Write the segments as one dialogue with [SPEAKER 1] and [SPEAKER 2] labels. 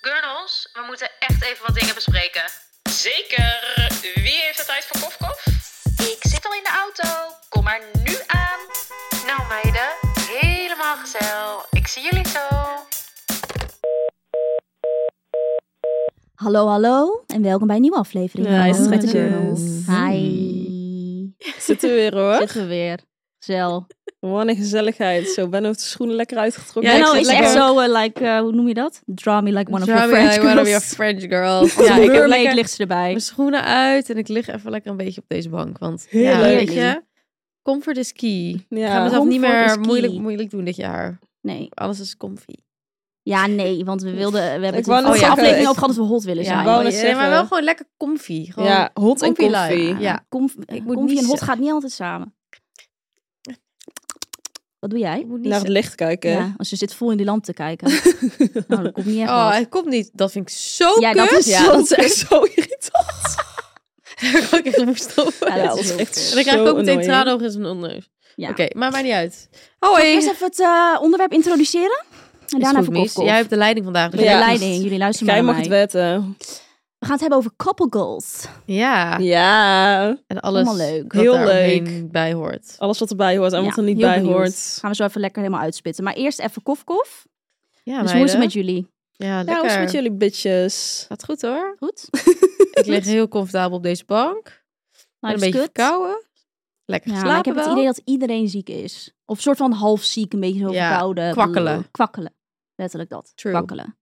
[SPEAKER 1] Jos, we moeten echt even wat dingen bespreken.
[SPEAKER 2] Zeker. Wie heeft de tijd voor kofkof?
[SPEAKER 1] Ik zit al in de auto. Kom maar nu aan. Nou meiden, helemaal gezellig. Ik zie jullie zo.
[SPEAKER 3] Hallo, hallo en welkom bij een nieuwe aflevering.
[SPEAKER 4] Ja,
[SPEAKER 3] van
[SPEAKER 4] is het
[SPEAKER 3] Hallo
[SPEAKER 4] met
[SPEAKER 3] Journals.
[SPEAKER 4] je?
[SPEAKER 3] Hi.
[SPEAKER 4] Zitten we weer hoor.
[SPEAKER 3] Zitten we weer. Zel.
[SPEAKER 4] Wat een gezelligheid. Zo, Ben heeft de schoenen lekker uitgetrokken.
[SPEAKER 3] Ja,
[SPEAKER 4] Ik
[SPEAKER 3] nou
[SPEAKER 4] zit
[SPEAKER 3] is
[SPEAKER 4] lekker-
[SPEAKER 3] echt zo, eh, like, eh, hoe noem je dat? Draw me like one of
[SPEAKER 4] Draw
[SPEAKER 3] your
[SPEAKER 4] me
[SPEAKER 3] French
[SPEAKER 4] like one of
[SPEAKER 3] girls.
[SPEAKER 4] your French girls.
[SPEAKER 3] Als
[SPEAKER 4] ja,
[SPEAKER 3] een
[SPEAKER 4] ik heb
[SPEAKER 3] mermaid
[SPEAKER 4] lekker
[SPEAKER 3] ligt ze erbij.
[SPEAKER 5] mijn schoenen uit en ik lig even lekker een beetje op deze bank. Want ja,
[SPEAKER 4] Heerlijk.
[SPEAKER 5] weet je, comfort is key. Ik ga
[SPEAKER 4] Ja.
[SPEAKER 5] mezelf niet
[SPEAKER 3] comfort is
[SPEAKER 5] meer
[SPEAKER 3] key.
[SPEAKER 5] moeilijk, moeilijk doen dit jaar.
[SPEAKER 3] Nee.
[SPEAKER 5] Alles is comfy.
[SPEAKER 3] Ja, nee, want we wilden, we hebben
[SPEAKER 4] Ik
[SPEAKER 3] het
[SPEAKER 4] wou
[SPEAKER 3] in de vorige
[SPEAKER 4] net zeggen,
[SPEAKER 3] aflevering
[SPEAKER 4] ik-
[SPEAKER 3] over gehad dat we hot willen
[SPEAKER 5] ja,
[SPEAKER 3] zijn.
[SPEAKER 4] wou
[SPEAKER 5] maar-
[SPEAKER 4] net
[SPEAKER 5] ja,
[SPEAKER 4] zeggen.
[SPEAKER 5] maar wel gewoon lekker comfy. Gewoon,
[SPEAKER 4] ja, hot en
[SPEAKER 5] comfy life.
[SPEAKER 4] koffie.
[SPEAKER 5] Ja.
[SPEAKER 3] Conf-
[SPEAKER 5] Ik moet
[SPEAKER 3] Confie en hot
[SPEAKER 5] niezen.
[SPEAKER 3] gaat niet altijd samen. Wat doe
[SPEAKER 5] Ik
[SPEAKER 3] jij?
[SPEAKER 5] moet niet
[SPEAKER 4] Naar het
[SPEAKER 5] zeggen-
[SPEAKER 4] licht kijken.
[SPEAKER 3] Ja, als je zit vol in die lamp te kijken. nou, dat komt niet echt
[SPEAKER 5] Oh,
[SPEAKER 3] uit.
[SPEAKER 5] het komt niet. Dat vind ik zo
[SPEAKER 3] Ja,
[SPEAKER 5] kut.
[SPEAKER 3] dat is
[SPEAKER 4] Ja,
[SPEAKER 3] zo
[SPEAKER 4] dat is echt zo irritant.
[SPEAKER 5] Daar kan ik echt op stoppen.
[SPEAKER 3] Ja,
[SPEAKER 4] Ja,
[SPEAKER 3] dat
[SPEAKER 4] dat
[SPEAKER 3] is
[SPEAKER 4] is
[SPEAKER 3] heel
[SPEAKER 4] echt
[SPEAKER 3] kut.
[SPEAKER 4] zo
[SPEAKER 5] En dan krijg ik ook meteen
[SPEAKER 4] annoying.
[SPEAKER 5] tranen over in mijn onderneus.
[SPEAKER 3] Ja.
[SPEAKER 5] Oké, maar maakt niet uit.
[SPEAKER 3] Zal ik
[SPEAKER 5] Hoi.
[SPEAKER 3] Eerst even het eh, onderwerp introduceren. En
[SPEAKER 5] Is
[SPEAKER 3] daarna
[SPEAKER 5] goed,
[SPEAKER 3] voor
[SPEAKER 5] Mies.
[SPEAKER 3] koffie.
[SPEAKER 5] Jij hebt de leiding vandaag. dus
[SPEAKER 3] De
[SPEAKER 4] Ja.
[SPEAKER 5] jij kiest.
[SPEAKER 3] leiding, jullie luisteren
[SPEAKER 4] Jij
[SPEAKER 3] maar
[SPEAKER 4] mag
[SPEAKER 3] naar
[SPEAKER 4] het
[SPEAKER 3] mij.
[SPEAKER 4] wetten.
[SPEAKER 3] We gaan het hebben over couple goals.
[SPEAKER 5] Ja.
[SPEAKER 4] Ja.
[SPEAKER 5] En alles
[SPEAKER 3] Allemaal leuk. Oh,
[SPEAKER 5] wat
[SPEAKER 4] Heel
[SPEAKER 5] daar
[SPEAKER 4] leuk.
[SPEAKER 5] omheen bij hoort.
[SPEAKER 4] Alles wat erbij hoort en wat
[SPEAKER 3] Ja,
[SPEAKER 4] er niet
[SPEAKER 3] heel
[SPEAKER 4] bij
[SPEAKER 3] benieuwd.
[SPEAKER 4] hoort.
[SPEAKER 3] Gaan we zo even lekker helemaal uitspitten. Maar eerst even kof kof.
[SPEAKER 5] Ja,
[SPEAKER 3] dus hoe is het
[SPEAKER 5] meiden?
[SPEAKER 3] met jullie?
[SPEAKER 5] Ja,
[SPEAKER 4] Ja,
[SPEAKER 5] lekker.
[SPEAKER 4] hoe is het met jullie bitches?
[SPEAKER 5] Gaat goed hoor.
[SPEAKER 3] Goed?
[SPEAKER 5] Ik lig heel comfortabel op deze bank.
[SPEAKER 3] Nou,
[SPEAKER 5] een beetje verkouden. Lekker
[SPEAKER 3] Ja,
[SPEAKER 5] geslapen
[SPEAKER 3] maar ik heb het
[SPEAKER 5] wel.
[SPEAKER 3] idee dat iedereen ziek is. Of soort van half ziek, een beetje zo
[SPEAKER 5] Ja,
[SPEAKER 3] verkouden.
[SPEAKER 5] kwakkelen.
[SPEAKER 3] Kwakkelen. Letterlijk dat.
[SPEAKER 5] True.
[SPEAKER 3] Kwakkelen.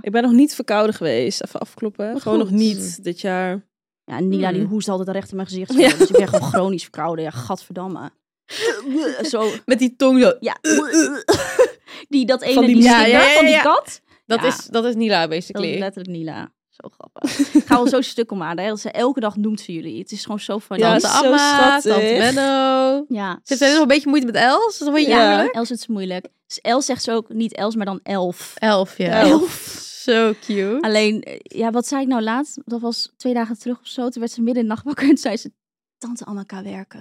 [SPEAKER 4] Ik ben nog niet verkouden geweest. Even afkloppen. Gewoon nog
[SPEAKER 3] goed.
[SPEAKER 4] niet dit jaar.
[SPEAKER 3] Ja, en Nina
[SPEAKER 5] Hmm.
[SPEAKER 3] die hoest altijd recht in mijn gezicht.
[SPEAKER 4] Ja.
[SPEAKER 3] Dus ik ben gewoon chronisch verkouden. Ja, gadverdamme. zo,
[SPEAKER 5] Met die tong zo.
[SPEAKER 3] ja. die, dat ene
[SPEAKER 4] Van die-
[SPEAKER 3] die,
[SPEAKER 5] Ja,
[SPEAKER 3] slinger
[SPEAKER 5] ja, ja,
[SPEAKER 3] van die
[SPEAKER 5] ja.
[SPEAKER 3] kat.
[SPEAKER 5] Dat,
[SPEAKER 3] Ja.
[SPEAKER 5] is, dat is Nila,
[SPEAKER 3] Dat is
[SPEAKER 5] basically.
[SPEAKER 3] letterlijk Nila. Zo grappig. Ik ga wel zo stuk om aan. Hè? Dat ze elke dag noemt ze jullie. Het is gewoon zo van.
[SPEAKER 4] Ja,
[SPEAKER 5] Tante
[SPEAKER 4] zo
[SPEAKER 5] Amma,
[SPEAKER 4] schattig.
[SPEAKER 5] Tante Menno.
[SPEAKER 3] ja.
[SPEAKER 5] Zit zij nog een beetje moeite met Els? Dat is een
[SPEAKER 3] Ja,
[SPEAKER 5] ja.
[SPEAKER 3] Els is het zo moeilijk. Dus Els zegt ze ook niet Els, maar dan elf.
[SPEAKER 5] Elf, ja.
[SPEAKER 4] Elf.
[SPEAKER 5] Zo cute.
[SPEAKER 3] Alleen, eh, ja, wat zei ik nou laatst? Dat was twee dagen terug of zo. Toen werd ze midden in de nacht wakker en zei ze... Tante Anneka werken.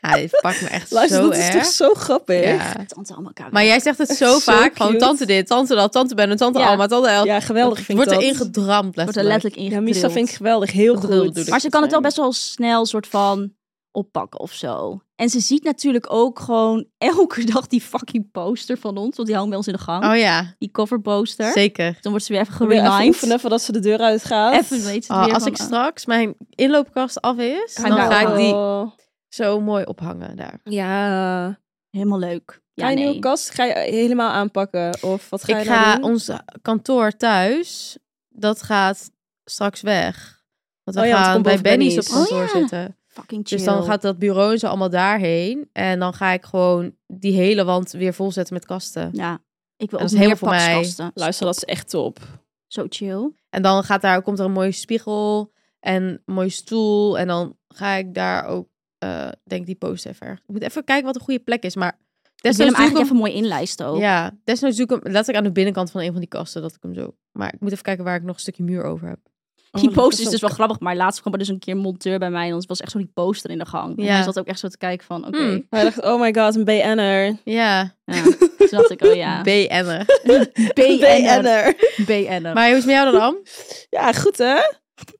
[SPEAKER 5] Ja, dit pakt me echt
[SPEAKER 4] Luister,
[SPEAKER 5] zo
[SPEAKER 4] dat is
[SPEAKER 5] erg.
[SPEAKER 4] toch zo grappig?
[SPEAKER 5] ja.
[SPEAKER 3] Tante Anneka werken.
[SPEAKER 5] Maar jij zegt het zo
[SPEAKER 4] Zo
[SPEAKER 5] vaak. Gewoon
[SPEAKER 4] cute.
[SPEAKER 5] tante dit, tante dat, tante Benno, tante
[SPEAKER 3] Ja.
[SPEAKER 5] Alma, tante Els.
[SPEAKER 4] Ja, geweldig vind ik
[SPEAKER 5] Wordt
[SPEAKER 4] dat.
[SPEAKER 5] erin gedramd,
[SPEAKER 3] Wordt er
[SPEAKER 5] letterlijk.
[SPEAKER 3] letterlijk in
[SPEAKER 4] Ja, Misa vind ik geweldig. Heel
[SPEAKER 5] Gedrild
[SPEAKER 4] goed.
[SPEAKER 5] bedoel ik.
[SPEAKER 3] Maar ze kan het wel best wel snel soort van oppakken of zo. En ze ziet natuurlijk ook gewoon elke dag die fucking poster van ons. Want die hangt bij ons in de gang.
[SPEAKER 5] Oh ja,
[SPEAKER 3] Die coverposter.
[SPEAKER 5] zeker.
[SPEAKER 3] Dan wordt ze weer even
[SPEAKER 4] Weer Even
[SPEAKER 3] geremind.
[SPEAKER 4] oefenen voordat ze de deur uitgaat.
[SPEAKER 3] Even weet ze het
[SPEAKER 5] Oh,
[SPEAKER 3] weer
[SPEAKER 5] als
[SPEAKER 3] van,
[SPEAKER 5] ik
[SPEAKER 3] eh,
[SPEAKER 5] straks mijn inloopkast af is,
[SPEAKER 3] Ga je
[SPEAKER 5] dan
[SPEAKER 3] daar
[SPEAKER 5] ga ik
[SPEAKER 3] ook-
[SPEAKER 5] die
[SPEAKER 4] Oh.
[SPEAKER 5] zo mooi ophangen daar.
[SPEAKER 4] Ja.
[SPEAKER 3] Helemaal leuk.
[SPEAKER 4] Ga
[SPEAKER 3] Ja,
[SPEAKER 4] je
[SPEAKER 3] nee.
[SPEAKER 4] nieuwe kast ga je helemaal aanpakken? Of wat ga
[SPEAKER 5] ik
[SPEAKER 4] je nou
[SPEAKER 5] ga
[SPEAKER 4] doen?
[SPEAKER 5] ons kantoor thuis, dat gaat straks weg. Want we
[SPEAKER 4] Oh ja, want het
[SPEAKER 5] gaan
[SPEAKER 4] komt
[SPEAKER 5] bij
[SPEAKER 4] boven
[SPEAKER 5] Benny's op
[SPEAKER 4] Benny's.
[SPEAKER 5] kantoor
[SPEAKER 3] Oh ja.
[SPEAKER 5] zitten.
[SPEAKER 3] Fucking chill.
[SPEAKER 5] Dus dan gaat dat bureau en zo allemaal daarheen. En dan ga ik gewoon die hele wand weer volzetten met kasten.
[SPEAKER 3] Ja, ik wil
[SPEAKER 5] Dat
[SPEAKER 3] ook
[SPEAKER 5] is heel
[SPEAKER 3] meer
[SPEAKER 5] voor mij.
[SPEAKER 3] pakskasten.
[SPEAKER 4] Luister, dat is echt top.
[SPEAKER 3] Zo chill.
[SPEAKER 5] En dan gaat daar, komt er een mooie spiegel en een mooie stoel. En dan ga ik daar ook, eh, denk ik, die post even erg. Ik moet even kijken wat een goede plek is. Maar
[SPEAKER 3] Ik
[SPEAKER 5] desnoods
[SPEAKER 3] wil hem
[SPEAKER 5] doe ik
[SPEAKER 3] eigenlijk even mooi inlijsten ook.
[SPEAKER 5] Ja, desnoods doe ik hem letterlijk aan de binnenkant van een van die kasten. Dat ik hem zo... Maar ik moet even kijken waar ik nog een stukje muur over heb.
[SPEAKER 3] Die
[SPEAKER 4] Oh,
[SPEAKER 3] poster is
[SPEAKER 4] dat
[SPEAKER 3] dus wel grappig, maar laatst kwam er dus een keer een monteur bij mij en dan was echt zo die poster in de gang. En
[SPEAKER 5] Ja.
[SPEAKER 3] hij zat ook echt zo te kijken van, oké.
[SPEAKER 5] Hmm.
[SPEAKER 4] Hij dacht, oh my god, een BN'er.
[SPEAKER 5] Ja,
[SPEAKER 3] Ja. Toen dacht ik, oh ja.
[SPEAKER 5] BN'en.
[SPEAKER 3] BN'er. BN'er.
[SPEAKER 5] Maar hoe is het met jou dan, Am?
[SPEAKER 4] Ja, goed hè?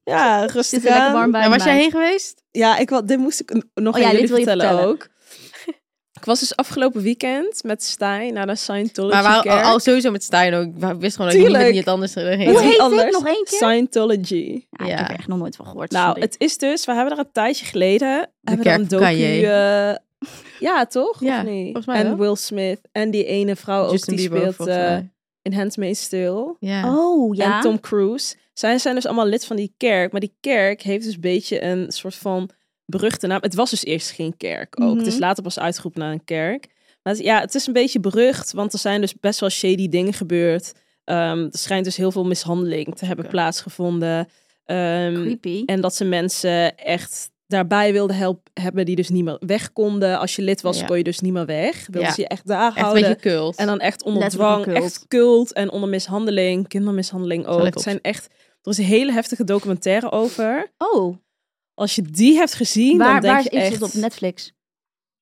[SPEAKER 4] Ja, rustig
[SPEAKER 3] Zit er lekker
[SPEAKER 4] aan.
[SPEAKER 3] warm bij
[SPEAKER 5] Ja, was
[SPEAKER 3] mij.
[SPEAKER 5] jij heen geweest?
[SPEAKER 4] Ja, ik wel, dit moest ik n- nog
[SPEAKER 3] Oh
[SPEAKER 4] aan
[SPEAKER 3] ja,
[SPEAKER 4] jullie
[SPEAKER 3] dit wil je
[SPEAKER 4] vertellen,
[SPEAKER 3] vertellen.
[SPEAKER 4] ook. Ik was dus afgelopen weekend met Stijn naar de Scientology
[SPEAKER 5] Maar we
[SPEAKER 4] kerk.
[SPEAKER 5] waren al sowieso met Stijn ook. Ik wist gewoon dat je niet met
[SPEAKER 4] Tuurlijk.
[SPEAKER 5] iemand anders
[SPEAKER 4] Met
[SPEAKER 3] Hoe
[SPEAKER 5] heen.
[SPEAKER 4] wie
[SPEAKER 3] heet dit
[SPEAKER 4] anders?
[SPEAKER 3] nog één keer?
[SPEAKER 4] Scientology.
[SPEAKER 3] Ja, ik heb er
[SPEAKER 5] Ja.
[SPEAKER 3] echt nog nooit van gehoord.
[SPEAKER 4] Nou,
[SPEAKER 3] sorry.
[SPEAKER 4] het is dus, we hebben daar een tijdje geleden. hebben
[SPEAKER 5] kerk
[SPEAKER 4] daar een
[SPEAKER 5] van
[SPEAKER 4] docu,
[SPEAKER 5] Kanye.
[SPEAKER 4] eh, ja, toch?
[SPEAKER 5] Ja,
[SPEAKER 4] of niet?
[SPEAKER 5] volgens mij
[SPEAKER 4] en
[SPEAKER 5] wel.
[SPEAKER 4] Will Smith. En die ene vrouw
[SPEAKER 5] Justin
[SPEAKER 4] ook, die
[SPEAKER 5] Bieber,
[SPEAKER 4] speelt
[SPEAKER 5] volgens
[SPEAKER 4] eh,
[SPEAKER 5] mij.
[SPEAKER 4] in Handmaid's Tale.
[SPEAKER 5] Ja.
[SPEAKER 3] oh, ja.
[SPEAKER 4] En Tom Cruise. Zij zijn dus allemaal lid van die kerk. Maar die kerk heeft dus een beetje een soort van beruchte naam. Het was dus eerst geen kerk ook.
[SPEAKER 3] Mhm.
[SPEAKER 4] Het is later pas uitgeroepen naar een kerk. Maar het- ja, het is een beetje berucht. Want er zijn dus best wel shady dingen gebeurd. Ehm, er schijnt dus heel veel mishandeling te hebben plaatsgevonden. Ehm,
[SPEAKER 3] Creepy.
[SPEAKER 4] en dat ze mensen echt daarbij wilden helpen hebben die dus niet meer weg konden. Als je lid was,
[SPEAKER 5] Ja.
[SPEAKER 4] kon je dus niet meer weg. Wilden
[SPEAKER 5] Ja.
[SPEAKER 4] ze je echt daar
[SPEAKER 5] Echt een
[SPEAKER 4] houden.
[SPEAKER 5] beetje kult.
[SPEAKER 4] En dan echt onder
[SPEAKER 3] Letterlijk
[SPEAKER 4] dwang,
[SPEAKER 3] een cult.
[SPEAKER 4] echt cult en onder mishandeling, kindermishandeling ook.
[SPEAKER 5] Letterlijk.
[SPEAKER 4] Het zijn echt, er is een hele heftige documentaire over.
[SPEAKER 3] Oh,
[SPEAKER 4] Als je die hebt gezien, dan
[SPEAKER 3] waar,
[SPEAKER 4] denk
[SPEAKER 3] waar
[SPEAKER 4] je
[SPEAKER 3] is
[SPEAKER 4] echt...
[SPEAKER 3] het op? Netflix?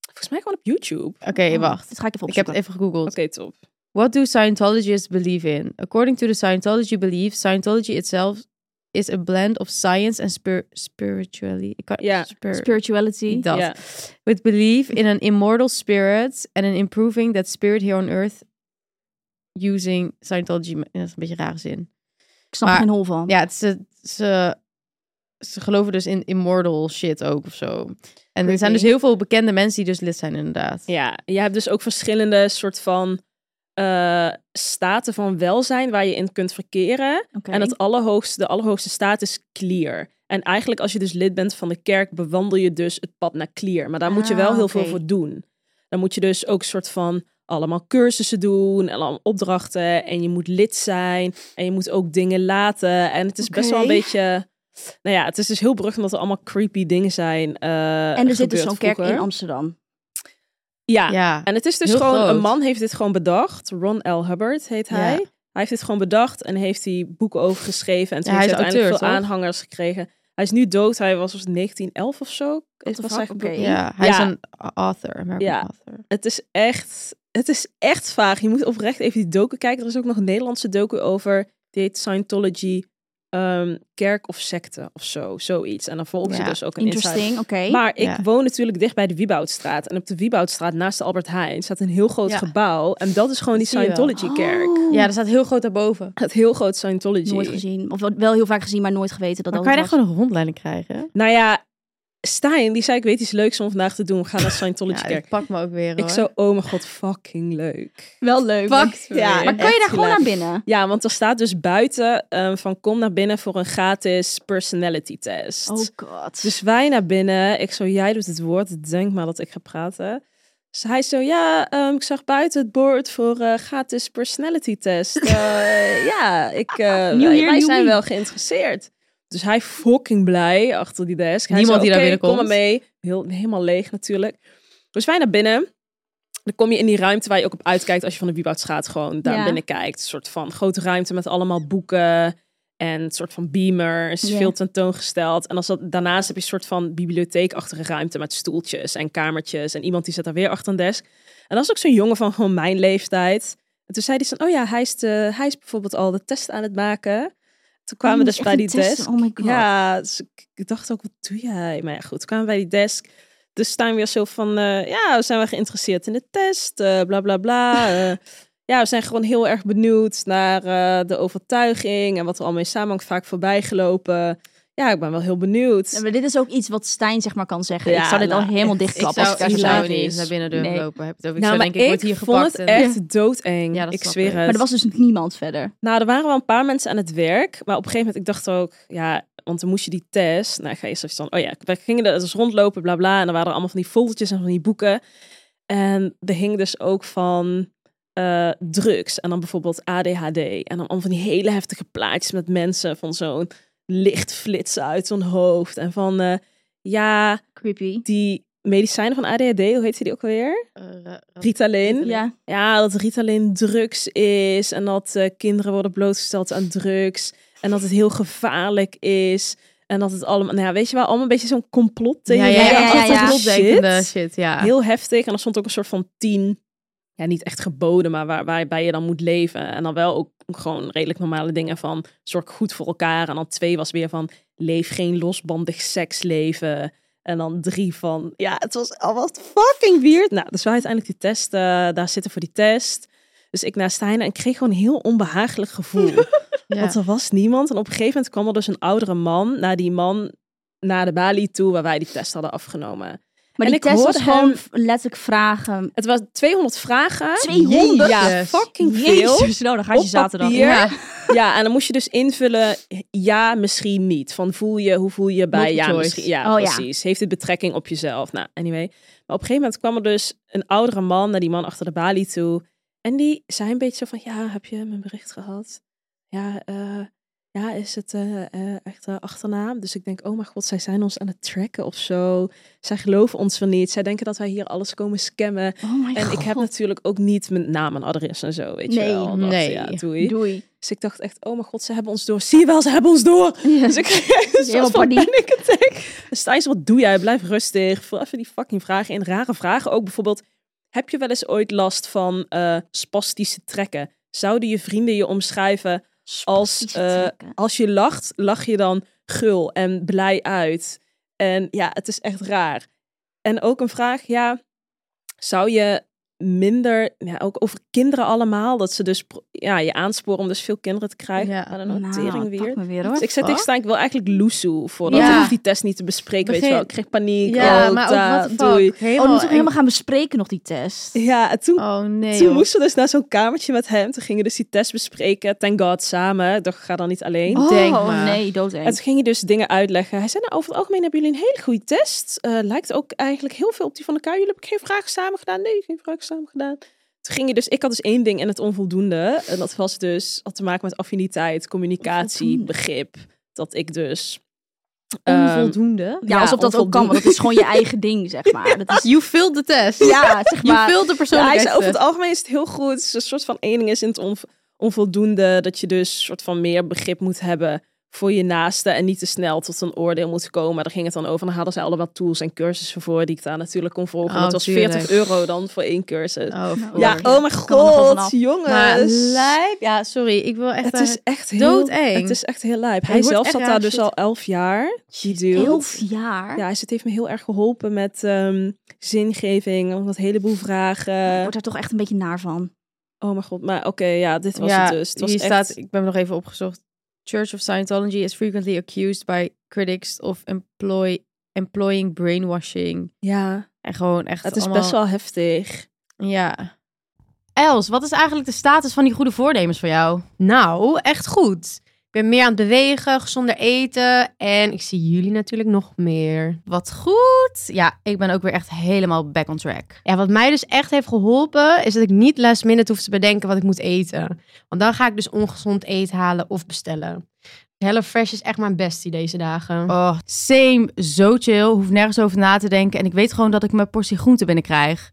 [SPEAKER 4] Volgens mij gewoon op YouTube. Oké,
[SPEAKER 5] Oké, wacht.
[SPEAKER 3] Dat ga ik even
[SPEAKER 5] Ik heb
[SPEAKER 3] opzoeken.
[SPEAKER 5] het even gegoogeld.
[SPEAKER 4] top.
[SPEAKER 5] What do Scientologists believe in? According to the Scientology belief, Scientology itself is a blend of science and spir spirituality. Ik kan-
[SPEAKER 4] Ja,
[SPEAKER 5] spir-
[SPEAKER 3] Spirituality.
[SPEAKER 5] dat.
[SPEAKER 4] Ja.
[SPEAKER 5] With belief in an immortal spirit and in improving that spirit here on earth using Scientology. Dat is een beetje een rare zin.
[SPEAKER 3] Ik snap
[SPEAKER 5] Maar-
[SPEAKER 3] er geen hol van.
[SPEAKER 5] Ja, het, ze, ze, ze geloven dus in immortal shit ook of zo. En er zijn dus heel veel bekende mensen die dus lid zijn inderdaad.
[SPEAKER 4] Ja, en je hebt dus ook verschillende soort van eh, staten van welzijn waar je in kunt verkeren.
[SPEAKER 3] Oké.
[SPEAKER 4] En eh, het allerhoogste, de allerhoogste staat is clear. En eigenlijk als je dus lid bent van de kerk, bewandel je dus het pad naar clear. Maar daar moet je wel
[SPEAKER 3] Ah,
[SPEAKER 4] heel
[SPEAKER 3] oké.
[SPEAKER 4] veel voor doen. Dan moet je dus ook soort van allemaal cursussen doen en allemaal opdrachten. En je moet lid zijn en je moet ook dingen laten. En het is best wel een
[SPEAKER 3] Oké.
[SPEAKER 4] beetje... Nou ja, het is dus heel berucht omdat er allemaal creepy dingen zijn eh,
[SPEAKER 3] en er zit dus
[SPEAKER 4] gebeurd
[SPEAKER 3] zo'n kerk in
[SPEAKER 4] vroeger.
[SPEAKER 3] Amsterdam.
[SPEAKER 4] Ja,
[SPEAKER 5] Ja.
[SPEAKER 4] en het is dus
[SPEAKER 5] Heel
[SPEAKER 4] gewoon,
[SPEAKER 5] groot.
[SPEAKER 4] een man heeft dit gewoon bedacht. Ron L. Hubbard heet
[SPEAKER 5] Ja.
[SPEAKER 4] hij. Hij heeft dit gewoon bedacht en heeft die boeken over geschreven. En toen
[SPEAKER 5] Ja, hij
[SPEAKER 4] heeft hij
[SPEAKER 5] is
[SPEAKER 4] uiteindelijk
[SPEAKER 5] auteur,
[SPEAKER 4] veel
[SPEAKER 5] toch?
[SPEAKER 4] aanhangers gekregen. Hij is nu dood. Hij was dus 1911 of zo.
[SPEAKER 3] What the
[SPEAKER 4] was
[SPEAKER 3] fuck?
[SPEAKER 4] hij
[SPEAKER 3] Oké.
[SPEAKER 4] geboren.
[SPEAKER 5] Ja, hij
[SPEAKER 4] Ja.
[SPEAKER 5] is een author, American
[SPEAKER 4] Ja.
[SPEAKER 5] author.
[SPEAKER 4] Het is echt, het is echt vaag. Je moet oprecht even die docu kijken. Er is ook nog een Nederlandse docu over. Die heet Scientology ehm, kerk of secte of zo. Zoiets. En dan volgen ze
[SPEAKER 5] Ja,
[SPEAKER 4] dus ook een insider.
[SPEAKER 3] Interesting, oké.
[SPEAKER 4] Maar ik
[SPEAKER 5] Ja.
[SPEAKER 4] woon natuurlijk dicht bij de Wieboudstraat. En op de Wieboudstraat naast de Albert Heijn staat een heel groot
[SPEAKER 5] Ja.
[SPEAKER 4] gebouw. En dat is gewoon die
[SPEAKER 5] Dat zie je wel.
[SPEAKER 4] Scientology-kerk.
[SPEAKER 3] Oh,
[SPEAKER 5] Ja, er staat heel groot daarboven.
[SPEAKER 4] Het heel groot Scientology.
[SPEAKER 3] nooit gezien. Of wel- wel heel vaak gezien, maar nooit geweten dat
[SPEAKER 5] Dan
[SPEAKER 3] dat
[SPEAKER 5] kan je daar
[SPEAKER 3] het was.
[SPEAKER 5] gewoon een rondleiding krijgen?
[SPEAKER 4] Nou ja, Stijn, die zei ik weet iets leuks om vandaag te doen. We gaan naar
[SPEAKER 5] Ja,
[SPEAKER 4] Scientology-kerk.
[SPEAKER 5] ik pak me ook weer,
[SPEAKER 4] ik
[SPEAKER 5] hoor.
[SPEAKER 4] zo, oh mijn god, fucking leuk.
[SPEAKER 3] wel leuk.
[SPEAKER 5] Fuck
[SPEAKER 4] Ja,
[SPEAKER 5] ja,
[SPEAKER 3] maar kan je
[SPEAKER 4] echt
[SPEAKER 3] daar gewoon
[SPEAKER 4] leuk.
[SPEAKER 3] naar binnen?
[SPEAKER 4] Ja, want er staat dus buiten ehm, van kom naar binnen voor een gratis personality test.
[SPEAKER 3] Oh god.
[SPEAKER 4] Dus wij naar binnen. Ik zo, jij doet het woord. Denk maar dat ik ga praten. Dus hij zo, ja, ehm, ik zag buiten het bord voor eh, gratis personality test. Eh, ja, ik, eh,
[SPEAKER 3] New
[SPEAKER 4] wij,
[SPEAKER 3] year,
[SPEAKER 4] wij
[SPEAKER 3] new
[SPEAKER 4] zijn
[SPEAKER 3] me.
[SPEAKER 4] wel geïnteresseerd. Dus hij fucking blij achter die desk. Hij
[SPEAKER 5] Niemand
[SPEAKER 4] zo,
[SPEAKER 5] die daar
[SPEAKER 4] "Oké,
[SPEAKER 5] binnenkomt.
[SPEAKER 4] Kom maar mee. Heel, helemaal leeg natuurlijk. Dus wij naar binnen. Dan kom je in die ruimte waar je ook op uitkijkt als je van de Wieboudstraat gewoon daar
[SPEAKER 3] Ja.
[SPEAKER 4] binnen kijkt. Een soort van grote ruimte met allemaal boeken en een soort van beamers,
[SPEAKER 3] Ja.
[SPEAKER 4] veel tentoongesteld. En als dat, daarnaast heb je een soort van bibliotheekachtige ruimte met stoeltjes en kamertjes en iemand die zit daar weer achter een desk. En dat is ook zo'n jongen van gewoon mijn leeftijd. En toen zei hij van, oh ja, hij is, de, hij is bijvoorbeeld al de test aan het maken. Toen kwamen we
[SPEAKER 3] moet
[SPEAKER 4] dus
[SPEAKER 3] je
[SPEAKER 4] bij
[SPEAKER 3] Oh, echt
[SPEAKER 4] die
[SPEAKER 3] een test-
[SPEAKER 4] desk.
[SPEAKER 3] oh my god.
[SPEAKER 4] Ja, dus ik, ik dacht ook, wat doe jij? Maar ja, goed, toen kwamen we bij die desk. Dus staan weer zo van, eh, ja, we zijn wel geïnteresseerd in de test, eh, bla bla bla. eh. ja, we zijn gewoon heel erg benieuwd naar eh, de overtuiging en wat er al mee samenhangt, vaak voorbij gelopen. Ja, ik ben wel heel benieuwd.
[SPEAKER 3] Ja, maar dit is ook iets wat Stijn zeg maar kan zeggen. ik
[SPEAKER 4] Ja,
[SPEAKER 3] zou dit
[SPEAKER 4] nou,
[SPEAKER 3] al helemaal
[SPEAKER 4] echt.
[SPEAKER 5] Ik
[SPEAKER 3] dichtklappen
[SPEAKER 5] zou,
[SPEAKER 3] als ik daar
[SPEAKER 5] ik
[SPEAKER 3] zou
[SPEAKER 4] zo
[SPEAKER 5] zou
[SPEAKER 3] zijn.
[SPEAKER 5] niet eens
[SPEAKER 4] is.
[SPEAKER 5] naar binnen durven
[SPEAKER 3] Nee.
[SPEAKER 5] lopen. Heb je het over.
[SPEAKER 4] Nou,
[SPEAKER 5] ik
[SPEAKER 4] maar
[SPEAKER 5] zou denken, ik word hier
[SPEAKER 4] vond
[SPEAKER 5] gepakt.
[SPEAKER 4] het
[SPEAKER 5] en-
[SPEAKER 4] echt doodeng.
[SPEAKER 5] Ja, dat
[SPEAKER 4] ik
[SPEAKER 5] snap
[SPEAKER 4] zweer
[SPEAKER 5] ik.
[SPEAKER 4] het.
[SPEAKER 3] Maar er was dus niemand verder.
[SPEAKER 4] Nou, er waren wel een paar mensen aan het werk. Maar op een gegeven moment, ik dacht ook, ja, want dan moest je die test. Nou, ik ga eerst even dan, oh ja, we gingen er dus rondlopen, bla bla. En dan waren er allemaal van die foldertjes en van die boeken. En er hing dus ook van eh, drugs. En dan bijvoorbeeld ADHD. En dan allemaal van die hele heftige plaatjes met mensen van zo'n licht flitsen uit hun hoofd. En van, eh, ja,
[SPEAKER 3] Creepy.
[SPEAKER 4] die medicijnen van ADHD, hoe heet ze die ook alweer?
[SPEAKER 5] Eh, ra- ra-
[SPEAKER 4] Ritalin.
[SPEAKER 3] Ja.
[SPEAKER 4] Ja, dat Ritalin drugs is en dat eh, kinderen worden blootgesteld aan drugs en dat het heel gevaarlijk is en dat het allemaal, nou ja, weet je wel, allemaal een beetje zo'n complottheorie.
[SPEAKER 5] Ja, ja, ja,
[SPEAKER 3] ja,
[SPEAKER 4] achtige
[SPEAKER 3] ja.
[SPEAKER 5] complotdenkende
[SPEAKER 4] shit.
[SPEAKER 5] shit, ja.
[SPEAKER 4] Heel heftig en er stond ook een soort van tien, ja, niet echt geboden, maar waar, waarbij je dan moet leven en dan wel ook gewoon redelijk normale dingen van zorg goed voor elkaar en dan twee was weer van leef geen losbandig seksleven. En dan drie van, ja, het was al wat fucking weird. Nou, dus wij uiteindelijk die test, eh, daar zitten voor die test. Dus ik naar Stijn en ik kreeg gewoon een heel onbehagelijk gevoel.
[SPEAKER 5] Ja.
[SPEAKER 4] Want er was niemand. En op een gegeven moment kwam er dus een oudere man naar die man, naar de balie toe waar wij die test hadden afgenomen.
[SPEAKER 3] Maar
[SPEAKER 4] En
[SPEAKER 3] die
[SPEAKER 4] ik
[SPEAKER 3] test was
[SPEAKER 4] hoorde
[SPEAKER 3] gewoon
[SPEAKER 4] hem-
[SPEAKER 3] v- letterlijk vragen.
[SPEAKER 4] Het was 200 vragen.
[SPEAKER 3] 200?
[SPEAKER 4] Ja,
[SPEAKER 5] Jezus.
[SPEAKER 4] fucking veel.
[SPEAKER 3] Jezus, nou, dan ga je
[SPEAKER 4] Op
[SPEAKER 3] zaterdag.
[SPEAKER 4] papier.
[SPEAKER 3] Ja.
[SPEAKER 4] Ja, en dan moest je dus invullen, ja, misschien niet. Van voel je, hoe voel je bij,
[SPEAKER 5] Multiple
[SPEAKER 4] ja,
[SPEAKER 5] choice.
[SPEAKER 4] misschien, ja,
[SPEAKER 3] Oh, ja.
[SPEAKER 4] precies. Heeft dit betrekking op jezelf? Nou, anyway. Maar op een gegeven moment kwam er dus een oudere man naar die man achter de balie toe. En die zei een beetje zo van, ja, heb je mijn bericht gehad? Ja, eh, ja is het eh, eh, echt eh, achternaam? Dus ik denk, oh mijn god, zij zijn ons aan het tracken of zo. Zij geloven ons van niet. Zij denken dat wij hier alles komen scammen.
[SPEAKER 3] Oh my
[SPEAKER 4] En
[SPEAKER 3] god.
[SPEAKER 4] ik heb natuurlijk ook niet mijn naam en adres en zo, weet
[SPEAKER 3] Nee,
[SPEAKER 4] je wel. Dat,
[SPEAKER 5] nee.
[SPEAKER 4] Ja, doei.
[SPEAKER 3] Doei.
[SPEAKER 4] Dus ik dacht echt, oh mijn god, ze hebben ons door. Zie je wel, ze hebben ons door. Dus ik kreeg een
[SPEAKER 3] Helemaal
[SPEAKER 4] soort van
[SPEAKER 3] paniek.
[SPEAKER 4] panic attack. Dus Thijs, wat doe jij? Blijf rustig. Vul even die fucking vragen in. Rare vragen ook. Bijvoorbeeld, Heb je wel eens ooit last van eh, spastische trekken? Zouden je vrienden je omschrijven als,
[SPEAKER 3] Spastische
[SPEAKER 4] eh,
[SPEAKER 3] trekken.
[SPEAKER 4] als je lacht, lach je dan gul en blij uit? En ja, het is echt raar. En ook een vraag, ja, zou je minder, ja, ook over kinderen allemaal, dat ze dus pro- ja, je aansporen om dus veel kinderen te krijgen.
[SPEAKER 5] Ja.
[SPEAKER 4] Ja, dan
[SPEAKER 3] Nou,
[SPEAKER 4] tering
[SPEAKER 3] pak
[SPEAKER 4] weer.
[SPEAKER 3] me weer hoor.
[SPEAKER 4] Dus ik zei tegen Stijn, ik wil eigenlijk loesoe voor dat.
[SPEAKER 5] Ja.
[SPEAKER 4] Ik hoef die test niet te bespreken, weet je
[SPEAKER 5] Begin-
[SPEAKER 4] wel. Ik kreeg paniek.
[SPEAKER 5] Ja,
[SPEAKER 4] oh,
[SPEAKER 5] maar
[SPEAKER 4] da,
[SPEAKER 5] ook wat
[SPEAKER 4] doei.
[SPEAKER 5] de
[SPEAKER 3] Oh,
[SPEAKER 5] fuck.
[SPEAKER 3] dan
[SPEAKER 5] Helemaal
[SPEAKER 3] moeten we
[SPEAKER 5] eng.
[SPEAKER 3] helemaal gaan bespreken nog die test.
[SPEAKER 4] Ja, en toen,
[SPEAKER 5] Oh nee.
[SPEAKER 4] toen
[SPEAKER 5] joh.
[SPEAKER 4] moesten we dus naar zo'n kamertje met hem. Toen gingen we dus die test bespreken. Thank god, samen. Ik dacht, ik ga dan niet alleen.
[SPEAKER 3] Oh,
[SPEAKER 5] Denk maar.
[SPEAKER 3] nee,
[SPEAKER 4] En
[SPEAKER 3] doodeng.
[SPEAKER 4] toen ging hij dus dingen uitleggen. Hij zei, nou, over het algemeen hebben jullie een hele goede test. Eh, lijkt ook eigenlijk heel veel op die van elkaar. Jullie hebben geen vragen samen gedaan? Nee, geen vragen samen gedaan. Toen ging je dus, ik had dus één ding en het onvoldoende. En dat was dus, had te maken met affiniteit, communicatie,
[SPEAKER 3] Onvoldoende.
[SPEAKER 4] begrip. Dat ik dus... ehm,
[SPEAKER 5] Onvoldoende.
[SPEAKER 3] Ja, alsof dat ook kan, want dat is gewoon je eigen ding, zeg maar. Dat is,
[SPEAKER 5] You failed the test.
[SPEAKER 3] ja, zeg
[SPEAKER 5] You
[SPEAKER 3] maar.
[SPEAKER 5] failed the
[SPEAKER 4] Ja, hij
[SPEAKER 5] persoonlijkheid.
[SPEAKER 4] zei, over het algemeen is het heel goed. Het is een soort van ening is in het onv- onvoldoende. Dat je dus soort van meer begrip moet hebben voor je naaste. En niet te snel tot een oordeel moet komen. Daar ging het dan over. Dan hadden ze allemaal tools en cursussen voor die ik daar natuurlijk kon volgen.
[SPEAKER 5] Oh,
[SPEAKER 4] Want het was
[SPEAKER 5] tuurlijk.
[SPEAKER 4] 40 euro dan voor één cursus.
[SPEAKER 5] Oh, of
[SPEAKER 4] ja,
[SPEAKER 5] course.
[SPEAKER 4] oh mijn
[SPEAKER 3] Kan er nog wel
[SPEAKER 4] god,
[SPEAKER 3] vanaf.
[SPEAKER 5] Maar
[SPEAKER 4] jongens.
[SPEAKER 5] lijp. Ja, sorry. Ik wil echt...
[SPEAKER 4] het
[SPEAKER 5] daar-
[SPEAKER 4] is echt heel...
[SPEAKER 5] doodeng.
[SPEAKER 4] Het is echt heel lijp. Hij
[SPEAKER 5] wordt
[SPEAKER 4] zelf
[SPEAKER 5] echt
[SPEAKER 4] zat
[SPEAKER 5] raar
[SPEAKER 4] daar dus
[SPEAKER 5] shit.
[SPEAKER 4] al elf jaar. Die dude.
[SPEAKER 3] Elf jaar?
[SPEAKER 4] Ja, dus het heeft me heel erg geholpen met ehm, zingeving. Omdat een heleboel vragen.
[SPEAKER 3] Ik word daar toch echt een beetje naar van.
[SPEAKER 4] Oh mijn god, maar oké, ja, dit was
[SPEAKER 5] ja,
[SPEAKER 4] het dus. Het was
[SPEAKER 5] hier
[SPEAKER 4] echt...
[SPEAKER 5] staat, ik ben hem nog even opgezocht. Church of Scientology is frequently accused by critics of employ, employing brainwashing.
[SPEAKER 4] Ja,
[SPEAKER 5] En gewoon echt
[SPEAKER 4] het is
[SPEAKER 5] allemaal-
[SPEAKER 4] best wel heftig.
[SPEAKER 5] Ja.
[SPEAKER 6] Els, wat is eigenlijk de status van die goede voornemens voor jou? Nou, echt goed. Ik ben meer aan het bewegen, gezonder eten en ik zie jullie natuurlijk nog meer. Wat goed. Ja, ik ben ook weer echt helemaal back on track. Ja, wat mij dus echt heeft geholpen is dat ik niet last minute hoef te bedenken wat ik moet eten. Want dan ga ik dus ongezond eten halen of bestellen. HelloFresh is echt mijn bestie deze dagen.
[SPEAKER 7] Oh, same. Zo chill. Hoef nergens over na te denken. En ik weet gewoon dat ik mijn portie groente binnenkrijg.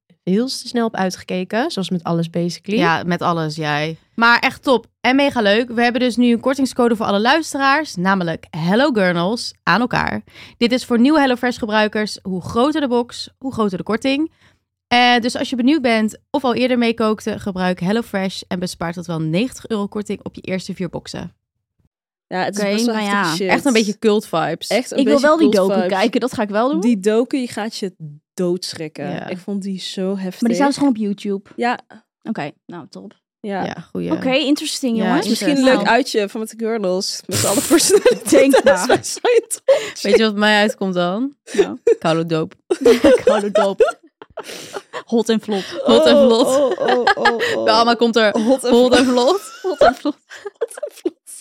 [SPEAKER 6] heel snel op uitgekeken. Zoals met alles basically.
[SPEAKER 7] Ja, met alles, jij. Maar echt top en mega leuk. We hebben dus nu een kortingscode voor alle luisteraars, namelijk Hello Gurnals aan elkaar. Dit is voor nieuwe HelloFresh gebruikers. Hoe groter de box, hoe groter de korting. Eh, dus als je benieuwd bent of al eerder meekookte, gebruik HelloFresh en bespaart tot wel 90 euro korting op je eerste vier boxen.
[SPEAKER 4] Ja, het
[SPEAKER 3] Oké,
[SPEAKER 4] is best wel
[SPEAKER 3] maar
[SPEAKER 4] heftig
[SPEAKER 3] ja,
[SPEAKER 4] shit.
[SPEAKER 5] Echt een beetje cult vibes.
[SPEAKER 4] Echt een
[SPEAKER 3] Ik wil
[SPEAKER 4] beetje
[SPEAKER 3] wel die
[SPEAKER 4] cult
[SPEAKER 3] docu
[SPEAKER 4] vibes.
[SPEAKER 3] kijken, dat ga ik wel doen.
[SPEAKER 4] Die docu, die gaat je doodschrikken.
[SPEAKER 5] Ja.
[SPEAKER 4] Ik vond die zo heftig.
[SPEAKER 3] Maar die staan dus gewoon op YouTube.
[SPEAKER 4] Ja,
[SPEAKER 3] Oké, nou top.
[SPEAKER 4] ja.
[SPEAKER 5] Ja, goeie.
[SPEAKER 3] Oké, interesting
[SPEAKER 5] Ja,
[SPEAKER 3] jongens. Nou,
[SPEAKER 4] Het is Misschien een leuk uitje van met de girls. Met z'n allen personaliteiten.
[SPEAKER 3] Denk maar.
[SPEAKER 4] Wij zijn toch-
[SPEAKER 5] Weet je wat mij uitkomt dan?
[SPEAKER 3] Nou.
[SPEAKER 5] Koude doop.
[SPEAKER 3] Koude doop. Hot en flop.
[SPEAKER 5] Hot en vlot.
[SPEAKER 4] Oh, oh, oh, oh, oh.
[SPEAKER 5] Bij Alma komt er
[SPEAKER 4] Hot en
[SPEAKER 5] hot en vlot.
[SPEAKER 3] Hot en flop.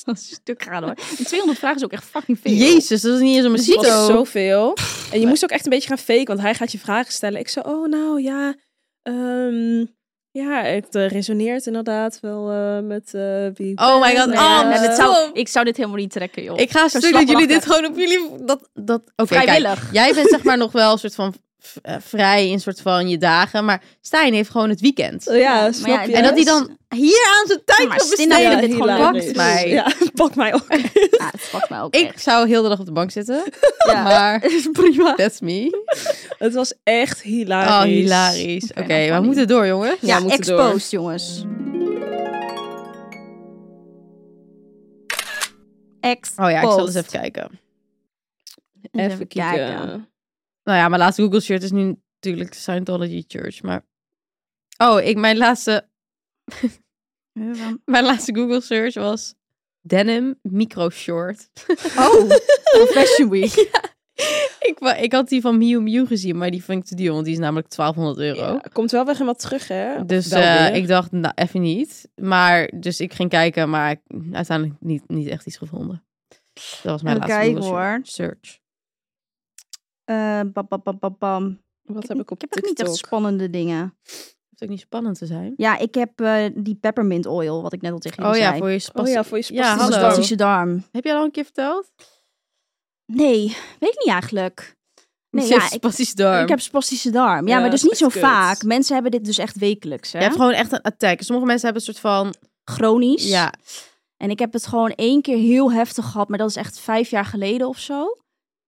[SPEAKER 3] Dat is een stuk gaan hoor. En 200 vragen is ook echt fucking veel.
[SPEAKER 5] Jezus, dat is niet eens een
[SPEAKER 4] Het was
[SPEAKER 5] mosquito.
[SPEAKER 4] zoveel. En je moest ook echt een beetje gaan faken, want hij gaat je vragen stellen. Ik zo, oh nou ja, ehm, ja, het eh, resoneert inderdaad wel eh, met eh, wie. ik
[SPEAKER 5] Oh
[SPEAKER 4] ben
[SPEAKER 5] my god,
[SPEAKER 4] en,
[SPEAKER 5] oh,
[SPEAKER 4] eh,
[SPEAKER 5] maar
[SPEAKER 3] dit
[SPEAKER 5] dat
[SPEAKER 3] zou,
[SPEAKER 5] zo.
[SPEAKER 3] ik zou dit helemaal niet trekken joh.
[SPEAKER 5] Ik ga
[SPEAKER 3] Zo
[SPEAKER 5] stuk dat jullie dit
[SPEAKER 3] slaplachen.
[SPEAKER 5] gewoon op jullie... Dat, dat, Oké, kijk,
[SPEAKER 3] Vrijwillig.
[SPEAKER 5] jij bent zeg maar nog wel een soort van v- eh, vrij in soort van je dagen. Maar Stijn heeft gewoon het weekend.
[SPEAKER 4] Ja, snap
[SPEAKER 3] ja,
[SPEAKER 4] je?
[SPEAKER 5] En dat hij dan hier aan zijn tijd
[SPEAKER 3] Maar
[SPEAKER 5] wil
[SPEAKER 3] Stina
[SPEAKER 5] besteden.
[SPEAKER 3] wil dit gewoon
[SPEAKER 4] hilarisch.
[SPEAKER 5] pakt mij.
[SPEAKER 4] Ja, pak mij ook.
[SPEAKER 3] Ja, het pakt mij ook
[SPEAKER 5] Ik
[SPEAKER 3] echt.
[SPEAKER 5] zou heel de dag op de bank zitten.
[SPEAKER 3] Ja.
[SPEAKER 5] Maar
[SPEAKER 3] is prima.
[SPEAKER 5] that's me.
[SPEAKER 4] Het was echt hilarisch.
[SPEAKER 5] Oh, hilarisch. Oké,
[SPEAKER 3] Oké, nou,
[SPEAKER 5] we
[SPEAKER 3] funny.
[SPEAKER 5] moeten door, jongen.
[SPEAKER 4] Ja,
[SPEAKER 3] Ja,
[SPEAKER 4] we moeten door.
[SPEAKER 3] exposed jongens. Exposed.
[SPEAKER 5] Oh ja, ik zal eens even kijken.
[SPEAKER 4] Even kijken.
[SPEAKER 5] Nou ja, mijn laatste Google shirt is nu natuurlijk de Scientology Church. Maar oh, ik, mijn, laatste, mijn laatste Google search was denim micro short.
[SPEAKER 3] Oh, Fashion Week.
[SPEAKER 5] ik, wa- ik had die van Miu Miu gezien, maar die vind ik te duur, want die is namelijk 1200 euro.
[SPEAKER 4] Ja, komt wel weer helemaal terug, hè?
[SPEAKER 5] Dus
[SPEAKER 4] Wel
[SPEAKER 5] eh,
[SPEAKER 4] weer.
[SPEAKER 5] ik dacht, nou, even niet. Maar, dus ik ging kijken, maar ik- uiteindelijk niet, niet echt iets gevonden. Dat was mijn
[SPEAKER 3] Even
[SPEAKER 5] laatste
[SPEAKER 3] kijken,
[SPEAKER 5] Google
[SPEAKER 3] hoor.
[SPEAKER 5] search.
[SPEAKER 3] Eh, bam, bam, bam, bam, bam.
[SPEAKER 4] Wat heb ik op
[SPEAKER 3] Ik heb ook niet echt
[SPEAKER 4] TikTok?
[SPEAKER 3] spannende dingen.
[SPEAKER 5] hoeft ook niet spannend te zijn.
[SPEAKER 3] Ja, ik heb eh, die peppermint oil, wat ik net al tegen
[SPEAKER 5] Oh
[SPEAKER 3] jullie
[SPEAKER 5] ja,
[SPEAKER 3] zei.
[SPEAKER 5] voor je
[SPEAKER 4] Oh
[SPEAKER 5] spastische...
[SPEAKER 4] ja, voor je
[SPEAKER 5] Ja,
[SPEAKER 4] spastische
[SPEAKER 5] hallo.
[SPEAKER 4] darm.
[SPEAKER 3] spastische darm.
[SPEAKER 5] Heb jij al een keer verteld?
[SPEAKER 3] Nee, weet ik niet eigenlijk. Nee,
[SPEAKER 5] je
[SPEAKER 3] ja,
[SPEAKER 5] hebt
[SPEAKER 3] ik-
[SPEAKER 5] spastische darm.
[SPEAKER 3] Ik heb spastische darm. Ja,
[SPEAKER 5] Ja,
[SPEAKER 3] maar dus
[SPEAKER 5] dat
[SPEAKER 3] niet
[SPEAKER 5] is
[SPEAKER 3] zo
[SPEAKER 5] kut.
[SPEAKER 3] vaak. Mensen hebben dit dus echt wekelijks. Hè?
[SPEAKER 5] Je hebt gewoon echt een attack. Sommige mensen hebben een soort van...
[SPEAKER 3] Chronisch.
[SPEAKER 5] Ja,
[SPEAKER 3] En ik heb het gewoon één keer heel heftig gehad, maar dat is echt vijf jaar geleden of zo.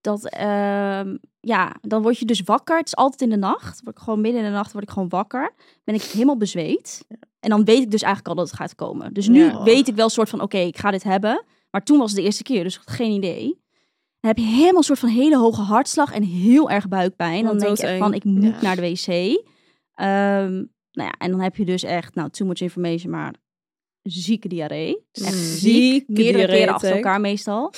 [SPEAKER 3] Dat, ehm, ja, dan word je dus wakker. Het is altijd in de nacht. Word ik gewoon midden in de nacht word ik gewoon wakker. Ben ik helemaal bezweet. En dan weet ik dus eigenlijk al dat het gaat komen. Dus nu
[SPEAKER 5] Ja.
[SPEAKER 3] weet ik wel soort van, oké, ik ga dit hebben. Maar toen was het de eerste keer, dus ik had geen idee. Dan heb je helemaal een soort van hele hoge hartslag en heel erg buikpijn.
[SPEAKER 4] Oh,
[SPEAKER 3] Dan denk je echt
[SPEAKER 4] doodeng.
[SPEAKER 3] van, ik moet
[SPEAKER 5] Ja.
[SPEAKER 3] naar de wc. Ehm, nou ja, en dan heb je dus echt, nou, too much information, maar zieke diarree. Echt ziek,
[SPEAKER 4] Mm. Zieke
[SPEAKER 3] meerdere
[SPEAKER 4] diarree
[SPEAKER 3] keren achter
[SPEAKER 4] attack.
[SPEAKER 3] elkaar meestal.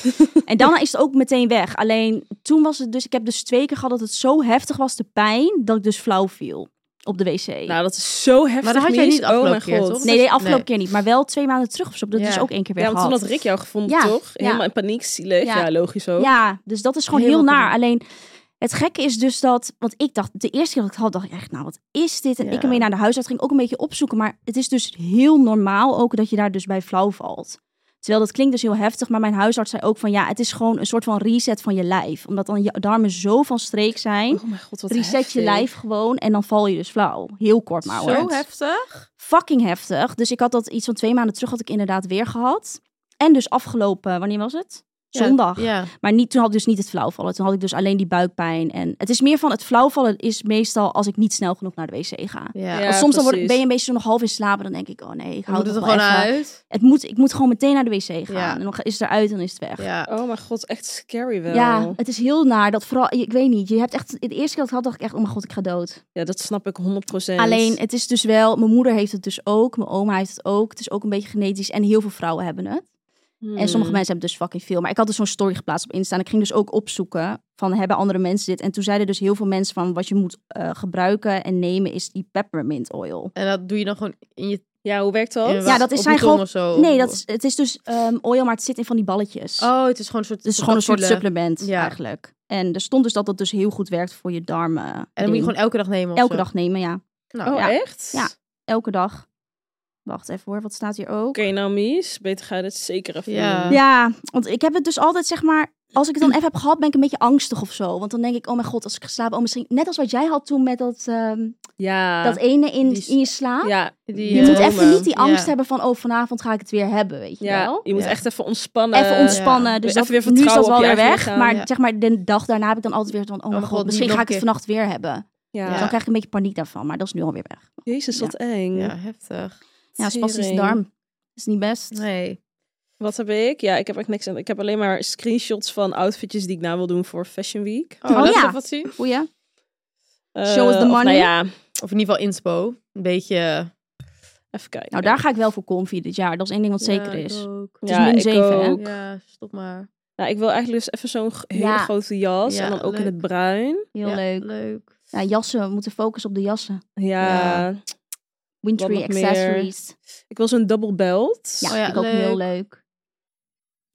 [SPEAKER 3] en daarna is het ook meteen weg. Alleen toen was het dus, ik heb dus twee keer gehad dat het zo heftig was, de pijn, dat ik dus flauw viel op de wc.
[SPEAKER 4] Nou, dat is zo heftig.
[SPEAKER 5] dat had jij
[SPEAKER 4] Mies.
[SPEAKER 5] niet de afgelopen
[SPEAKER 4] oh mijn
[SPEAKER 5] keer,
[SPEAKER 4] god.
[SPEAKER 5] toch?
[SPEAKER 3] nee, nee, afgelopen
[SPEAKER 5] nee.
[SPEAKER 3] keer niet, maar wel twee maanden terug of zo. heb ik Dat
[SPEAKER 5] Ja.
[SPEAKER 3] is ook één keer weer
[SPEAKER 4] Ja, want toen
[SPEAKER 3] gehad.
[SPEAKER 4] had Rick jou gevonden,
[SPEAKER 3] Ja,
[SPEAKER 4] toch? Helemaal
[SPEAKER 3] ja.
[SPEAKER 4] in paniek, zielig.
[SPEAKER 3] Ja.
[SPEAKER 4] Ja, logisch ook.
[SPEAKER 3] Ja, dus dat is gewoon heel,
[SPEAKER 5] Helemaal
[SPEAKER 3] naar. Alleen het gekke is dus dat, want ik dacht, de eerste keer dat ik het had, dacht ik echt, nou wat is dit? En
[SPEAKER 5] Ja.
[SPEAKER 3] ik ermee naar de huisarts ging ook een beetje opzoeken. Maar het is dus heel normaal ook dat je daar dus bij flauw valt. Terwijl dat klinkt dus heel heftig, maar mijn huisarts zei ook van ja, het is gewoon een soort van reset van je lijf. Omdat dan je darmen zo van streek zijn.
[SPEAKER 4] Oh mijn god, wat
[SPEAKER 3] Reset
[SPEAKER 4] heftig.
[SPEAKER 3] je lijf gewoon en dan val je dus flauw. Heel kort maar hoor
[SPEAKER 5] zo heftig.
[SPEAKER 3] fucking heftig. Dus ik had dat iets van twee maanden terug had ik inderdaad weer gehad. En dus afgelopen, wanneer was het?
[SPEAKER 5] Ja,
[SPEAKER 3] Zondag.
[SPEAKER 5] Ja.
[SPEAKER 3] Maar niet, toen had ik dus niet het flauwvallen. Toen had ik dus alleen die buikpijn. En het is meer van het flauwvallen is meestal als ik niet snel genoeg naar de wc ga.
[SPEAKER 5] Ja.
[SPEAKER 4] Ja.
[SPEAKER 3] Want soms dan word ik,
[SPEAKER 4] precies.
[SPEAKER 3] ben je een beetje zo nog half in slaap. En dan denk ik, oh nee, ik
[SPEAKER 5] Je
[SPEAKER 3] hou
[SPEAKER 5] moet
[SPEAKER 3] het
[SPEAKER 5] het er
[SPEAKER 3] gewoon
[SPEAKER 5] gewoon
[SPEAKER 3] even.
[SPEAKER 5] uit.
[SPEAKER 3] Het moet, ik moet gewoon meteen naar de wc gaan.
[SPEAKER 5] Ja.
[SPEAKER 3] En dan is het eruit en is het weg.
[SPEAKER 5] Ja.
[SPEAKER 4] Oh mijn god, echt scary wel.
[SPEAKER 3] Ja,
[SPEAKER 4] Ja,
[SPEAKER 3] het is heel naar. Dat vooral, ik weet niet. Je hebt echt, de eerste keer dat ik het had, dacht ik echt, oh mijn god, ik ga dood.
[SPEAKER 4] dat snap ik 100%.
[SPEAKER 3] Alleen, het is dus wel, mijn moeder heeft het dus ook, mijn oma heeft het ook. Het is ook een beetje genetisch en heel veel vrouwen hebben het.
[SPEAKER 4] Hmm.
[SPEAKER 5] Mm.
[SPEAKER 3] En sommige mensen hebben het dus fucking veel. Maar ik had dus zo'n story geplaatst op Insta en ik ging dus ook opzoeken van hebben andere mensen dit. En toen zeiden dus heel veel mensen van wat je moet eh, gebruiken en nemen is die peppermint oil.
[SPEAKER 5] En dat doe je dan gewoon in je...
[SPEAKER 4] Ja, hoe werkt dat?
[SPEAKER 5] in je
[SPEAKER 3] Ja, dat
[SPEAKER 5] op
[SPEAKER 3] is
[SPEAKER 5] je
[SPEAKER 3] zijn
[SPEAKER 5] tong
[SPEAKER 3] gewoon-
[SPEAKER 5] of zo.
[SPEAKER 3] Nee, dat is, het is dus ehm, oil, maar het zit in van die balletjes.
[SPEAKER 5] Oh, het is gewoon een soort...
[SPEAKER 3] Het is gewoon een soort
[SPEAKER 5] capsule.
[SPEAKER 3] supplement
[SPEAKER 5] Ja.
[SPEAKER 3] eigenlijk. En er stond dus dat dat dus heel goed werkt voor je darmen.
[SPEAKER 5] En dan moet je gewoon elke dag nemen of
[SPEAKER 3] elke
[SPEAKER 5] zo.
[SPEAKER 3] dag nemen, ja.
[SPEAKER 5] Nou,
[SPEAKER 4] Oh,
[SPEAKER 3] Ja.
[SPEAKER 4] echt?
[SPEAKER 3] Ja. Elke dag. Wacht even hoor, wat staat hier ook?
[SPEAKER 4] Oké, nou Mies, beter ga je dit zeker even
[SPEAKER 5] Ja.
[SPEAKER 4] doen.
[SPEAKER 3] Ja, want ik heb het dus altijd, zeg maar, als ik het dan even heb gehad, ben ik een beetje angstig of zo. Want dan denk ik, oh mijn god, als ik ga slapen, oh misschien, net als wat jij had toen met dat, ehm,
[SPEAKER 4] Ja.
[SPEAKER 3] dat ene in,
[SPEAKER 5] die s-
[SPEAKER 3] in je slaap.
[SPEAKER 4] ja,
[SPEAKER 5] Die,
[SPEAKER 3] Je
[SPEAKER 5] eh,
[SPEAKER 3] moet even
[SPEAKER 4] dromen.
[SPEAKER 3] niet die angst
[SPEAKER 5] Ja.
[SPEAKER 3] hebben van, oh vanavond ga ik het weer hebben, weet je
[SPEAKER 4] ja.
[SPEAKER 3] wel.
[SPEAKER 4] je moet
[SPEAKER 5] Ja.
[SPEAKER 4] echt even ontspannen.
[SPEAKER 3] Even ontspannen.
[SPEAKER 5] ja.
[SPEAKER 3] Dus
[SPEAKER 4] Even
[SPEAKER 3] dat,
[SPEAKER 4] weer
[SPEAKER 3] nu is dat
[SPEAKER 4] vertrouwen
[SPEAKER 3] wel
[SPEAKER 4] op je
[SPEAKER 3] weer
[SPEAKER 4] eigen
[SPEAKER 3] weg.
[SPEAKER 4] lichaam.
[SPEAKER 3] Maar
[SPEAKER 5] Ja.
[SPEAKER 3] zeg maar, de dag daarna heb ik dan altijd weer van... Oh mijn
[SPEAKER 5] god,
[SPEAKER 3] god,
[SPEAKER 5] niet
[SPEAKER 3] misschien ga
[SPEAKER 5] nog
[SPEAKER 3] ik het
[SPEAKER 5] een
[SPEAKER 3] vannacht weer hebben.
[SPEAKER 4] Ja.
[SPEAKER 3] Dus dan krijg ik een beetje paniek daarvan. Maar dat is nu alweer weg.
[SPEAKER 4] Jezus, wat eng.
[SPEAKER 5] Ja, heftig.
[SPEAKER 3] Ja, spastische
[SPEAKER 4] Tering.
[SPEAKER 3] darm. is niet best.
[SPEAKER 5] Nee.
[SPEAKER 4] Wat heb ik? Ja, ik heb echt niks. aan- Ik heb alleen maar screenshots van outfitjes die ik na wil doen voor Fashion Week.
[SPEAKER 5] Oh,
[SPEAKER 3] Oh,
[SPEAKER 5] dat is
[SPEAKER 3] ja.
[SPEAKER 5] even wat zien.
[SPEAKER 3] Goeie.
[SPEAKER 4] Eh,
[SPEAKER 3] Show us the
[SPEAKER 4] of
[SPEAKER 3] money.
[SPEAKER 4] Nou ja,
[SPEAKER 5] Of in ieder geval inspo. Een beetje...
[SPEAKER 4] even kijken.
[SPEAKER 3] Nou, daar ga ik wel voor comfy dit jaar. Dat is één ding wat
[SPEAKER 5] Ja,
[SPEAKER 3] zeker
[SPEAKER 5] ik
[SPEAKER 3] is.
[SPEAKER 5] ook.
[SPEAKER 3] is min
[SPEAKER 4] ik
[SPEAKER 3] zeven, hè?
[SPEAKER 4] ook.
[SPEAKER 5] Ja, stop maar.
[SPEAKER 4] Nou, ik wil eigenlijk dus even zo'n g- hele
[SPEAKER 3] Ja.
[SPEAKER 4] grote jas.
[SPEAKER 5] Ja,
[SPEAKER 4] en dan ook in
[SPEAKER 5] leuk.
[SPEAKER 4] het bruin.
[SPEAKER 3] Heel
[SPEAKER 5] Ja,
[SPEAKER 3] leuk.
[SPEAKER 5] Leuk.
[SPEAKER 3] Ja, jassen. We moeten focussen op de jassen.
[SPEAKER 4] Ja.
[SPEAKER 3] Wintry
[SPEAKER 4] Wat nog meer?
[SPEAKER 3] accessories.
[SPEAKER 4] Ik wil zo'n double belt.
[SPEAKER 3] Ja,
[SPEAKER 5] Oh ja,
[SPEAKER 3] ik ook heel
[SPEAKER 5] leuk.
[SPEAKER 3] leuk.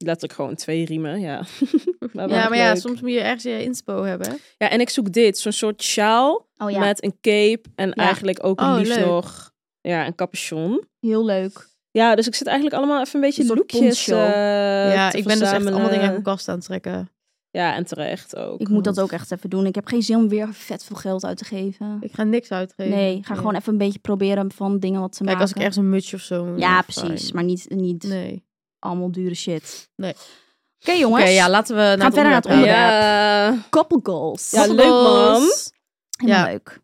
[SPEAKER 4] Letterlijk gewoon twee riemen, ja. Maar wel
[SPEAKER 5] Ja,
[SPEAKER 4] echt
[SPEAKER 5] maar ja,
[SPEAKER 4] leuk.
[SPEAKER 5] soms moet je ergens je inspo
[SPEAKER 3] Eh,
[SPEAKER 5] hebben.
[SPEAKER 4] Ja, en ik zoek dit. Zo'n soort sjaal
[SPEAKER 3] Oh ja,
[SPEAKER 4] met een cape. En eigenlijk ook
[SPEAKER 5] Oh,
[SPEAKER 4] liefst
[SPEAKER 5] leuk.
[SPEAKER 4] nog ja, een capuchon.
[SPEAKER 3] heel leuk.
[SPEAKER 4] Ja, dus ik zit eigenlijk allemaal even een beetje
[SPEAKER 3] Een soort
[SPEAKER 4] lookjes
[SPEAKER 3] poncho.
[SPEAKER 4] eh,
[SPEAKER 5] ja,
[SPEAKER 4] te
[SPEAKER 5] ik ben dus echt allemaal
[SPEAKER 4] verzamelen.
[SPEAKER 5] dingen uit mijn kast aan het trekken.
[SPEAKER 4] Ja, en terecht ook.
[SPEAKER 3] Ik moet dat ook echt even doen. Ik heb geen zin om weer vet veel geld uit te geven.
[SPEAKER 5] Ik ga niks uitgeven.
[SPEAKER 3] Nee, ik ga gewoon even een beetje proberen van dingen wat te
[SPEAKER 5] Kijk, als
[SPEAKER 3] maken.
[SPEAKER 5] ik ergens een mutsje of zo moet
[SPEAKER 3] Ja,
[SPEAKER 5] doen,
[SPEAKER 3] precies.
[SPEAKER 5] fijn.
[SPEAKER 3] Maar niet, niet
[SPEAKER 5] Nee.
[SPEAKER 3] allemaal dure shit.
[SPEAKER 5] Nee.
[SPEAKER 3] Oké, jongens.
[SPEAKER 5] Oké, ja, laten we naar
[SPEAKER 3] Gaan verder naar het onderwerp.
[SPEAKER 4] Ja,
[SPEAKER 3] Couple goals.
[SPEAKER 4] ja leuk man.
[SPEAKER 3] Helemaal
[SPEAKER 5] Ja.
[SPEAKER 3] leuk.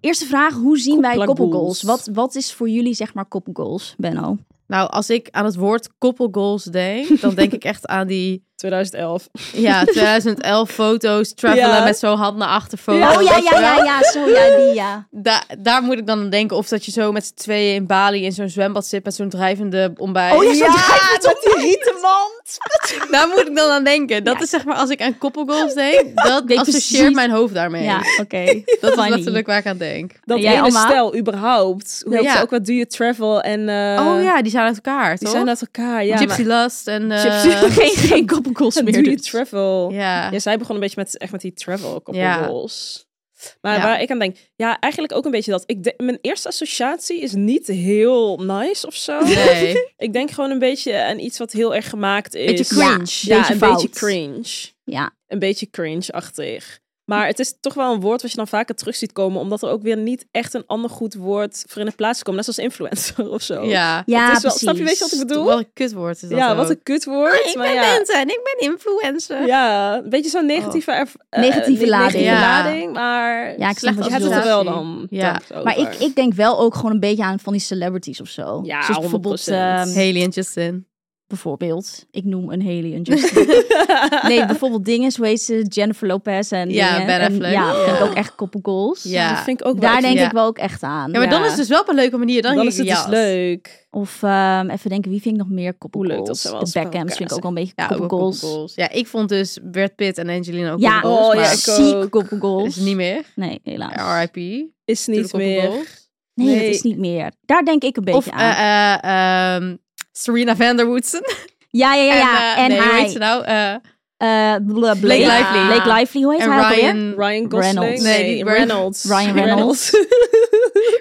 [SPEAKER 3] Eerste vraag. Hoe zien wij
[SPEAKER 4] Couple
[SPEAKER 3] couple goals?
[SPEAKER 4] goals.
[SPEAKER 3] Wat, wat is voor jullie, zeg maar, couple goals, Benno?
[SPEAKER 5] Nou, als ik aan het woord koppelgoals denk, dan denk ik echt aan die
[SPEAKER 4] 2011.
[SPEAKER 5] ja, 2011 foto's, travelen
[SPEAKER 4] Ja.
[SPEAKER 5] met zo'n hand naar achter foto.
[SPEAKER 3] Oh ja, ja, ja, ja. Zo, ja, die, ja.
[SPEAKER 5] Da- daar moet ik dan aan denken. Of dat je zo met z'n tweeën in Bali in zo'n zwembad zit met zo'n drijvende ontbijt.
[SPEAKER 3] Oh ja, zo drijft het op die rietenmand.
[SPEAKER 5] Daar moet ik dan aan denken. Dat is zeg maar, als ik aan koppelgoals denk, dat
[SPEAKER 3] Denk
[SPEAKER 5] associeert
[SPEAKER 3] precies-
[SPEAKER 5] mijn hoofd daarmee.
[SPEAKER 3] Ja, oké.
[SPEAKER 5] Dat is
[SPEAKER 3] Funny.
[SPEAKER 5] letterlijk waar ik aan denk.
[SPEAKER 4] Dat
[SPEAKER 3] En jij,
[SPEAKER 4] ene
[SPEAKER 3] Alma?
[SPEAKER 4] stel, überhaupt. Hoe heet
[SPEAKER 5] Ja.
[SPEAKER 4] ze ook wat do you travel en... eh,
[SPEAKER 5] oh ja, die zijn uit elkaar,
[SPEAKER 4] Die
[SPEAKER 5] toch?
[SPEAKER 4] zijn uit elkaar, ja.
[SPEAKER 5] Gypsy
[SPEAKER 4] maar-
[SPEAKER 5] Lust en... eh,
[SPEAKER 4] Gypsy-
[SPEAKER 3] geen, geen couple goals
[SPEAKER 4] Do
[SPEAKER 3] meer.
[SPEAKER 4] you
[SPEAKER 3] dus.
[SPEAKER 4] travel?
[SPEAKER 5] Ja.
[SPEAKER 4] Ja, zij begon een beetje met, echt met die travel couple
[SPEAKER 5] Ja.
[SPEAKER 4] goals. Maar
[SPEAKER 5] Ja.
[SPEAKER 4] waar ik aan denk, ja, eigenlijk ook een beetje dat. Ik de- mijn eerste associatie is niet heel nice of zo.
[SPEAKER 5] Nee.
[SPEAKER 4] ik denk gewoon een beetje aan iets wat heel erg gemaakt is.
[SPEAKER 3] Beetje cringe.
[SPEAKER 4] Ja,
[SPEAKER 3] beetje
[SPEAKER 4] een
[SPEAKER 3] fout.
[SPEAKER 4] beetje cringe.
[SPEAKER 3] Ja.
[SPEAKER 4] Een beetje cringe-achtig. Maar het is toch wel een woord wat je dan vaker terug ziet komen, omdat er ook weer niet echt een ander goed woord voor in de plaats komt. Net zoals influencer of zo.
[SPEAKER 5] ja.
[SPEAKER 3] Ja,
[SPEAKER 4] het is wel,
[SPEAKER 3] precies.
[SPEAKER 4] snap je, weet je wat ik bedoel?
[SPEAKER 5] Wat een kutwoord is dat
[SPEAKER 4] ja,
[SPEAKER 5] ook.
[SPEAKER 4] wat een kutwoord.
[SPEAKER 3] Ah,
[SPEAKER 4] maar ja.
[SPEAKER 5] en ik ben influencer.
[SPEAKER 4] Ja, een beetje zo'n negatieve, erv- eh,
[SPEAKER 3] Oh. Negatieve
[SPEAKER 4] niet-
[SPEAKER 3] lading.
[SPEAKER 5] Ja.
[SPEAKER 4] lading, maar
[SPEAKER 3] Ja, ik snap
[SPEAKER 4] slecht
[SPEAKER 3] wat
[SPEAKER 4] je
[SPEAKER 3] je
[SPEAKER 4] hebt het er
[SPEAKER 5] bedoelt.
[SPEAKER 4] wel dan.
[SPEAKER 5] Ja.
[SPEAKER 4] dan over.
[SPEAKER 3] Maar ik, ik denk wel ook gewoon een beetje aan van die celebrities of zo.
[SPEAKER 4] Ja,
[SPEAKER 3] Zoals bijvoorbeeld,
[SPEAKER 4] 100%.
[SPEAKER 3] ehm,
[SPEAKER 5] Haley en Justin.
[SPEAKER 3] bijvoorbeeld, ik noem een Haley en Justin. nee, bijvoorbeeld dingen, hoe heet ze, Jennifer Lopez en
[SPEAKER 5] Ja,
[SPEAKER 3] dingen.
[SPEAKER 5] Ben
[SPEAKER 3] En
[SPEAKER 5] Affleck.
[SPEAKER 3] Ja,
[SPEAKER 5] Ja.
[SPEAKER 3] vind ik ook echt couple goals.
[SPEAKER 5] Ja.
[SPEAKER 4] dat vind ik ook
[SPEAKER 3] Daar
[SPEAKER 4] wel.
[SPEAKER 3] denk
[SPEAKER 5] ja.
[SPEAKER 3] ik wel ook echt aan.
[SPEAKER 5] Ja, maar dan
[SPEAKER 4] Ja.
[SPEAKER 5] is het dus wel op een leuke manier. Dan,
[SPEAKER 4] dan
[SPEAKER 5] hing
[SPEAKER 4] is het
[SPEAKER 5] die
[SPEAKER 4] dus
[SPEAKER 5] jas.
[SPEAKER 4] leuk.
[SPEAKER 3] Of ehm, even denken, wie vind ik nog meer couple
[SPEAKER 4] Hoe leuk dat
[SPEAKER 3] goals?
[SPEAKER 4] ze wel
[SPEAKER 3] de
[SPEAKER 4] eens bij
[SPEAKER 3] Beckhams
[SPEAKER 4] elkaar
[SPEAKER 3] vind ik ook wel een beetje
[SPEAKER 5] Ja,
[SPEAKER 3] couple
[SPEAKER 5] ook wel
[SPEAKER 3] goals.
[SPEAKER 5] couple goals. Ja, ik vond dus Brad Pitt en Angelina ook
[SPEAKER 3] Ja,
[SPEAKER 5] couple goals,
[SPEAKER 4] Oh,
[SPEAKER 5] maar
[SPEAKER 4] ja,
[SPEAKER 5] dat
[SPEAKER 4] ik
[SPEAKER 3] ziek
[SPEAKER 4] ook.
[SPEAKER 3] couple goals.
[SPEAKER 5] is niet meer.
[SPEAKER 3] Nee, helaas.
[SPEAKER 5] RIP.
[SPEAKER 4] Is niet
[SPEAKER 5] Couple
[SPEAKER 4] meer.
[SPEAKER 5] goals.
[SPEAKER 3] Nee,
[SPEAKER 4] Nee.
[SPEAKER 3] dat is niet meer. Daar denk ik een beetje
[SPEAKER 5] Of
[SPEAKER 3] aan.
[SPEAKER 5] eh, eh, ehm, Serena van der Woodsen.
[SPEAKER 3] ja, ja, ja. ja.
[SPEAKER 5] En, eh,
[SPEAKER 3] En,
[SPEAKER 5] nee, hoe
[SPEAKER 3] hij...
[SPEAKER 5] heet ze nou? Eh,
[SPEAKER 3] eh, bl- Blake,
[SPEAKER 5] Lively.
[SPEAKER 3] Blake Lively, hoe heet
[SPEAKER 5] en
[SPEAKER 3] hij nou ook alweer?
[SPEAKER 5] Ryan,
[SPEAKER 4] Ryan Gosling.
[SPEAKER 3] Reynolds.
[SPEAKER 5] Nee,
[SPEAKER 4] Nee,
[SPEAKER 5] die Ryan-
[SPEAKER 4] Reynolds.
[SPEAKER 3] Ryan Reynolds.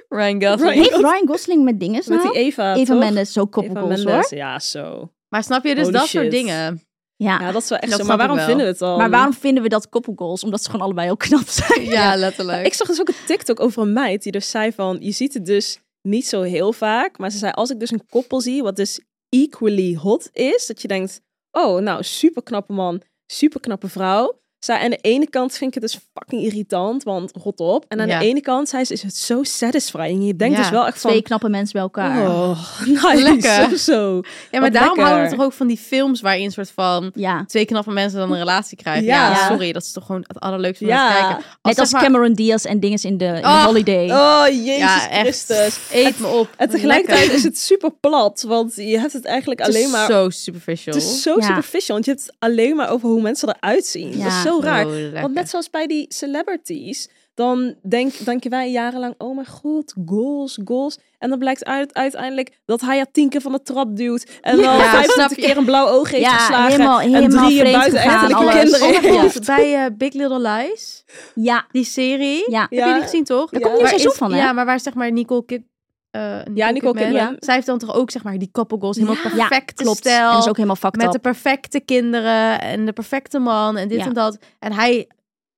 [SPEAKER 5] Ryan Gosling.
[SPEAKER 4] Ryan-
[SPEAKER 3] Heeft Ryan Gosling met dingen
[SPEAKER 4] Met
[SPEAKER 3] nou?
[SPEAKER 4] die Eva,
[SPEAKER 3] Eva
[SPEAKER 4] toch?
[SPEAKER 3] Mendes, zo couple
[SPEAKER 4] Eva
[SPEAKER 3] goals
[SPEAKER 4] Mendes,
[SPEAKER 3] hoor.
[SPEAKER 4] ja, zo.
[SPEAKER 5] Maar snap je dus
[SPEAKER 4] Holy
[SPEAKER 5] dat soort
[SPEAKER 4] shit.
[SPEAKER 5] dingen?
[SPEAKER 3] Ja.
[SPEAKER 4] Ja, dat is wel echt
[SPEAKER 5] Ah, Dat snap
[SPEAKER 4] zo. Maar
[SPEAKER 5] ik
[SPEAKER 4] waarom
[SPEAKER 5] wel.
[SPEAKER 4] vinden we het dan?
[SPEAKER 3] Maar waarom vinden we dat couple goals? Omdat ze gewoon allebei heel knap zijn.
[SPEAKER 5] Ja, letterlijk.
[SPEAKER 4] Ik zag dus ook een TikTok over een meid die dus zei van, je ziet het dus niet zo heel vaak, maar ze zei als ik dus een koppel zie wat dus equally hot is, dat je denkt, oh nou super knappe man, super knappe vrouw. Zij aan de ene kant vind ik het dus fucking irritant, want rot op. En aan
[SPEAKER 5] Ja.
[SPEAKER 4] de ene kant zei ze, is het zo satisfying. Je denkt
[SPEAKER 5] Ja,
[SPEAKER 4] dus wel echt
[SPEAKER 3] Twee
[SPEAKER 4] van,
[SPEAKER 3] knappe mensen bij elkaar.
[SPEAKER 4] oh, nice,
[SPEAKER 5] Lekker.
[SPEAKER 4] of zo.
[SPEAKER 5] ja, maar
[SPEAKER 4] wat
[SPEAKER 5] daarom
[SPEAKER 4] lekker.
[SPEAKER 5] houden we toch ook van die films waarin soort van
[SPEAKER 3] Ja.
[SPEAKER 5] twee knappe mensen dan een relatie krijgen. Ja,
[SPEAKER 4] Ja.
[SPEAKER 5] sorry, dat is toch gewoon het allerleukste om naar te
[SPEAKER 4] Ja.
[SPEAKER 5] kijken.
[SPEAKER 3] Net als
[SPEAKER 5] zeg maar-
[SPEAKER 3] Cameron Diaz en dinges in de in
[SPEAKER 5] Ah.
[SPEAKER 3] Holiday.
[SPEAKER 4] Oh, jezus
[SPEAKER 5] Ja, echt.
[SPEAKER 4] Christus.
[SPEAKER 5] Eet me op.
[SPEAKER 4] En tegelijkertijd is het super plat, want je hebt het eigenlijk
[SPEAKER 5] Lekker. Het is
[SPEAKER 4] alleen maar
[SPEAKER 5] zo superficial.
[SPEAKER 4] Het is zo
[SPEAKER 3] Ja.
[SPEAKER 4] superficial, want je hebt het alleen maar over hoe mensen eruit zien.
[SPEAKER 3] Ja.
[SPEAKER 4] Dat is zo raar.
[SPEAKER 5] Oh, lekker.
[SPEAKER 4] Want net zoals bij die celebrities, dan denk, denken wij jarenlang, oh mijn god, goals, goals. En dan blijkt uit, uiteindelijk dat hij er tien keer van de trap duwt. En dan
[SPEAKER 5] Ja, snap
[SPEAKER 4] 25
[SPEAKER 5] je.
[SPEAKER 4] keer een blauw oog heeft
[SPEAKER 3] Ja,
[SPEAKER 4] geslagen.
[SPEAKER 3] helemaal-
[SPEAKER 4] en
[SPEAKER 3] helemaal
[SPEAKER 4] drie
[SPEAKER 3] vreemd
[SPEAKER 4] buitenechtelijke
[SPEAKER 3] gegaan, alles.
[SPEAKER 4] kinderen.
[SPEAKER 3] Oh mijn
[SPEAKER 4] heeft.
[SPEAKER 3] god.
[SPEAKER 5] Bij eh, Big Little Lies,
[SPEAKER 3] Ja.
[SPEAKER 5] die serie.
[SPEAKER 3] Ja.
[SPEAKER 5] Heb je die gezien, toch?
[SPEAKER 4] Daar komt nu een
[SPEAKER 5] Waar
[SPEAKER 3] seizoen
[SPEAKER 5] is-
[SPEAKER 3] van, hè?
[SPEAKER 5] Ja, maar waar zeg maar Nicole Kid... eh,
[SPEAKER 4] Ja, Nicole Kidman.
[SPEAKER 5] Zij heeft dan toch ook zeg maar die couple goals. Helemaal
[SPEAKER 3] Ja,
[SPEAKER 5] perfecte
[SPEAKER 3] Klopt. En
[SPEAKER 5] stijl.
[SPEAKER 3] dat is ook helemaal fucked
[SPEAKER 5] met de
[SPEAKER 3] up.
[SPEAKER 5] perfecte kinderen en de perfecte man en dit
[SPEAKER 3] Ja.
[SPEAKER 5] en dat. En hij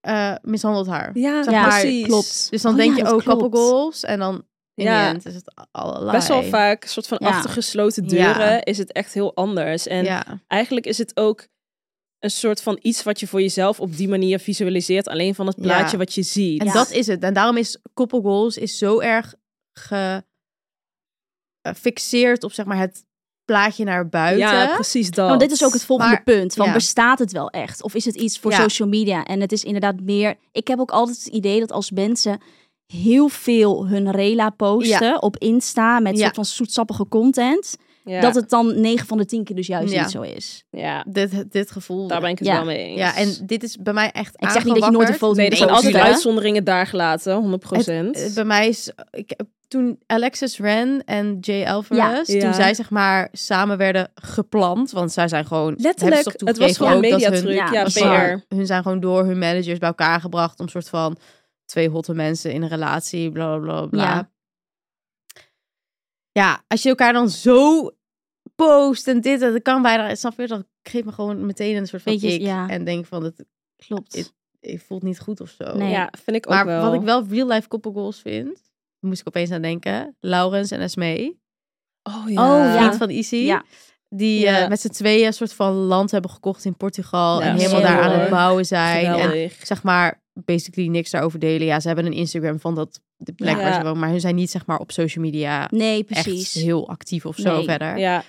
[SPEAKER 5] eh, mishandelt haar.
[SPEAKER 4] Ja,
[SPEAKER 5] Zeg maar,
[SPEAKER 4] precies.
[SPEAKER 3] klopt.
[SPEAKER 5] Dus dan
[SPEAKER 3] Oh
[SPEAKER 5] denk
[SPEAKER 3] ja,
[SPEAKER 5] je
[SPEAKER 3] dat
[SPEAKER 5] ook
[SPEAKER 3] klopt.
[SPEAKER 5] couple goals en dan in
[SPEAKER 4] Ja.
[SPEAKER 5] de end is het allerlei.
[SPEAKER 4] Best wel vaak, een soort van
[SPEAKER 3] Ja.
[SPEAKER 4] achter gesloten
[SPEAKER 5] Ja.
[SPEAKER 4] deuren, is het echt heel anders. En
[SPEAKER 5] ja.
[SPEAKER 4] eigenlijk is het ook een soort van iets wat je voor jezelf op die manier visualiseert. Alleen van het
[SPEAKER 5] Ja.
[SPEAKER 4] plaatje wat je ziet.
[SPEAKER 5] En dat is het. En daarom is couple goals is zo erg gefixeerd op zeg maar het plaatje naar buiten.
[SPEAKER 4] Ja, precies dat.
[SPEAKER 3] Nou, dit is ook het volgende
[SPEAKER 5] Maar-
[SPEAKER 3] punt. Van
[SPEAKER 5] ja.
[SPEAKER 3] bestaat het wel echt? Of is het iets voor
[SPEAKER 5] Ja.
[SPEAKER 3] social media? En het is inderdaad meer. Ik heb ook altijd het idee dat als mensen heel veel hun rela posten op Insta met
[SPEAKER 5] Ja.
[SPEAKER 3] soort van zoetsappige content,
[SPEAKER 4] Ja.
[SPEAKER 3] dat het dan 9 van de 10 keer dus juist
[SPEAKER 5] Ja.
[SPEAKER 3] niet zo is.
[SPEAKER 4] Ja,
[SPEAKER 5] dit, dit gevoel.
[SPEAKER 4] daar ben ik het
[SPEAKER 3] Ja.
[SPEAKER 4] wel mee eens.
[SPEAKER 5] Ja, en dit is bij mij echt
[SPEAKER 3] Ik zeg niet dat je nooit een
[SPEAKER 5] aangewakkerd.
[SPEAKER 3] foto
[SPEAKER 4] Nee, er
[SPEAKER 3] moet
[SPEAKER 4] zijn altijd
[SPEAKER 3] posten, hè?
[SPEAKER 4] uitzonderingen daar gelaten, 100%.
[SPEAKER 5] Het- bij mij is ik, toen Alexis Ren en Jay Alvarez,
[SPEAKER 4] Ja.
[SPEAKER 5] toen
[SPEAKER 4] Ja.
[SPEAKER 5] zij zeg maar samen werden gepland, want zij zijn gewoon hebben ze toch
[SPEAKER 4] Letterlijk, het was
[SPEAKER 5] toegegeven
[SPEAKER 4] gewoon een
[SPEAKER 5] ook dat
[SPEAKER 4] mediatruc.
[SPEAKER 3] hun- ja,
[SPEAKER 4] Ja,
[SPEAKER 5] Hun,
[SPEAKER 4] PR.
[SPEAKER 3] dat is
[SPEAKER 5] Hun, zijn gewoon door hun managers bij elkaar gebracht om soort van twee hotte mensen in een relatie, bla bla bla. bla.
[SPEAKER 3] Ja.
[SPEAKER 5] Ja. als je elkaar dan zo post en dit en dat kan bijna, snap je, dan geeft me gewoon meteen een soort van
[SPEAKER 3] Beetje,
[SPEAKER 5] ik
[SPEAKER 3] ja.
[SPEAKER 5] en denk van dat
[SPEAKER 3] Klopt.
[SPEAKER 5] It- ik voelt niet goed of zo.
[SPEAKER 3] Nee.
[SPEAKER 4] Ja, vind ik ook
[SPEAKER 5] Maar
[SPEAKER 4] wel.
[SPEAKER 5] wat ik wel real life couple goals vind, daar moest ik opeens aan denken. Laurens en Esmee,
[SPEAKER 4] Oh ja.
[SPEAKER 3] Oh, ja.
[SPEAKER 5] vriend van Izzy,
[SPEAKER 3] Ja.
[SPEAKER 5] die
[SPEAKER 4] Ja.
[SPEAKER 5] eh, met z'n tweeën een soort van land hebben gekocht in Portugal
[SPEAKER 4] Ja,
[SPEAKER 5] en helemaal daar aan het
[SPEAKER 4] heerlijk.
[SPEAKER 5] bouwen zijn en
[SPEAKER 4] Geweldig.
[SPEAKER 5] zeg maar basically niks daarover delen. Ja, ze hebben een Instagram van dat de plek
[SPEAKER 4] Ja.
[SPEAKER 5] waar ze wonen, maar hun zijn niet zeg maar op social media
[SPEAKER 3] Nee,
[SPEAKER 5] echt
[SPEAKER 3] precies.
[SPEAKER 5] heel actief of zo
[SPEAKER 3] Nee.
[SPEAKER 5] verder.
[SPEAKER 4] Ja,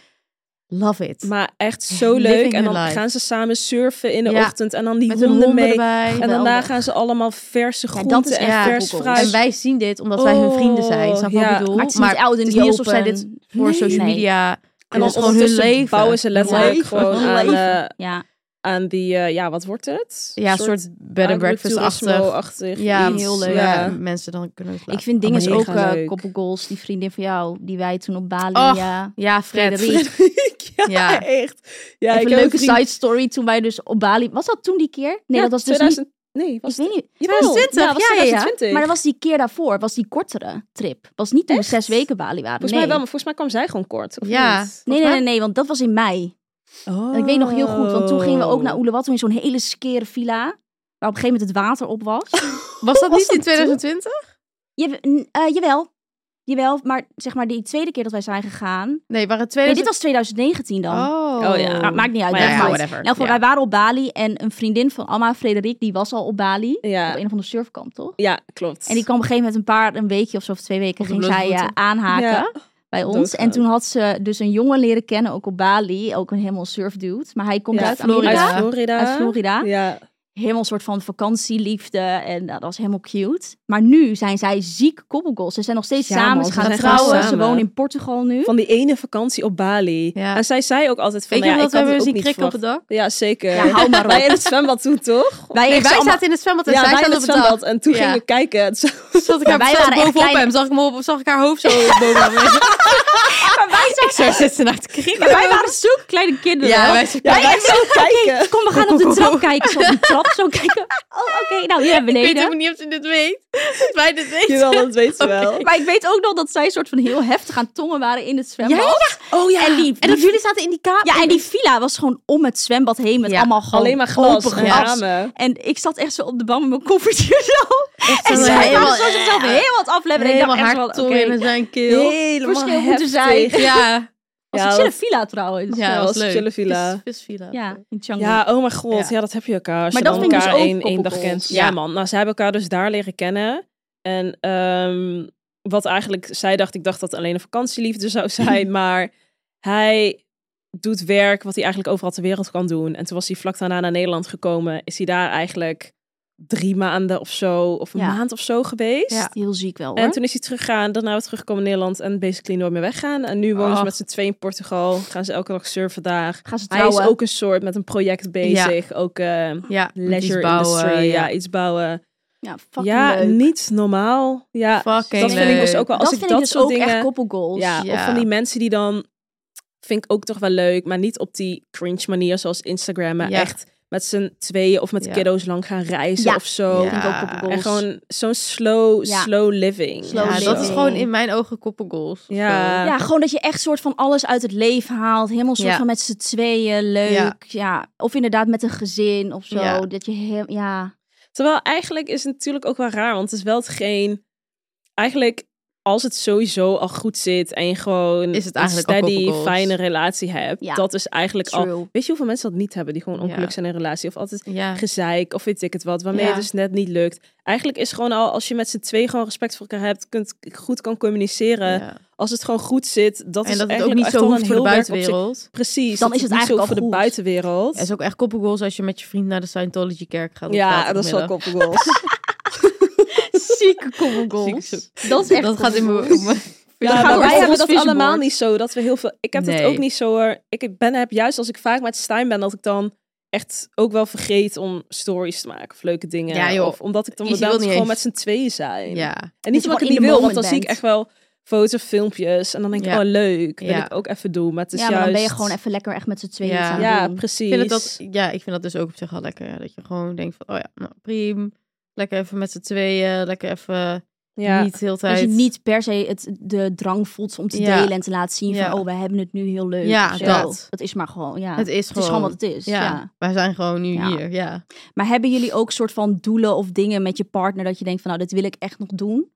[SPEAKER 5] Love it.
[SPEAKER 4] maar echt zo
[SPEAKER 5] Living
[SPEAKER 4] leuk. En
[SPEAKER 5] her
[SPEAKER 4] dan
[SPEAKER 5] life.
[SPEAKER 4] gaan ze samen surfen in de
[SPEAKER 5] Ja.
[SPEAKER 4] ochtend. En dan die
[SPEAKER 5] Met hun
[SPEAKER 4] honden
[SPEAKER 5] honden
[SPEAKER 4] mee.
[SPEAKER 5] erbij.
[SPEAKER 4] En daarna
[SPEAKER 3] Geweldig.
[SPEAKER 4] gaan ze allemaal verse
[SPEAKER 3] dat
[SPEAKER 4] groenten
[SPEAKER 3] is
[SPEAKER 4] en
[SPEAKER 5] echt
[SPEAKER 4] vers
[SPEAKER 3] goals.
[SPEAKER 4] fruit.
[SPEAKER 5] En wij zien dit omdat wij hun vrienden zijn. Snap je wat
[SPEAKER 4] Ja.
[SPEAKER 5] ik bedoel?
[SPEAKER 3] Maar het is niet oud en
[SPEAKER 5] het is
[SPEAKER 3] niet
[SPEAKER 5] niet alsof zij
[SPEAKER 3] open.
[SPEAKER 5] dit voor social
[SPEAKER 3] Nee.
[SPEAKER 5] media
[SPEAKER 4] en
[SPEAKER 3] Dus
[SPEAKER 4] dan
[SPEAKER 5] dat is gewoon hun
[SPEAKER 4] ondertussen
[SPEAKER 5] leven.
[SPEAKER 4] bouwen ze letterlijk
[SPEAKER 3] Leven.
[SPEAKER 4] gewoon
[SPEAKER 3] Hun
[SPEAKER 4] aan,
[SPEAKER 3] leven.
[SPEAKER 4] eh,
[SPEAKER 3] Ja,
[SPEAKER 4] aan die, eh, ja, wat wordt het?
[SPEAKER 5] ja, een soort bed and breakfast-achtig.
[SPEAKER 4] achtig
[SPEAKER 5] Ja,
[SPEAKER 4] iets.
[SPEAKER 3] heel leuk.
[SPEAKER 5] Ja.
[SPEAKER 4] Ja.
[SPEAKER 5] Mensen dan kunnen slapen.
[SPEAKER 3] ik
[SPEAKER 4] Oh,
[SPEAKER 3] vind dingen
[SPEAKER 4] allemaal
[SPEAKER 3] ook
[SPEAKER 4] mega
[SPEAKER 3] eh
[SPEAKER 4] leuk.
[SPEAKER 3] couple goals, die vriendin van jou, die wij toen op Bali.
[SPEAKER 5] Och,
[SPEAKER 3] ja.
[SPEAKER 5] Ja, Fred.
[SPEAKER 3] Frederik.
[SPEAKER 4] ja,
[SPEAKER 5] Ja.
[SPEAKER 4] echt. Ja,
[SPEAKER 3] Even Eh,
[SPEAKER 4] ik
[SPEAKER 3] een
[SPEAKER 4] heb
[SPEAKER 3] leuke
[SPEAKER 4] vriend-
[SPEAKER 3] side story toen wij dus op Bali. Was dat toen die keer? Nee,
[SPEAKER 4] Ja,
[SPEAKER 3] dat was dus niet.
[SPEAKER 4] 2010 Nee, was
[SPEAKER 3] ik weet niet. Oh,
[SPEAKER 4] Jawel.
[SPEAKER 3] 20,
[SPEAKER 4] Ja, was 2020.
[SPEAKER 3] Maar dat was die keer daarvoor, was die kortere trip. Was niet toen we
[SPEAKER 4] Echt?
[SPEAKER 3] zes weken Bali waren.
[SPEAKER 4] Ah, Volgens
[SPEAKER 3] nee.
[SPEAKER 4] mij wel, maar volgens mij kwam zij gewoon kort. Of
[SPEAKER 5] Ja.
[SPEAKER 4] niet?
[SPEAKER 3] Nee, nee, nee, nee, want dat was in mei.
[SPEAKER 4] Oh.
[SPEAKER 3] En ik weet nog heel goed, want toen gingen we ook naar Uluwatu in zo'n hele skere villa. Waar op een gegeven moment het water op was.
[SPEAKER 5] Was dat
[SPEAKER 4] Was
[SPEAKER 5] niet
[SPEAKER 4] dat
[SPEAKER 5] in 2020?
[SPEAKER 3] Je, n- eh, jawel. Jawel, maar zeg maar die tweede keer dat wij zijn gegaan.
[SPEAKER 5] Nee, waren het
[SPEAKER 3] Nee,
[SPEAKER 5] 2000...
[SPEAKER 3] dit was 2019 dan.
[SPEAKER 5] Oh.
[SPEAKER 4] Oh ja.
[SPEAKER 3] Nou, maakt niet uit.
[SPEAKER 5] Maar
[SPEAKER 3] maakt
[SPEAKER 5] ja,
[SPEAKER 3] niet uit.
[SPEAKER 5] whatever.
[SPEAKER 3] In elk geval,
[SPEAKER 5] Ja.
[SPEAKER 3] wij waren op Bali en een vriendin van Alma, Frederik, die was al op Bali. Op
[SPEAKER 4] Ja,
[SPEAKER 3] een of andere surfkamp, toch?
[SPEAKER 4] ja klopt.
[SPEAKER 3] En die kwam op een gegeven moment een paar, een weekje of zo, of twee weken,
[SPEAKER 5] Op de
[SPEAKER 3] ging
[SPEAKER 5] blote
[SPEAKER 3] zij eh,
[SPEAKER 5] voeten.
[SPEAKER 3] aanhaken
[SPEAKER 4] Ja.
[SPEAKER 3] bij ons.
[SPEAKER 4] Doodgaan.
[SPEAKER 3] En toen had ze dus een jongen leren kennen, ook op Bali, ook een helemaal surfdude. Maar hij komt
[SPEAKER 4] Ja,
[SPEAKER 3] uit
[SPEAKER 5] Florida.
[SPEAKER 3] Amerika,
[SPEAKER 4] uit Florida.
[SPEAKER 3] uit Florida.
[SPEAKER 4] Ja.
[SPEAKER 3] Helemaal een soort van vakantieliefde en nou, dat was helemaal cute. Maar nu zijn zij ziek koppelgoals. Ze zijn nog steeds
[SPEAKER 4] Ja,
[SPEAKER 3] samen,
[SPEAKER 4] man,
[SPEAKER 3] ze
[SPEAKER 4] ze
[SPEAKER 3] gaan
[SPEAKER 4] zijn
[SPEAKER 3] trouwen,
[SPEAKER 4] gewoon
[SPEAKER 3] ze
[SPEAKER 4] samen.
[SPEAKER 3] wonen in Portugal nu.
[SPEAKER 4] Van die ene vakantie op Bali.
[SPEAKER 5] Ja.
[SPEAKER 4] En zij zei ook altijd van,
[SPEAKER 5] Weet je
[SPEAKER 4] nou
[SPEAKER 5] nog
[SPEAKER 4] ja, ik
[SPEAKER 5] dat
[SPEAKER 4] had
[SPEAKER 5] we
[SPEAKER 4] het
[SPEAKER 5] weer
[SPEAKER 4] ook
[SPEAKER 5] zien
[SPEAKER 4] niet
[SPEAKER 5] krikken op de
[SPEAKER 4] verwacht.
[SPEAKER 5] dag?
[SPEAKER 4] Ja, zeker.
[SPEAKER 3] Ja, hou maar op.
[SPEAKER 4] Wij in het zwembad toen, toch?
[SPEAKER 3] Wij,
[SPEAKER 5] Nee, wij
[SPEAKER 3] allemaal-
[SPEAKER 5] zaten in het zwembad en
[SPEAKER 4] ja,
[SPEAKER 5] zij
[SPEAKER 4] wij in
[SPEAKER 5] zaten
[SPEAKER 4] het
[SPEAKER 5] op het dak.
[SPEAKER 4] zwembad. En toen
[SPEAKER 5] Ja.
[SPEAKER 4] gingen we kijken. Het is-
[SPEAKER 5] Zat ik haar
[SPEAKER 3] Wij
[SPEAKER 5] zat
[SPEAKER 3] waren echt
[SPEAKER 5] bovenop
[SPEAKER 3] kleine-
[SPEAKER 5] hem, zag ik, hem op, zag ik haar hoofd zo bovenop hem. Ik zo zit ze naar te krieken.
[SPEAKER 3] Maar wij waren zulke kleine kinderen.
[SPEAKER 5] Ja, wij
[SPEAKER 4] Ja, wij zouden kijken.
[SPEAKER 3] Kom, we gaan op de trap kijken. Zo op de trap zo kijken. Oh, oké. Nou, hier naar
[SPEAKER 5] Ik weet
[SPEAKER 3] beneden.
[SPEAKER 5] ook niet of ze dit weet. Dat wij dit weten.
[SPEAKER 4] Jawel, dat weet ze wel.
[SPEAKER 3] Maar ik weet ook nog dat zij soort van heel heftig aan tongen waren in het zwembad.
[SPEAKER 4] Oh ja.
[SPEAKER 3] En die,
[SPEAKER 5] En dat jullie zaten in die kamer.
[SPEAKER 3] ja, en die villa was gewoon om het zwembad heen met
[SPEAKER 5] Ja,
[SPEAKER 3] allemaal gewoon
[SPEAKER 4] Alleen maar glas
[SPEAKER 3] open
[SPEAKER 4] en
[SPEAKER 3] glas.
[SPEAKER 4] ramen.
[SPEAKER 3] En ik zat echt zo op de bank met mijn koffertje zo. En
[SPEAKER 5] zo
[SPEAKER 3] zij
[SPEAKER 5] helemaal-
[SPEAKER 3] helemaal, zo zichzelf heel wat afleveren. Ik
[SPEAKER 5] helemaal
[SPEAKER 3] dacht echt
[SPEAKER 5] haar
[SPEAKER 3] van,
[SPEAKER 5] tong
[SPEAKER 3] oké.
[SPEAKER 5] in zijn keel.
[SPEAKER 4] Helemaal
[SPEAKER 3] verschil moeten
[SPEAKER 4] heftig.
[SPEAKER 3] zijn.
[SPEAKER 5] Ja.
[SPEAKER 3] Was
[SPEAKER 4] Ja,
[SPEAKER 3] een chille
[SPEAKER 4] dat-
[SPEAKER 3] villa trouwens.
[SPEAKER 5] Ja,
[SPEAKER 4] Ja,
[SPEAKER 5] was
[SPEAKER 4] was een
[SPEAKER 5] leuk.
[SPEAKER 4] chille villa.
[SPEAKER 5] Vis- visvilla.
[SPEAKER 3] Ja, in Canggu.
[SPEAKER 4] Ja, oh mijn god. Ja.
[SPEAKER 5] Ja.
[SPEAKER 4] dat heb je elkaar. Als
[SPEAKER 3] Maar
[SPEAKER 4] je
[SPEAKER 3] dat
[SPEAKER 4] dan
[SPEAKER 3] vind ik
[SPEAKER 4] elkaar
[SPEAKER 3] dus ook
[SPEAKER 4] één, één dag
[SPEAKER 3] koppelgoals.
[SPEAKER 4] kent.
[SPEAKER 5] Ja.
[SPEAKER 4] Ja. man. Nou, ze hebben elkaar dus daar leren kennen. En ehm, wat eigenlijk zij dacht, ik dacht dat het alleen een vakantieliefde zou zijn. maar hij doet werk wat hij eigenlijk overal ter wereld kan doen. En toen was hij vlak daarna naar Nederland gekomen. Is hij daar eigenlijk drie maanden of zo, of een
[SPEAKER 3] Ja.
[SPEAKER 4] maand of zo geweest.
[SPEAKER 3] Is Heel ziek wel hoor.
[SPEAKER 4] En toen is hij teruggegaan, daarna weer teruggekomen in Nederland en basically nooit meer weggaan. En nu wonen ze
[SPEAKER 5] Ach.
[SPEAKER 4] met z'n twee in Portugal, gaan ze elke dag surfen daar.
[SPEAKER 3] Gaan ze
[SPEAKER 4] Hij
[SPEAKER 3] trouwen.
[SPEAKER 4] is ook een soort met een project bezig. Ook eh,
[SPEAKER 5] Ja.
[SPEAKER 4] leisure industry. Ja. iets bouwen.
[SPEAKER 3] Ja, fucking
[SPEAKER 4] ja,
[SPEAKER 3] leuk.
[SPEAKER 4] niet normaal. Ja,
[SPEAKER 5] Fucking
[SPEAKER 4] dat vind ik dus
[SPEAKER 5] leuk.
[SPEAKER 4] ook wel. Als
[SPEAKER 3] dat
[SPEAKER 4] ik
[SPEAKER 3] vind
[SPEAKER 4] dat
[SPEAKER 3] ik dus
[SPEAKER 4] soort
[SPEAKER 3] ook
[SPEAKER 4] dingen.
[SPEAKER 3] echt koppelgoals.
[SPEAKER 4] ja,
[SPEAKER 5] Ja.
[SPEAKER 4] Of van die mensen die dan. Vind ik ook toch wel leuk. Maar niet op die cringe manier zoals Instagram. Maar
[SPEAKER 5] Ja.
[SPEAKER 4] echt met z'n tweeën of met
[SPEAKER 5] Ja.
[SPEAKER 4] kiddo's lang gaan reizen
[SPEAKER 3] Ja.
[SPEAKER 4] of zo.
[SPEAKER 5] Ja.
[SPEAKER 3] Vind ik ook koppelgoals.
[SPEAKER 4] En gewoon zo'n slow,
[SPEAKER 3] Ja.
[SPEAKER 4] slow living.
[SPEAKER 3] Slow
[SPEAKER 5] Ja, dat
[SPEAKER 3] living.
[SPEAKER 5] is gewoon in mijn ogen koppelgoals. of zo.
[SPEAKER 4] Ja.
[SPEAKER 3] Ja, gewoon dat je echt soort van alles uit het leven haalt. Helemaal soort
[SPEAKER 5] Ja.
[SPEAKER 3] van met z'n tweeën, leuk.
[SPEAKER 5] Ja.
[SPEAKER 3] Ja. Of inderdaad met een gezin of zo.
[SPEAKER 5] Ja.
[SPEAKER 3] Dat je heel, ja.
[SPEAKER 4] Terwijl eigenlijk is het natuurlijk ook wel raar, want het is wel hetgeen. Eigenlijk, als het sowieso al goed zit en je gewoon
[SPEAKER 5] Is het eigenlijk al
[SPEAKER 4] een steady,
[SPEAKER 5] koppelgoals.
[SPEAKER 4] fijne relatie hebt,
[SPEAKER 3] Ja.
[SPEAKER 4] dat is eigenlijk al.
[SPEAKER 3] True.
[SPEAKER 4] Weet je hoeveel mensen dat niet hebben, die gewoon ongelukkig
[SPEAKER 5] Ja.
[SPEAKER 4] zijn in een relatie of altijd
[SPEAKER 5] Ja.
[SPEAKER 4] gezeik of weet ik het wat, waarmee
[SPEAKER 5] Ja.
[SPEAKER 4] het dus net niet lukt. Eigenlijk is gewoon al, als je met z'n twee gewoon respect voor elkaar hebt, kunt, goed kan communiceren,
[SPEAKER 5] Ja.
[SPEAKER 4] als het gewoon goed zit,
[SPEAKER 5] En
[SPEAKER 4] dat is
[SPEAKER 5] dat het ook
[SPEAKER 4] dus eigenlijk
[SPEAKER 5] niet
[SPEAKER 4] echt
[SPEAKER 5] zo
[SPEAKER 4] al
[SPEAKER 5] hoeft
[SPEAKER 4] een
[SPEAKER 5] voor de
[SPEAKER 4] heel werk op zich.
[SPEAKER 5] buitenwereld.
[SPEAKER 4] Precies,
[SPEAKER 3] Dan
[SPEAKER 4] dat
[SPEAKER 3] is het
[SPEAKER 4] niet zo
[SPEAKER 3] eigenlijk al
[SPEAKER 4] voor de
[SPEAKER 3] goed.
[SPEAKER 4] buitenwereld.
[SPEAKER 5] Het is ook echt koppelgoals als je met je vriend naar de Scientology kerk gaat. op
[SPEAKER 4] ja, dat is wel
[SPEAKER 5] zaterdagmiddag.
[SPEAKER 4] koppelgoals.
[SPEAKER 3] Zieke koppelgoals.
[SPEAKER 5] Ziek
[SPEAKER 3] Dat is echt
[SPEAKER 5] Dat gaat in mijn...
[SPEAKER 3] koppelgoals.
[SPEAKER 4] Ja,
[SPEAKER 3] Dan gaan
[SPEAKER 4] maar
[SPEAKER 3] we
[SPEAKER 4] wij
[SPEAKER 3] op
[SPEAKER 4] hebben
[SPEAKER 3] ons
[SPEAKER 4] dat
[SPEAKER 3] vision
[SPEAKER 4] allemaal
[SPEAKER 3] board.
[SPEAKER 4] niet zo. Dat we heel veel. Ik heb
[SPEAKER 5] Nee.
[SPEAKER 4] dat ook niet zo hoor. Ik ben, heb juist als ik vaak met Stijn ben, dat ik dan echt ook wel vergeet om stories te maken of leuke dingen.
[SPEAKER 5] Ja, joh.
[SPEAKER 4] Of omdat ik dan
[SPEAKER 5] Izzy
[SPEAKER 4] wel
[SPEAKER 5] wil niet
[SPEAKER 4] gewoon
[SPEAKER 5] eens.
[SPEAKER 4] met z'n tweeën zijn.
[SPEAKER 5] Ja.
[SPEAKER 4] En niet
[SPEAKER 3] je
[SPEAKER 4] omdat ik
[SPEAKER 3] gewoon
[SPEAKER 4] het
[SPEAKER 3] in
[SPEAKER 4] niet
[SPEAKER 3] the
[SPEAKER 4] wil, want
[SPEAKER 3] moment
[SPEAKER 4] dan zie ik
[SPEAKER 3] bent.
[SPEAKER 4] echt wel foto's, filmpjes en dan denk ik,
[SPEAKER 5] Ja.
[SPEAKER 4] oh leuk, wil
[SPEAKER 5] Ja.
[SPEAKER 4] ik ook even doen. Maar het is
[SPEAKER 3] Ja, maar dan ben je
[SPEAKER 4] juist-
[SPEAKER 3] gewoon even lekker echt met z'n tweeën
[SPEAKER 5] Ja.
[SPEAKER 3] iets aan het
[SPEAKER 4] Ja,
[SPEAKER 3] doen.
[SPEAKER 4] precies.
[SPEAKER 5] Ik vind, het dat, ja, ik vind dat dus ook op zich wel lekker. ja, Dat je gewoon denkt van, oh ja, nou prima. Lekker even met z'n tweeën. Lekker even
[SPEAKER 4] ja.
[SPEAKER 5] niet heel tijd.
[SPEAKER 3] Dat je niet per se het, de drang voelt om te
[SPEAKER 5] Ja.
[SPEAKER 3] delen en te laten zien
[SPEAKER 5] Ja.
[SPEAKER 3] van, oh, we hebben het nu heel leuk.
[SPEAKER 5] Ja,
[SPEAKER 3] of zo.
[SPEAKER 5] dat.
[SPEAKER 3] Dat is maar gewoon, ja.
[SPEAKER 5] Het is gewoon...
[SPEAKER 3] wat het is,
[SPEAKER 5] Ja,
[SPEAKER 3] ja.
[SPEAKER 5] wij zijn gewoon nu
[SPEAKER 3] Ja.
[SPEAKER 5] hier. Ja.
[SPEAKER 3] Maar hebben jullie ook soort van doelen of dingen met je partner dat je denkt van, nou, dit wil ik echt nog doen?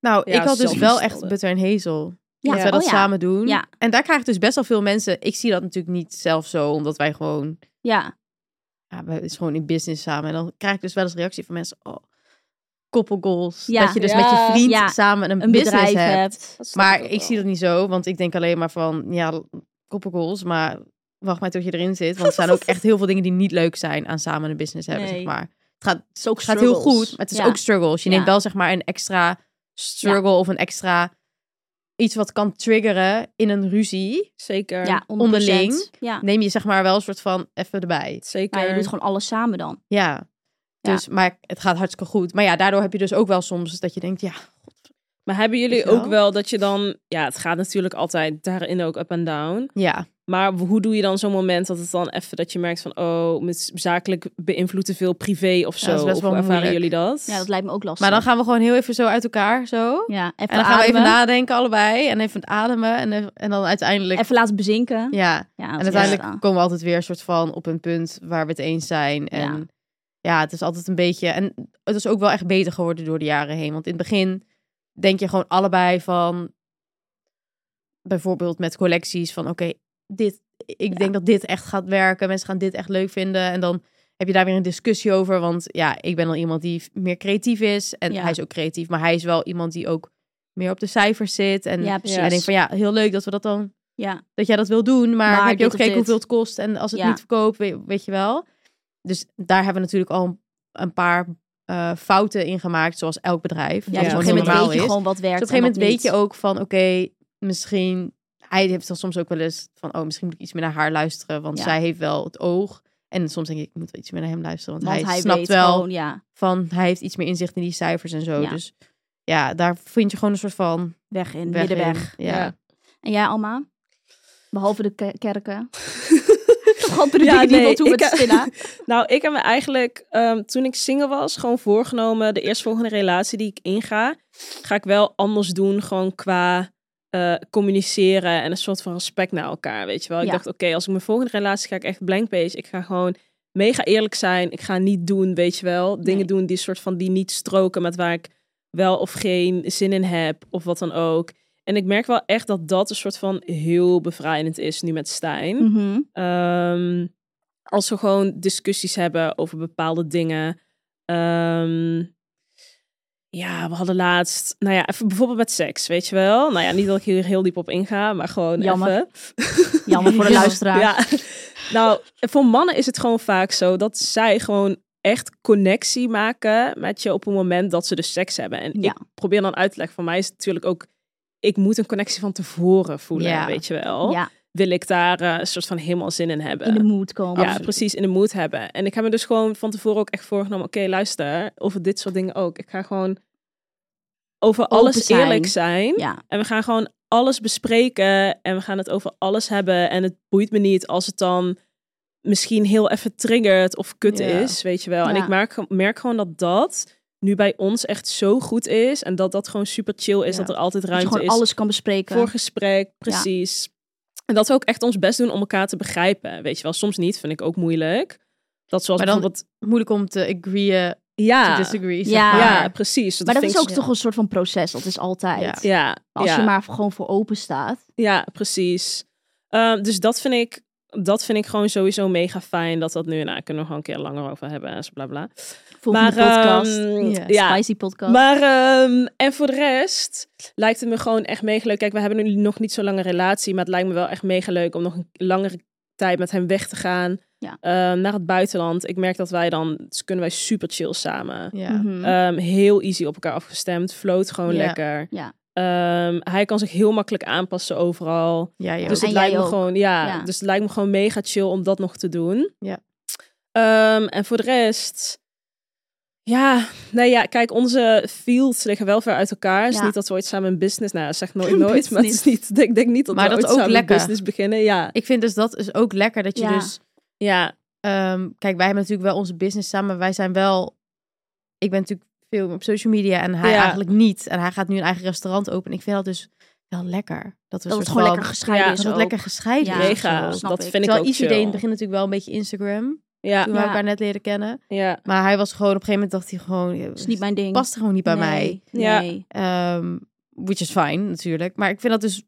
[SPEAKER 5] Nou,
[SPEAKER 4] Ja,
[SPEAKER 5] ik had dus wel
[SPEAKER 4] zelfgestelde.
[SPEAKER 5] echt Butter en Hazel.
[SPEAKER 3] Ja.
[SPEAKER 5] Dat wij dat
[SPEAKER 3] Oh ja.
[SPEAKER 5] samen doen.
[SPEAKER 3] Ja.
[SPEAKER 5] En daar krijg ik dus best wel veel mensen. Ik zie dat natuurlijk niet zelf zo, omdat wij gewoon...
[SPEAKER 3] Ja.
[SPEAKER 5] Ja, we- het is gewoon in business samen. En dan krijg ik dus wel eens reactie van mensen. Oh, koppelgoals.
[SPEAKER 3] Ja.
[SPEAKER 5] Dat je dus
[SPEAKER 4] Ja.
[SPEAKER 5] met je vriend
[SPEAKER 3] Ja.
[SPEAKER 5] samen een,
[SPEAKER 3] Een
[SPEAKER 5] business
[SPEAKER 3] bedrijf
[SPEAKER 5] hebt.
[SPEAKER 3] hebt.
[SPEAKER 4] Dat snap
[SPEAKER 5] Maar
[SPEAKER 4] ook
[SPEAKER 5] ik
[SPEAKER 4] wel.
[SPEAKER 5] zie dat niet zo, want ik denk alleen maar van, ja, koppelgoals, maar wacht maar tot je erin zit. Want er zijn ook echt heel veel dingen die niet leuk zijn aan samen een business hebben,
[SPEAKER 3] Nee.
[SPEAKER 5] zeg maar. Het gaat,
[SPEAKER 3] Het is ook
[SPEAKER 5] gaat heel
[SPEAKER 3] struggles.
[SPEAKER 5] goed, maar het is
[SPEAKER 3] Ja.
[SPEAKER 5] ook struggles. Je
[SPEAKER 3] Ja.
[SPEAKER 5] neemt wel, zeg maar, een extra struggle of een extra iets wat kan triggeren in een ruzie.
[SPEAKER 4] Zeker.
[SPEAKER 3] ja, 100%.
[SPEAKER 5] onderling.
[SPEAKER 3] Ja.
[SPEAKER 5] Neem je, zeg maar, wel een soort van even erbij.
[SPEAKER 4] Zeker.
[SPEAKER 3] Maar je doet gewoon alles samen dan.
[SPEAKER 5] Ja.
[SPEAKER 3] Ja.
[SPEAKER 5] Dus, maar het gaat hartstikke goed. Maar ja, daardoor heb je dus ook wel soms dat je denkt, ja,
[SPEAKER 4] Maar hebben jullie
[SPEAKER 5] Weet je wel?
[SPEAKER 4] ook wel dat je dan... Ja, het gaat natuurlijk altijd daarin ook up en down.
[SPEAKER 5] ja.
[SPEAKER 4] Maar hoe doe je dan zo'n moment dat het dan even dat je merkt van oh, met zakelijk beïnvloedt te veel privé of zo?
[SPEAKER 5] dat is best
[SPEAKER 4] of
[SPEAKER 5] wel
[SPEAKER 4] hoe ervaren
[SPEAKER 5] moeilijk.
[SPEAKER 4] jullie dat?
[SPEAKER 3] Ja, dat lijkt me ook lastig.
[SPEAKER 5] Maar dan gaan we gewoon heel even zo uit elkaar, zo.
[SPEAKER 3] ja, even,
[SPEAKER 5] En dan gaan we even
[SPEAKER 3] ademen,
[SPEAKER 5] nadenken allebei. En even ademen. En, even- en dan uiteindelijk...
[SPEAKER 3] even laten bezinken.
[SPEAKER 5] Ja.
[SPEAKER 3] Ja,
[SPEAKER 5] En uiteindelijk komen we altijd weer een soort van op een punt waar we het eens zijn. En ja. het is altijd een beetje... En het is ook wel echt beter geworden door de jaren heen. Want in het begin denk je gewoon allebei van... Bijvoorbeeld met collecties van oké, dit... Ik denk dat dit echt gaat werken. Mensen gaan dit echt leuk vinden. En dan heb je daar weer een discussie over. Want ja, ik ben dan iemand die meer creatief is. En
[SPEAKER 3] Ja.
[SPEAKER 5] hij is ook creatief. Maar hij is wel iemand die ook meer op de cijfers zit. En
[SPEAKER 3] Ja, precies.
[SPEAKER 5] hij denkt van ja, heel leuk dat we dat dan
[SPEAKER 3] Ja.
[SPEAKER 5] dat jij dat wil doen, maar,
[SPEAKER 3] Maar
[SPEAKER 5] heb je
[SPEAKER 3] dit
[SPEAKER 5] ook
[SPEAKER 3] of
[SPEAKER 5] gekeken
[SPEAKER 3] dit?
[SPEAKER 5] hoeveel het kost en als het
[SPEAKER 3] Ja.
[SPEAKER 5] niet verkoopt, weet, weet je wel. Dus daar hebben we natuurlijk al een, een paar eh, fouten in gemaakt, zoals elk bedrijf.
[SPEAKER 3] Ja, dus
[SPEAKER 5] wat
[SPEAKER 3] op een
[SPEAKER 5] gewoon
[SPEAKER 3] gegeven moment
[SPEAKER 5] normaal
[SPEAKER 3] weet je
[SPEAKER 5] is.
[SPEAKER 3] gewoon wat werkt.
[SPEAKER 5] Dus op een gegeven
[SPEAKER 3] en
[SPEAKER 5] moment weet je
[SPEAKER 3] wat
[SPEAKER 5] ook van, oké, misschien... Hij heeft dan soms ook wel eens van, oh, misschien moet ik iets meer naar haar luisteren, want
[SPEAKER 3] Ja.
[SPEAKER 5] zij heeft wel het oog. En soms denk ik, ik moet wel iets meer naar hem luisteren,
[SPEAKER 3] niet.
[SPEAKER 5] want, hij,
[SPEAKER 3] weet
[SPEAKER 5] snapt wel
[SPEAKER 3] gewoon, ja,
[SPEAKER 5] van, hij heeft iets meer inzicht in die cijfers en zo.
[SPEAKER 3] Ja.
[SPEAKER 5] Dus ja, daar vind je gewoon een soort van
[SPEAKER 3] weg in,
[SPEAKER 5] weg
[SPEAKER 3] middenweg.
[SPEAKER 5] in. Ja.
[SPEAKER 4] Ja.
[SPEAKER 3] En jij, Alma? Behalve de ke- kerken. Toch andere
[SPEAKER 4] Ja,
[SPEAKER 3] dingen die je
[SPEAKER 4] nee,
[SPEAKER 3] wilt doen met
[SPEAKER 4] ik heb-
[SPEAKER 3] spinnen.
[SPEAKER 4] Nou, ik heb me eigenlijk ehm, toen ik single was, gewoon voorgenomen. De eerstvolgende relatie die ik inga, ga ik wel anders doen. Gewoon qua eh, communiceren en een soort van respect naar elkaar. Weet je wel. Ik
[SPEAKER 3] Ja.
[SPEAKER 4] dacht, oké, als ik mijn volgende relatie ga ik echt blank page. Ik ga gewoon mega eerlijk zijn. Ik ga niet doen, weet je wel. Dingen
[SPEAKER 3] Nee.
[SPEAKER 4] doen die soort van die niet stroken met waar ik wel of geen zin in heb of wat dan ook. En ik merk wel echt dat dat een soort van heel bevrijdend is nu met Stijn.
[SPEAKER 3] Mhm.
[SPEAKER 4] Ehm, als we gewoon discussies hebben over bepaalde dingen. Ehm, ja, we hadden laatst, nou ja, even bijvoorbeeld met seks, weet je wel. Nou ja, niet dat ik hier heel diep op inga, maar gewoon
[SPEAKER 3] Jammer.
[SPEAKER 4] even.
[SPEAKER 3] Jammer voor de luisteraar.
[SPEAKER 4] Ja. Nou, voor mannen is het gewoon vaak zo dat zij gewoon echt connectie maken met je op het moment dat ze dus seks hebben. En
[SPEAKER 3] Ja.
[SPEAKER 4] ik probeer dan uit te leggen, voor mij is het natuurlijk ook, ik moet een connectie van tevoren voelen,
[SPEAKER 5] Ja.
[SPEAKER 4] weet je wel.
[SPEAKER 3] Ja,
[SPEAKER 4] Wil ik daar eh, een soort van helemaal zin in hebben.
[SPEAKER 3] in de mood komen.
[SPEAKER 4] Ja, precies, in de mood hebben. En ik heb me dus gewoon van tevoren ook echt voorgenomen, oké, luister, over dit soort dingen ook. Ik ga gewoon over
[SPEAKER 3] Open
[SPEAKER 4] alles
[SPEAKER 3] zijn.
[SPEAKER 4] eerlijk zijn.
[SPEAKER 3] Ja,
[SPEAKER 4] En we gaan gewoon alles bespreken en we gaan het over alles hebben. En het boeit me niet als het dan misschien heel even triggert of kut
[SPEAKER 5] Ja.
[SPEAKER 4] is, weet je wel. En
[SPEAKER 3] Ja.
[SPEAKER 4] ik merk, merk gewoon dat dat nu bij ons echt zo goed is. En dat dat gewoon super chill is,
[SPEAKER 5] Ja.
[SPEAKER 4] dat er
[SPEAKER 3] dat
[SPEAKER 4] altijd
[SPEAKER 3] je
[SPEAKER 4] ruimte
[SPEAKER 3] gewoon
[SPEAKER 4] is
[SPEAKER 3] alles kan bespreken.
[SPEAKER 4] voor gesprek, precies. En dat we ook echt ons best doen om elkaar te begrijpen. Weet je wel, soms niet, vind ik ook moeilijk. Dat zoals
[SPEAKER 5] Maar dan-
[SPEAKER 4] bijvoorbeeld...
[SPEAKER 5] Moeilijk om te agreeën,
[SPEAKER 4] Ja,
[SPEAKER 5] to disagree, zeg
[SPEAKER 3] Ja.
[SPEAKER 5] maar.
[SPEAKER 4] ja, precies.
[SPEAKER 3] Maar dat
[SPEAKER 4] vind
[SPEAKER 3] is ook
[SPEAKER 4] ik-
[SPEAKER 3] toch een soort van proces. Dat is altijd.
[SPEAKER 4] Ja,
[SPEAKER 3] Als
[SPEAKER 4] ja.
[SPEAKER 3] je maar gewoon voor open staat.
[SPEAKER 4] Ja, precies. Ehm, dus dat vind ik. Dat vind ik gewoon sowieso mega fijn dat dat nu. Nou, kunnen we gewoon een keer langer over hebben en zo bla bla.
[SPEAKER 3] Volgende
[SPEAKER 4] maar,
[SPEAKER 3] podcast.
[SPEAKER 4] ehm,
[SPEAKER 5] Ja.
[SPEAKER 4] ja.
[SPEAKER 3] Spicy podcast.
[SPEAKER 4] Maar, ehm, en voor de rest lijkt het me gewoon echt mega leuk. Kijk, we hebben nu nog niet zo'n lange relatie, maar het lijkt me wel echt mega leuk om nog een langere tijd met hem weg te gaan.
[SPEAKER 3] Ja.
[SPEAKER 4] ehm, naar het buitenland. Ik merk dat wij dan, dus kunnen wij super chill samen.
[SPEAKER 5] Ja.
[SPEAKER 3] Mhm.
[SPEAKER 4] Ehm, heel easy op elkaar afgestemd. Float gewoon
[SPEAKER 5] Ja.
[SPEAKER 4] lekker.
[SPEAKER 3] Ja.
[SPEAKER 4] Ehm, hij kan zich heel makkelijk aanpassen overal.
[SPEAKER 5] Ja, ja.
[SPEAKER 4] Dus het
[SPEAKER 3] En jij
[SPEAKER 4] lijkt me
[SPEAKER 3] ook.
[SPEAKER 4] gewoon, ja,
[SPEAKER 3] Ja.
[SPEAKER 4] dus het lijkt me gewoon mega chill om dat nog te doen.
[SPEAKER 5] Ja.
[SPEAKER 4] Ehm, en voor de rest, ja, nee, ja, kijk, onze fields liggen wel ver uit elkaar. Het is
[SPEAKER 3] Ja.
[SPEAKER 4] niet dat we ooit samen een business, nou, zeg nooit nooit, maar het is niet, ik denk, niet dat
[SPEAKER 5] Maar
[SPEAKER 4] we
[SPEAKER 5] dat
[SPEAKER 4] ooit
[SPEAKER 5] ook
[SPEAKER 4] samen een
[SPEAKER 5] lekker.
[SPEAKER 4] business beginnen. Ja,
[SPEAKER 5] Ik vind dus dat is ook lekker dat je
[SPEAKER 3] Ja.
[SPEAKER 5] dus.
[SPEAKER 4] ja,
[SPEAKER 5] ehm, kijk, wij hebben natuurlijk wel onze business samen. maar Wij zijn wel. Ik ben natuurlijk veel op social media en hij
[SPEAKER 4] Ja.
[SPEAKER 5] eigenlijk niet. En hij gaat nu een eigen restaurant openen. Ik vind dat dus wel lekker. Dat we
[SPEAKER 3] dat het
[SPEAKER 5] een soort
[SPEAKER 3] gewoon
[SPEAKER 5] van-
[SPEAKER 3] lekker gescheiden
[SPEAKER 4] Ja,
[SPEAKER 3] is
[SPEAKER 5] dat het
[SPEAKER 3] ook.
[SPEAKER 5] lekker gescheiden
[SPEAKER 3] Ja,
[SPEAKER 5] is.
[SPEAKER 4] mega.
[SPEAKER 3] zo, snap
[SPEAKER 4] Dat
[SPEAKER 3] ik.
[SPEAKER 4] vind ik
[SPEAKER 5] Terwijl
[SPEAKER 4] ook
[SPEAKER 5] iedereen in
[SPEAKER 4] chill.
[SPEAKER 5] het begin natuurlijk wel een beetje Instagram.
[SPEAKER 4] Ja,
[SPEAKER 5] Toen
[SPEAKER 3] Ja.
[SPEAKER 5] we elkaar net leren kennen.
[SPEAKER 4] ja,
[SPEAKER 5] Maar hij was gewoon op een gegeven moment dacht hij gewoon. ja,
[SPEAKER 3] Dat is niet mijn ding.
[SPEAKER 5] past gewoon niet bij
[SPEAKER 3] Nee,
[SPEAKER 5] mij.
[SPEAKER 4] Ja.
[SPEAKER 3] Nee.
[SPEAKER 5] Ehm, which is fine natuurlijk. Maar ik vind dat dus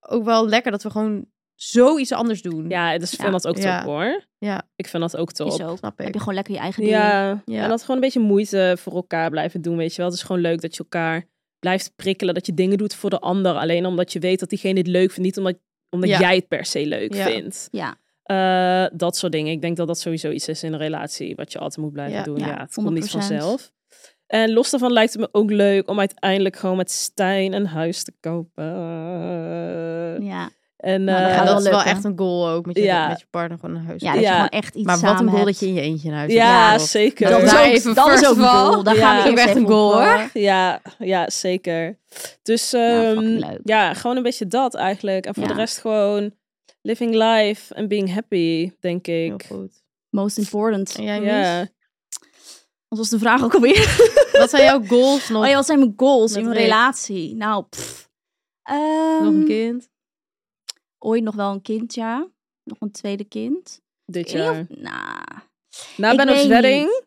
[SPEAKER 5] ook wel lekker dat we gewoon zoiets anders doen.
[SPEAKER 4] ja, dus ik vind
[SPEAKER 3] Ja.
[SPEAKER 4] dat ook top
[SPEAKER 5] Ja.
[SPEAKER 4] hoor.
[SPEAKER 5] Ja.
[SPEAKER 4] Ik vind dat ook top.
[SPEAKER 3] Is ook.
[SPEAKER 5] Snap
[SPEAKER 3] Heb
[SPEAKER 5] ik.
[SPEAKER 3] je gewoon lekker je eigen ding.
[SPEAKER 4] Ja.
[SPEAKER 5] Ja.
[SPEAKER 4] en dat gewoon een beetje moeite voor elkaar blijven doen, weet je wel. Het is gewoon leuk dat je elkaar blijft prikkelen, dat je dingen doet voor de ander, alleen omdat je weet dat diegene het leuk vindt, niet omdat, omdat
[SPEAKER 5] Ja.
[SPEAKER 4] jij het per se leuk
[SPEAKER 5] Ja.
[SPEAKER 4] vindt.
[SPEAKER 3] Ja.
[SPEAKER 4] Eh, dat soort dingen. Ik denk dat dat sowieso iets is in een relatie, wat je altijd moet blijven
[SPEAKER 5] Ja.
[SPEAKER 4] doen.
[SPEAKER 3] Ja,
[SPEAKER 4] Ja, het komt niet
[SPEAKER 3] 100%.
[SPEAKER 4] vanzelf. En los daarvan lijkt het me ook leuk om uiteindelijk gewoon met Stijn een huis te kopen.
[SPEAKER 3] Ja.
[SPEAKER 4] En
[SPEAKER 3] Nou, dat
[SPEAKER 4] eh,
[SPEAKER 5] Ja,
[SPEAKER 3] gaat
[SPEAKER 5] dat
[SPEAKER 3] wel
[SPEAKER 5] is wel
[SPEAKER 3] lukken.
[SPEAKER 5] echt een goal ook. Met je,
[SPEAKER 4] Ja.
[SPEAKER 5] met je partner gewoon een huis.
[SPEAKER 3] Ja, dat je
[SPEAKER 4] Ja.
[SPEAKER 3] gewoon echt iets
[SPEAKER 5] maar wat
[SPEAKER 3] samen
[SPEAKER 5] een goal dat
[SPEAKER 3] hebt.
[SPEAKER 5] je in je eentje in huis hebt.
[SPEAKER 4] ja,
[SPEAKER 5] Ja,
[SPEAKER 4] zeker.
[SPEAKER 5] Dat
[SPEAKER 3] Dat,
[SPEAKER 5] daar
[SPEAKER 3] is
[SPEAKER 5] even
[SPEAKER 3] ook, dat is
[SPEAKER 5] first
[SPEAKER 3] ook een
[SPEAKER 5] of all.
[SPEAKER 3] goal. Daar
[SPEAKER 4] Ja.
[SPEAKER 3] gaan we
[SPEAKER 4] Dat is ook
[SPEAKER 3] eerst
[SPEAKER 5] echt
[SPEAKER 3] even
[SPEAKER 5] een goal,
[SPEAKER 3] op,
[SPEAKER 5] hoor.
[SPEAKER 4] Ja, ja, zeker. Dus
[SPEAKER 3] Ja,
[SPEAKER 4] ehm,
[SPEAKER 3] fucking
[SPEAKER 5] Nou,
[SPEAKER 4] ja,
[SPEAKER 3] leuk.
[SPEAKER 4] gewoon een beetje dat eigenlijk. En voor
[SPEAKER 3] Ja.
[SPEAKER 4] de rest gewoon Living life and being happy, denk
[SPEAKER 5] Heel
[SPEAKER 4] ik.
[SPEAKER 5] goed.
[SPEAKER 3] Most important.
[SPEAKER 5] En jij, Mies?
[SPEAKER 4] Ja,
[SPEAKER 3] Wat was de vraag ook alweer?
[SPEAKER 5] Wat zijn jouw goals nog?
[SPEAKER 3] Oh ja, wat zijn mijn goals
[SPEAKER 5] Met
[SPEAKER 3] in mijn
[SPEAKER 5] Rick.
[SPEAKER 3] relatie? Nou, pff. Ehm,
[SPEAKER 5] nog een kind?
[SPEAKER 3] ooit nog wel een kind, ja. Nog een tweede kind.
[SPEAKER 4] dit
[SPEAKER 3] Ik weet niet
[SPEAKER 4] jaar.
[SPEAKER 3] of- Nou, nah.
[SPEAKER 4] Na
[SPEAKER 3] Ik
[SPEAKER 4] Ben of
[SPEAKER 3] weet
[SPEAKER 4] wedding.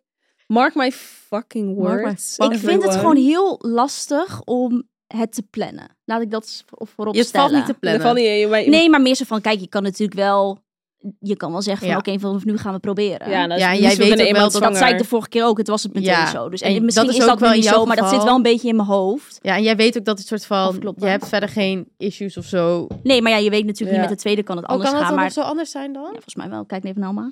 [SPEAKER 4] Mark my fucking
[SPEAKER 3] Mark my
[SPEAKER 4] words.
[SPEAKER 3] Ik vind het gewoon heel lastig om het te plannen. Laat ik dat s- voor- voorop
[SPEAKER 5] Je
[SPEAKER 3] stellen.
[SPEAKER 5] valt niet te plannen.
[SPEAKER 4] nee.
[SPEAKER 3] Nee, maar meer zo van, kijk, je kan natuurlijk wel... Je kan wel zeggen van,
[SPEAKER 5] Ja.
[SPEAKER 3] oké, vanaf nu gaan we proberen.
[SPEAKER 4] Ja, nou,
[SPEAKER 5] Ja, en
[SPEAKER 4] dus
[SPEAKER 5] jij
[SPEAKER 4] we
[SPEAKER 5] weet
[SPEAKER 4] zijn
[SPEAKER 5] ook
[SPEAKER 4] eenmaal
[SPEAKER 5] wel
[SPEAKER 3] dat
[SPEAKER 5] dat
[SPEAKER 3] zei ik de
[SPEAKER 4] zwanger.
[SPEAKER 3] vorige keer ook. Het was het meteen
[SPEAKER 5] Ja,
[SPEAKER 3] zo. Dus,
[SPEAKER 5] en
[SPEAKER 3] en,
[SPEAKER 5] dat
[SPEAKER 3] misschien
[SPEAKER 5] is
[SPEAKER 3] is,
[SPEAKER 5] ook
[SPEAKER 3] dat
[SPEAKER 5] wel
[SPEAKER 3] nu
[SPEAKER 5] in
[SPEAKER 3] niet
[SPEAKER 5] jouw
[SPEAKER 3] zo, maar dat
[SPEAKER 5] geval.
[SPEAKER 3] zit wel een beetje in mijn hoofd.
[SPEAKER 5] Ja, en jij weet ook dat het soort van...
[SPEAKER 3] Afkloppen.
[SPEAKER 5] Je hebt verder geen issues of zo. Oh,
[SPEAKER 3] Nee, maar ja, je weet natuurlijk
[SPEAKER 4] Ja.
[SPEAKER 3] niet. Met de tweede kan het anders
[SPEAKER 5] kan dat
[SPEAKER 3] gaan.
[SPEAKER 5] dan
[SPEAKER 3] Maar
[SPEAKER 5] nog zo anders zijn dan?
[SPEAKER 3] ja, volgens mij wel. Kijk even naar Alma.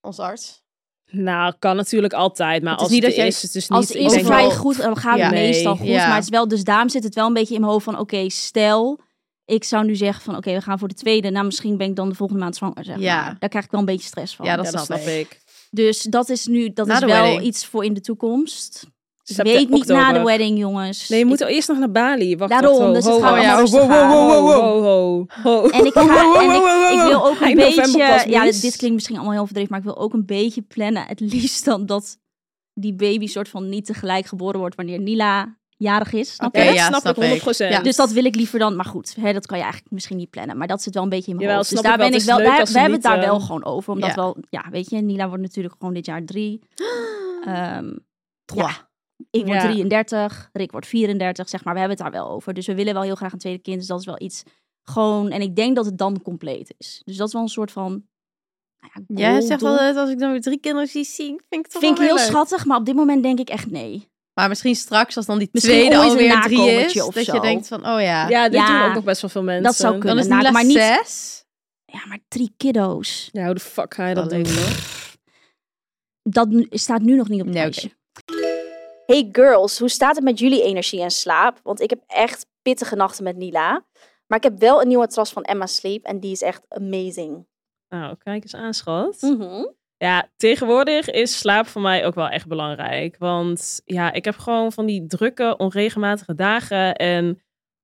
[SPEAKER 5] Als arts?
[SPEAKER 4] Nou, kan natuurlijk altijd. Maar
[SPEAKER 5] Het is
[SPEAKER 4] als
[SPEAKER 5] niet
[SPEAKER 4] het
[SPEAKER 5] dat
[SPEAKER 4] er
[SPEAKER 5] jij-
[SPEAKER 4] is, het is niet...
[SPEAKER 3] Als
[SPEAKER 4] ik
[SPEAKER 3] iets
[SPEAKER 4] denk
[SPEAKER 5] overal-
[SPEAKER 3] vrij goed dan gaat
[SPEAKER 5] Ja.
[SPEAKER 3] het meestal
[SPEAKER 4] Nee.
[SPEAKER 3] goed.
[SPEAKER 5] Ja.
[SPEAKER 3] Maar het is wel, dus daarom zit het wel een beetje in mijn hoofd van... Oké, stel ik zou nu zeggen van... Oké, we gaan voor de tweede. Nou, misschien ben ik dan de volgende maand zwanger, zeg
[SPEAKER 5] Ja.
[SPEAKER 3] maar. Daar krijg ik wel een beetje stress van.
[SPEAKER 5] Ja,
[SPEAKER 4] Ja,
[SPEAKER 5] dat snap ik.
[SPEAKER 3] Dus dat is nu... Dat
[SPEAKER 5] Na
[SPEAKER 3] is
[SPEAKER 5] de
[SPEAKER 3] wel
[SPEAKER 5] wedding.
[SPEAKER 3] iets voor in de toekomst. Ik
[SPEAKER 4] September-
[SPEAKER 3] weet niet na de
[SPEAKER 4] oktober.
[SPEAKER 3] wedding, jongens.
[SPEAKER 4] Nee, je
[SPEAKER 3] Ik-
[SPEAKER 4] moet al eerst nog naar Bali. Wacht,
[SPEAKER 3] Daarom,
[SPEAKER 4] wacht, ho,
[SPEAKER 3] dus het
[SPEAKER 4] ho,
[SPEAKER 3] gaat
[SPEAKER 4] ho,
[SPEAKER 3] allemaal
[SPEAKER 4] ho,
[SPEAKER 3] rustig
[SPEAKER 4] ho,
[SPEAKER 3] aan.
[SPEAKER 4] ho, ho, ho, ho,
[SPEAKER 3] En
[SPEAKER 4] ho.
[SPEAKER 3] ik, ga, en ik, ik wil ook een
[SPEAKER 4] Eind november pas,
[SPEAKER 3] beetje... Ja,
[SPEAKER 4] Mies.
[SPEAKER 3] dit, dit klinkt misschien allemaal heel verdreven, maar ik wil ook een beetje plannen. Het liefst dan dat die baby soort van niet tegelijk geboren wordt wanneer Nila jarig is. Snap
[SPEAKER 5] Oké,
[SPEAKER 3] je?
[SPEAKER 4] dat
[SPEAKER 5] ja,
[SPEAKER 4] snap
[SPEAKER 5] snap
[SPEAKER 4] ik
[SPEAKER 5] ik.
[SPEAKER 4] 100 procent.
[SPEAKER 5] Ja.
[SPEAKER 3] Dus dat wil ik liever dan. Maar goed, hè, dat kan je eigenlijk misschien niet plannen. Maar dat zit wel een beetje in mijn
[SPEAKER 4] Jawel,
[SPEAKER 3] hoofd. Dus
[SPEAKER 4] snap
[SPEAKER 3] daar
[SPEAKER 4] ik
[SPEAKER 3] ben ik
[SPEAKER 4] wel. Het is
[SPEAKER 3] wel.
[SPEAKER 4] leuk
[SPEAKER 3] daar-
[SPEAKER 4] als
[SPEAKER 3] we
[SPEAKER 4] ze
[SPEAKER 3] hebben het daar
[SPEAKER 4] niet,
[SPEAKER 3] wel
[SPEAKER 4] eh,
[SPEAKER 3] gewoon over. Omdat
[SPEAKER 5] Ja.
[SPEAKER 3] wel, ja, weet je, Nila wordt natuurlijk gewoon dit jaar drie. Ehm, ja. Ik word
[SPEAKER 4] Ja.
[SPEAKER 3] 33, Rick wordt 34, zeg maar. We hebben het daar wel over. Dus we willen wel heel graag een tweede kind. Dus dat is wel iets gewoon. En ik denk dat het dan compleet is. Dus dat is wel een soort van. nou ja,
[SPEAKER 5] Jij
[SPEAKER 3] goal,
[SPEAKER 5] zegt
[SPEAKER 3] doel.
[SPEAKER 5] altijd, als ik dan weer drie kinderen zie, zie ik- vind ik toch
[SPEAKER 3] Vind ik
[SPEAKER 5] wel
[SPEAKER 3] heel
[SPEAKER 5] weer leuk.
[SPEAKER 3] schattig, maar op dit moment denk ik echt nee.
[SPEAKER 5] Maar misschien straks, als dan die
[SPEAKER 3] Misschien
[SPEAKER 5] tweede
[SPEAKER 3] ooit een
[SPEAKER 5] alweer drie is,
[SPEAKER 3] nakomertje of
[SPEAKER 5] dat je
[SPEAKER 3] zo.
[SPEAKER 5] denkt van, oh ja,
[SPEAKER 4] Ja, dit
[SPEAKER 3] Ja.
[SPEAKER 4] doen ook nog best wel veel mensen.
[SPEAKER 3] Dat zou kunnen.
[SPEAKER 5] dan is
[SPEAKER 3] na-
[SPEAKER 5] Nila
[SPEAKER 3] maar niet-
[SPEAKER 5] zes.
[SPEAKER 3] Ja, maar drie kiddo's.
[SPEAKER 4] Ja, hoe de fuck ga je dat
[SPEAKER 5] Alleen
[SPEAKER 4] doen? hoor?
[SPEAKER 3] dat nu- staat nu nog niet op het
[SPEAKER 5] Nee,
[SPEAKER 3] lijstje. Hey girls, hoe staat het met jullie energie en slaap? Want ik heb echt pittige nachten met Nila. Maar ik heb wel een nieuwe matras van Emma Sleep en die is echt amazing.
[SPEAKER 4] Nou, kijk eens aan, schat.
[SPEAKER 3] Mhm.
[SPEAKER 4] Ja, tegenwoordig is slaap voor mij ook wel echt belangrijk. Want ja, ik heb gewoon van die drukke, onregelmatige dagen. En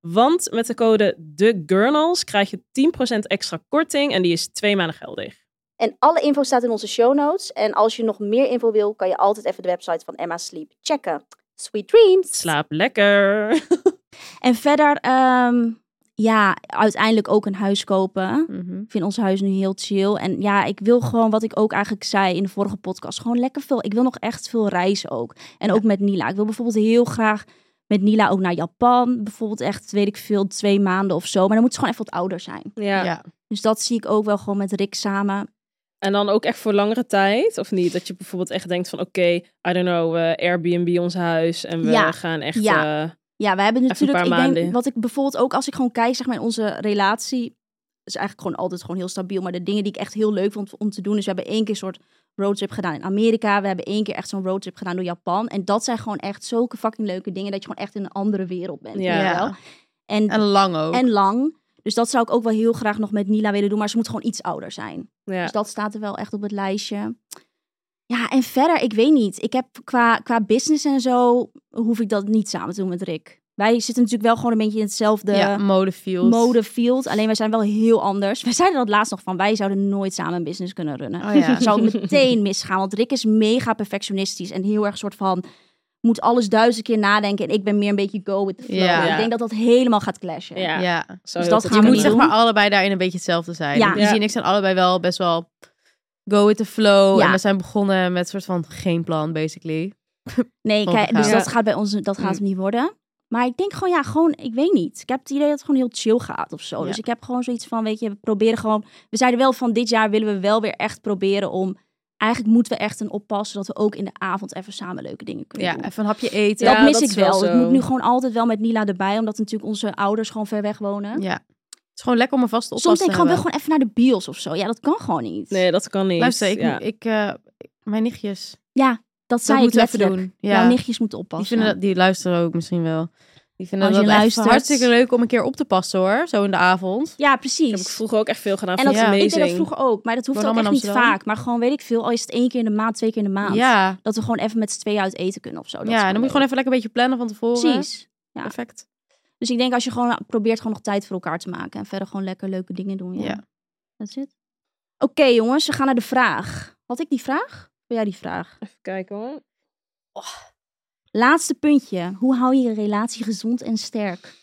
[SPEAKER 4] Want met de code TheGurnals krijg je 10% extra korting en die is twee maanden geldig.
[SPEAKER 1] En alle info staat in onze show notes. En als je nog meer info wil, kan je altijd even de website van Emma Sleep checken. Sweet dreams!
[SPEAKER 4] Slaap lekker.
[SPEAKER 3] En verder, ehm, ja, uiteindelijk ook een huis kopen.
[SPEAKER 5] Mhm.
[SPEAKER 3] Ik vind ons huis nu heel chill. En ja, ik wil gewoon, wat ik ook eigenlijk zei in de vorige podcast, gewoon lekker veel. Ik wil nog echt veel reizen ook. En ook met Nila. Ik wil bijvoorbeeld heel graag met Nila ook naar Japan. Bijvoorbeeld echt, weet ik veel, twee maanden of zo. Maar dan moet ze gewoon even wat ouder zijn.
[SPEAKER 4] Ja.
[SPEAKER 5] Ja.
[SPEAKER 3] Dus dat zie ik ook wel gewoon met Rick samen.
[SPEAKER 4] En dan ook echt voor langere tijd, of niet? Dat je bijvoorbeeld echt denkt van, oké, I don't know, eh, Airbnb ons huis en we
[SPEAKER 3] Ja.
[SPEAKER 4] gaan echt...
[SPEAKER 3] Ja.
[SPEAKER 4] eh,
[SPEAKER 3] Ja, we hebben
[SPEAKER 4] Even een
[SPEAKER 3] natuurlijk, ik
[SPEAKER 4] paar maanden.
[SPEAKER 3] denk, wat ik bijvoorbeeld ook, als ik gewoon kijk, zeg maar, in onze relatie, is eigenlijk gewoon altijd gewoon heel stabiel. Maar de dingen die ik echt heel leuk vond om te doen, is we hebben één keer een soort roadtrip gedaan in Amerika. We hebben één keer echt zo'n roadtrip gedaan door Japan. En dat zijn gewoon echt zulke fucking leuke dingen, dat je gewoon echt in een andere wereld bent.
[SPEAKER 4] Ja.
[SPEAKER 3] weet je wel? En,
[SPEAKER 5] En lang ook.
[SPEAKER 3] en lang. Dus dat zou ik ook wel heel graag nog met Nila willen doen, maar ze moet gewoon iets ouder zijn.
[SPEAKER 4] ja.
[SPEAKER 3] Dus dat staat er wel echt op het lijstje. Ja, en verder, ik weet niet. Ik heb qua, qua business en zo, hoef ik dat niet samen te doen met Rick. Wij zitten natuurlijk wel gewoon een beetje in hetzelfde
[SPEAKER 5] ja, modefield.
[SPEAKER 3] modefield. Alleen wij zijn wel heel anders. Wij zeiden dat laatst nog van, wij zouden nooit samen een business kunnen runnen.
[SPEAKER 5] Oh ja.
[SPEAKER 3] Het zou meteen misgaan, want Rick is mega perfectionistisch en heel erg soort van... Moet alles duizend keer nadenken en ik ben meer een beetje go with the flow.
[SPEAKER 5] Ja.
[SPEAKER 3] Ik denk dat dat helemaal gaat clashen.
[SPEAKER 4] Ja.
[SPEAKER 5] Ja.
[SPEAKER 4] Zou
[SPEAKER 3] Dus
[SPEAKER 4] heel
[SPEAKER 3] dat gaan we
[SPEAKER 4] goed
[SPEAKER 5] Je
[SPEAKER 4] kunnen.
[SPEAKER 5] moet zeg maar allebei daarin een beetje hetzelfde zijn.
[SPEAKER 3] Ja.
[SPEAKER 5] In die
[SPEAKER 4] Ja.
[SPEAKER 5] zin, ik zijn allebei wel best wel go with the flow.
[SPEAKER 3] Ja.
[SPEAKER 5] En we zijn begonnen met soort van geen plan, basically.
[SPEAKER 3] Nee, kijk, dus
[SPEAKER 5] Ondergaan.
[SPEAKER 3] dat gaat bij ons dat
[SPEAKER 5] Mm.
[SPEAKER 3] gaat hem niet worden. Maar ik denk gewoon, ja, gewoon, ik weet niet. Ik heb het idee dat het gewoon heel chill gaat of zo.
[SPEAKER 5] Ja.
[SPEAKER 3] Dus ik heb gewoon zoiets van, weet je, we proberen gewoon. We zeiden wel van dit jaar willen we wel weer echt proberen om. Eigenlijk moeten we echt een oppassen dat we ook in de avond even samen leuke dingen kunnen
[SPEAKER 5] Ja,
[SPEAKER 3] doen.
[SPEAKER 5] even een hapje eten.
[SPEAKER 3] Dat
[SPEAKER 4] Ja,
[SPEAKER 3] mis
[SPEAKER 4] dat
[SPEAKER 3] ik
[SPEAKER 4] is wel
[SPEAKER 3] wel. Ik
[SPEAKER 4] zo.
[SPEAKER 3] moet nu gewoon altijd wel met Nila erbij, omdat natuurlijk onze ouders gewoon ver weg wonen.
[SPEAKER 5] Ja. is gewoon lekker om een vaste oppas
[SPEAKER 3] Soms denk
[SPEAKER 5] te
[SPEAKER 3] ik gewoon wel
[SPEAKER 5] hebben.
[SPEAKER 3] gewoon even naar de bios of zo. Ja, dat kan gewoon niet.
[SPEAKER 4] Nee, dat kan niet.
[SPEAKER 5] Luister, ik,
[SPEAKER 4] ja.
[SPEAKER 5] ik, eh, mijn nichtjes.
[SPEAKER 3] dat
[SPEAKER 5] Dat
[SPEAKER 3] zei ik
[SPEAKER 5] moeten we even
[SPEAKER 3] letterlijk.
[SPEAKER 5] doen.
[SPEAKER 3] Jouw
[SPEAKER 5] Ja,
[SPEAKER 3] nichtjes moeten
[SPEAKER 5] die,
[SPEAKER 3] oppassen.
[SPEAKER 5] vinden dat, die luisteren ook misschien wel. Die vinden
[SPEAKER 3] Als
[SPEAKER 5] dat
[SPEAKER 3] je
[SPEAKER 5] echt
[SPEAKER 3] luistert.
[SPEAKER 5] hartstikke leuk om een keer op te passen hoor. Zo in de avond.
[SPEAKER 3] Ja,
[SPEAKER 4] Dat heb ik
[SPEAKER 3] precies.
[SPEAKER 4] vroeger ook echt veel gedaan.
[SPEAKER 3] En
[SPEAKER 4] Vond
[SPEAKER 3] dat,
[SPEAKER 4] ik
[SPEAKER 5] Ja.
[SPEAKER 4] amazing.
[SPEAKER 3] ik deed dat vroeger ook, maar dat hoeft
[SPEAKER 5] Woon
[SPEAKER 3] ook echt
[SPEAKER 5] allemaal
[SPEAKER 3] niet
[SPEAKER 5] in Amsterdam.
[SPEAKER 3] vaak. Maar gewoon, weet ik veel, al is het één keer in de maand, twee keer in de maand.
[SPEAKER 5] Ja,
[SPEAKER 3] Dat we gewoon even met z'n tweeën uit eten kunnen of zo. Dat is
[SPEAKER 5] ja dan moet je
[SPEAKER 3] leuk.
[SPEAKER 5] gewoon even lekker een beetje plannen van tevoren.
[SPEAKER 3] Precies. Ja.
[SPEAKER 5] Perfect.
[SPEAKER 3] Dus ik denk als je gewoon probeert gewoon nog tijd voor elkaar te maken. En verder gewoon lekker leuke dingen doen. Ja.
[SPEAKER 5] Ja.
[SPEAKER 3] Dat is het. Oké jongens, we gaan naar de vraag. Had ik die vraag? Wil jij die vraag?
[SPEAKER 4] Even kijken hoor.
[SPEAKER 3] Laatste puntje. Hoe hou je je relatie gezond en sterk?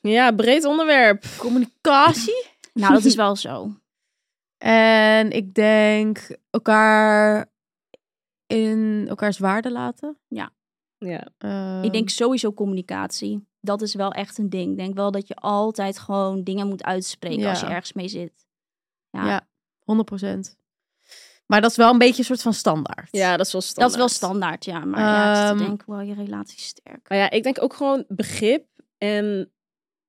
[SPEAKER 4] Ja, breed onderwerp.
[SPEAKER 5] Communicatie.
[SPEAKER 3] Nou, dat is wel zo.
[SPEAKER 5] En ik denk elkaar in elkaars waarde laten.
[SPEAKER 4] Ja.
[SPEAKER 5] Ehm,
[SPEAKER 3] Ik denk sowieso communicatie. Dat is wel echt een ding. Ik denk wel dat je altijd gewoon dingen moet uitspreken als je
[SPEAKER 5] Ja.
[SPEAKER 3] ergens mee zit.
[SPEAKER 5] ja. 100%. Maar dat is wel een beetje een soort van standaard.
[SPEAKER 4] ja, dat is wel standaard.
[SPEAKER 3] Dat is wel standaard, ja. Maar ja, ik zit te
[SPEAKER 5] Ehm,
[SPEAKER 3] denken, wel je relatie is sterk.
[SPEAKER 4] Maar ja, ik denk ook gewoon begrip en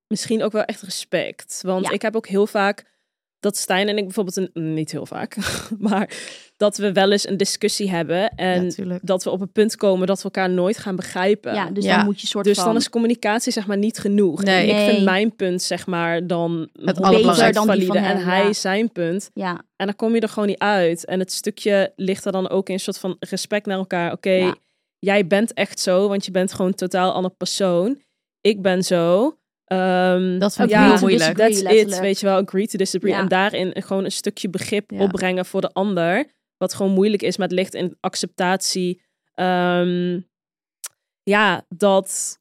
[SPEAKER 4] misschien ook wel echt respect. Want
[SPEAKER 3] Ja.
[SPEAKER 4] ik heb ook heel vaak dat Stijn en ik bijvoorbeeld, een, mm, niet heel vaak, maar dat we wel eens een discussie hebben
[SPEAKER 5] Ja,
[SPEAKER 4] en
[SPEAKER 5] natuurlijk.
[SPEAKER 4] dat we op een punt komen dat we elkaar nooit gaan begrijpen.
[SPEAKER 3] Ja, dus
[SPEAKER 5] ja.
[SPEAKER 3] dan moet je soort
[SPEAKER 4] dus
[SPEAKER 3] van...
[SPEAKER 4] dan is communicatie zeg maar niet genoeg. En
[SPEAKER 5] Nee.
[SPEAKER 4] Ik
[SPEAKER 3] Nee.
[SPEAKER 4] vind mijn punt zeg maar dan het
[SPEAKER 5] allerbelangrijkste.
[SPEAKER 4] dan
[SPEAKER 3] Dan die
[SPEAKER 4] valide
[SPEAKER 3] van
[SPEAKER 4] en
[SPEAKER 3] hem,
[SPEAKER 4] hij
[SPEAKER 3] ja.
[SPEAKER 4] zijn punt.
[SPEAKER 3] Ja,
[SPEAKER 4] En dan kom je er gewoon niet uit. En het stukje ligt er dan ook in een soort van respect naar elkaar. Oké,
[SPEAKER 3] Ja.
[SPEAKER 4] jij bent echt zo, want je bent gewoon een totaal ander persoon. Ik ben zo. Ehm,
[SPEAKER 5] Dat vind ik
[SPEAKER 4] ja,
[SPEAKER 5] heel
[SPEAKER 3] to
[SPEAKER 5] moeilijk.
[SPEAKER 3] disagree,
[SPEAKER 4] That's it,
[SPEAKER 3] letterlijk.
[SPEAKER 4] weet je wel. Agree to disagree.
[SPEAKER 3] Ja.
[SPEAKER 4] En daarin gewoon een stukje begrip
[SPEAKER 5] Ja.
[SPEAKER 4] opbrengen voor de ander. Wat gewoon moeilijk is, maar het ligt in acceptatie. Ehm, ja, dat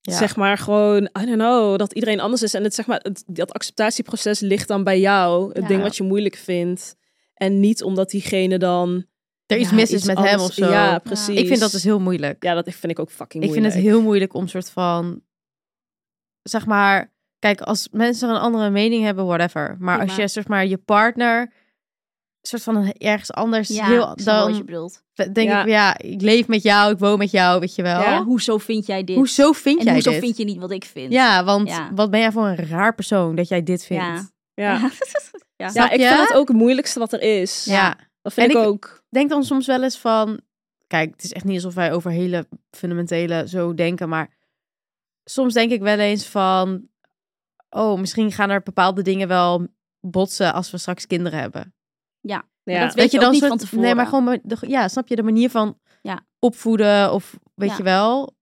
[SPEAKER 5] Ja.
[SPEAKER 4] zeg maar gewoon, I don't know, dat iedereen anders is. En het, zeg maar, het- dat acceptatieproces ligt dan bij jou. Het
[SPEAKER 3] Ja.
[SPEAKER 4] ding wat je moeilijk vindt. En niet omdat diegene dan...
[SPEAKER 5] Er iets
[SPEAKER 4] ja,
[SPEAKER 5] mis is met hem
[SPEAKER 4] anders-
[SPEAKER 5] of zo.
[SPEAKER 4] Ja, precies.
[SPEAKER 5] Ik vind dat dus heel moeilijk.
[SPEAKER 4] Ja, dat vind ik ook fucking
[SPEAKER 5] Ik vind
[SPEAKER 4] moeilijk.
[SPEAKER 5] het heel moeilijk om soort van, zeg maar, kijk, als mensen een andere mening hebben, whatever. Maar als
[SPEAKER 3] Prima.
[SPEAKER 5] je, zeg maar, je partner, soort van ergens anders,
[SPEAKER 3] ja
[SPEAKER 5] heel,
[SPEAKER 3] ik snap wel wat je
[SPEAKER 5] dan
[SPEAKER 3] bedoelt.
[SPEAKER 5] denk
[SPEAKER 4] Ja.
[SPEAKER 5] ik, ja, ik leef met jou, ik woon met jou, weet je wel.
[SPEAKER 3] Ja. hoezo vind jij dit?
[SPEAKER 5] Hoezo vind
[SPEAKER 3] en
[SPEAKER 5] jij
[SPEAKER 3] hoezo
[SPEAKER 5] dit?
[SPEAKER 3] vind je niet wat ik vind?
[SPEAKER 5] Ja, want
[SPEAKER 3] Ja.
[SPEAKER 5] wat ben jij voor een raar persoon dat jij dit vindt?
[SPEAKER 3] Ja.
[SPEAKER 4] Ja, ja.
[SPEAKER 3] Ja.
[SPEAKER 5] Snap
[SPEAKER 4] ik
[SPEAKER 5] je?
[SPEAKER 4] vind dat ook het moeilijkste wat er is.
[SPEAKER 5] Ja.
[SPEAKER 4] Dat vind
[SPEAKER 5] En
[SPEAKER 4] ik,
[SPEAKER 5] ik-
[SPEAKER 4] ook.
[SPEAKER 5] denk dan soms wel eens van. Kijk, het is echt niet alsof wij over hele fundamentele zo denken, maar soms denk ik wel eens van. Oh, misschien gaan er bepaalde dingen wel botsen als we straks kinderen hebben.
[SPEAKER 4] Ja.
[SPEAKER 3] dat weet je ook niet van tevoren.
[SPEAKER 5] Nee, maar gewoon, maar de, ja, snap je de manier van
[SPEAKER 3] Ja.
[SPEAKER 5] opvoeden of weet
[SPEAKER 3] Ja.
[SPEAKER 5] je wel,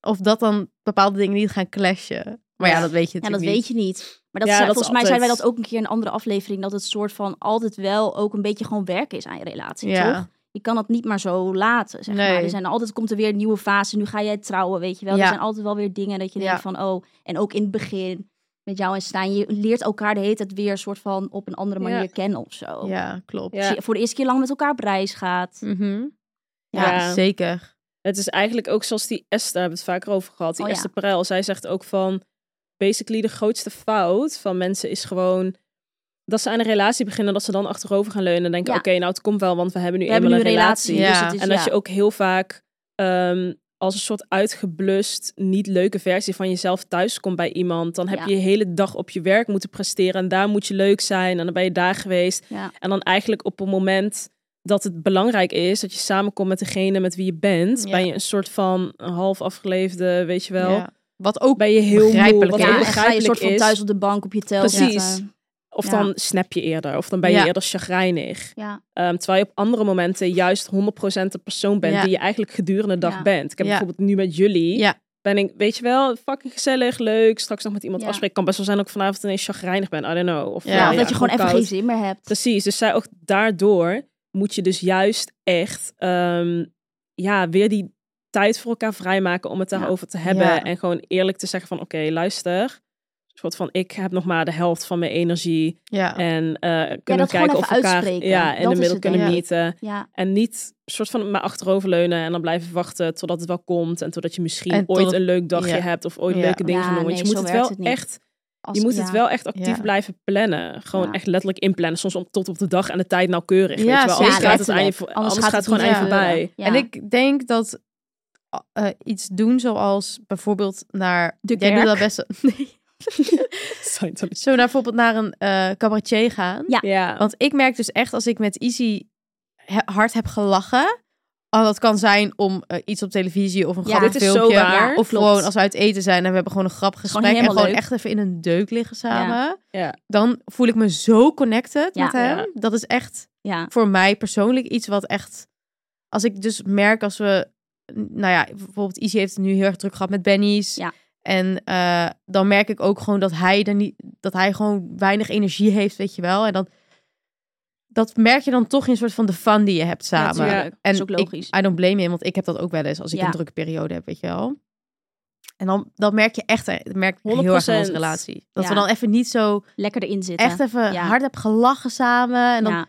[SPEAKER 5] of dat dan bepaalde dingen niet gaan clashen. Maar ja,
[SPEAKER 4] Ja.
[SPEAKER 5] dat weet je
[SPEAKER 3] Ja,
[SPEAKER 5] natuurlijk
[SPEAKER 3] dat
[SPEAKER 5] niet.
[SPEAKER 3] weet je niet. Maar dat
[SPEAKER 4] Ja,
[SPEAKER 3] zei-
[SPEAKER 4] dat is
[SPEAKER 3] volgens mij zijn wij
[SPEAKER 4] altijd-
[SPEAKER 3] dat ook een keer in een andere aflevering. Dat het soort van altijd wel ook een beetje gewoon werken is aan je relatie,
[SPEAKER 5] Ja.
[SPEAKER 3] toch? Je kan dat niet maar zo laten, zeg
[SPEAKER 5] Nee.
[SPEAKER 3] maar. Er zijn altijd, komt er weer een nieuwe fase. Nu ga jij trouwen, weet je wel.
[SPEAKER 5] Ja.
[SPEAKER 3] Er zijn altijd wel weer dingen dat je
[SPEAKER 5] Ja.
[SPEAKER 3] denkt van... Oh, en ook in het begin met jou en Stijn. Je leert elkaar de hele tijd weer soort van op een andere manier
[SPEAKER 4] Ja.
[SPEAKER 3] kennen of zo.
[SPEAKER 5] Ja, klopt.
[SPEAKER 4] Ja.
[SPEAKER 3] Als je voor de eerste keer lang met elkaar op reis gaat.
[SPEAKER 5] Mhm.
[SPEAKER 4] Ja.
[SPEAKER 5] ja, zeker.
[SPEAKER 4] Het is eigenlijk ook zoals die Esther, daar hebben we het vaker over gehad. Die
[SPEAKER 3] Oh ja.
[SPEAKER 4] Esther Perel, zij zegt ook van... Basically, de grootste fout van mensen is gewoon... Dat ze aan een relatie beginnen, dat ze dan achterover gaan leunen. En denken,
[SPEAKER 3] Ja.
[SPEAKER 4] oké, nou het komt wel, want we hebben nu
[SPEAKER 3] We hebben
[SPEAKER 4] eenmaal
[SPEAKER 3] nu een
[SPEAKER 4] een relatie.
[SPEAKER 3] relatie,
[SPEAKER 5] Ja.
[SPEAKER 3] dus het is,
[SPEAKER 4] En dat
[SPEAKER 3] ja.
[SPEAKER 4] je ook heel vaak ehm, als een soort uitgeblust, niet leuke versie van jezelf thuis komt bij iemand. Dan heb
[SPEAKER 3] Ja.
[SPEAKER 4] je je hele dag op je werk moeten presteren. En daar moet je leuk zijn. En dan ben je daar geweest.
[SPEAKER 3] Ja.
[SPEAKER 4] En dan eigenlijk op het moment dat het belangrijk is dat je samenkomt met degene met wie je bent,
[SPEAKER 5] Ja.
[SPEAKER 4] ben je een soort van een half afgeleefde, weet je wel.
[SPEAKER 5] Ja. Wat ook
[SPEAKER 4] Ben je heel moe,
[SPEAKER 5] Begrijpelijk
[SPEAKER 4] wat
[SPEAKER 5] is.
[SPEAKER 4] ook
[SPEAKER 3] Ja, en ga je
[SPEAKER 4] begrijpelijk
[SPEAKER 3] een soort van
[SPEAKER 4] is.
[SPEAKER 3] thuis op de bank op je tel
[SPEAKER 4] Precies.
[SPEAKER 3] zitten.
[SPEAKER 4] Of
[SPEAKER 3] Ja.
[SPEAKER 4] dan snap je eerder, of dan ben je
[SPEAKER 5] Ja.
[SPEAKER 4] eerder chagrijnig.
[SPEAKER 3] Ja.
[SPEAKER 4] Ehm, terwijl je op andere momenten juist 100% de persoon bent
[SPEAKER 5] Ja.
[SPEAKER 4] die je eigenlijk gedurende de dag
[SPEAKER 3] Ja.
[SPEAKER 4] bent. Ik heb
[SPEAKER 5] Ja.
[SPEAKER 4] bijvoorbeeld nu met jullie,
[SPEAKER 5] Ja.
[SPEAKER 4] ben ik, weet je wel, fucking gezellig, leuk, straks nog met iemand
[SPEAKER 3] Ja.
[SPEAKER 4] afspreken. Kan best wel zijn dat ik vanavond ineens chagrijnig ben, I don't know. Of,
[SPEAKER 5] Ja,
[SPEAKER 4] eh,
[SPEAKER 3] Ja, of dat je gewoon even
[SPEAKER 4] koud.
[SPEAKER 3] geen zin meer hebt.
[SPEAKER 4] Precies, dus zij ook daardoor moet je dus juist echt ehm, ja, weer die tijd voor elkaar vrijmaken om het
[SPEAKER 3] Ja.
[SPEAKER 4] daarover te hebben.
[SPEAKER 5] Ja.
[SPEAKER 4] En gewoon eerlijk te zeggen van oké, luister. Een soort van ik heb nog maar de helft van mijn energie.
[SPEAKER 5] ja.
[SPEAKER 4] En eh, kunnen
[SPEAKER 3] gewoon
[SPEAKER 4] we kijken
[SPEAKER 3] even
[SPEAKER 4] of we elkaar
[SPEAKER 3] uitspreken.
[SPEAKER 4] ja,
[SPEAKER 3] Dat
[SPEAKER 4] in de
[SPEAKER 3] is
[SPEAKER 4] middel
[SPEAKER 3] het,
[SPEAKER 4] kunnen
[SPEAKER 5] denk ik.
[SPEAKER 4] meten.
[SPEAKER 3] Ja.
[SPEAKER 4] En niet een soort van maar achteroverleunen en dan blijven wachten totdat het wel komt. En totdat je misschien
[SPEAKER 5] En
[SPEAKER 4] ooit
[SPEAKER 5] tot-
[SPEAKER 4] een leuk dagje
[SPEAKER 5] ja.
[SPEAKER 4] hebt of ooit
[SPEAKER 5] Ja.
[SPEAKER 4] leuke dingen
[SPEAKER 3] Ja,
[SPEAKER 4] gaan doen. Want
[SPEAKER 3] nee,
[SPEAKER 4] je
[SPEAKER 3] zo
[SPEAKER 4] moet het
[SPEAKER 3] werkt
[SPEAKER 4] wel
[SPEAKER 3] het niet.
[SPEAKER 4] echt
[SPEAKER 3] Als-
[SPEAKER 4] je moet
[SPEAKER 3] ja.
[SPEAKER 4] het wel echt actief
[SPEAKER 5] Ja.
[SPEAKER 4] blijven plannen. Gewoon
[SPEAKER 3] Ja.
[SPEAKER 4] echt letterlijk inplannen. Soms om, tot op de dag en de tijd nauwkeurig.
[SPEAKER 5] Ja,
[SPEAKER 4] weet je wel. Anders
[SPEAKER 5] zeker.
[SPEAKER 4] gaat het, aan je, vo-
[SPEAKER 3] Letterlijk.
[SPEAKER 4] anders gaat het gewoon
[SPEAKER 3] niet
[SPEAKER 4] aan je
[SPEAKER 3] gebeuren.
[SPEAKER 4] voorbij.
[SPEAKER 3] Ja.
[SPEAKER 5] En ik denk dat eh, iets doen zoals bijvoorbeeld naar...
[SPEAKER 3] De
[SPEAKER 5] Jij doet
[SPEAKER 3] kerk.
[SPEAKER 5] dat best... Nee. Zullen
[SPEAKER 4] Scientology.
[SPEAKER 5] we nou bijvoorbeeld naar een eh cabaretier gaan?
[SPEAKER 4] Ja.
[SPEAKER 5] Want ik merk dus echt als ik met Izzy he- hard heb gelachen. Al dat kan zijn om eh, iets op televisie of een
[SPEAKER 3] Ja,
[SPEAKER 5] grappig
[SPEAKER 4] dit is zo
[SPEAKER 5] filmpje.
[SPEAKER 4] waar.
[SPEAKER 5] of
[SPEAKER 3] Klopt.
[SPEAKER 5] gewoon als we uit eten zijn en we hebben gewoon een grappig
[SPEAKER 3] Gewoon
[SPEAKER 5] gesprek. en
[SPEAKER 3] helemaal
[SPEAKER 5] gewoon
[SPEAKER 3] leuk.
[SPEAKER 5] echt even in een deuk liggen samen.
[SPEAKER 4] Ja.
[SPEAKER 5] Dan voel ik me zo connected
[SPEAKER 3] Ja.
[SPEAKER 5] met hem.
[SPEAKER 4] Ja.
[SPEAKER 5] Dat is echt
[SPEAKER 3] Ja.
[SPEAKER 5] voor mij persoonlijk iets wat echt... Als ik dus merk als we... Nou ja, bijvoorbeeld Izzy heeft het nu heel erg druk gehad met Benny's.
[SPEAKER 3] Ja.
[SPEAKER 5] En eh, dan merk ik ook gewoon dat hij, er niet, dat hij gewoon weinig energie heeft, weet je wel. En dan, dat merk je dan toch in een soort van de fun die je hebt samen.
[SPEAKER 4] tuurlijk.
[SPEAKER 5] en
[SPEAKER 3] Dat is ook
[SPEAKER 5] ik-
[SPEAKER 3] logisch.
[SPEAKER 5] I don't blame him, want ik heb dat ook wel eens als ik
[SPEAKER 3] Ja.
[SPEAKER 5] een drukke periode heb, weet je wel. En dan, dat merk je echt, eh, dat merk ik heel erg in onze
[SPEAKER 4] 100%.
[SPEAKER 5] relatie. Dat we
[SPEAKER 3] Ja.
[SPEAKER 5] dan even niet zo,
[SPEAKER 3] Lekker erin zitten.
[SPEAKER 5] echt even
[SPEAKER 3] Ja.
[SPEAKER 5] hard hebben gelachen samen. En dan
[SPEAKER 3] ja.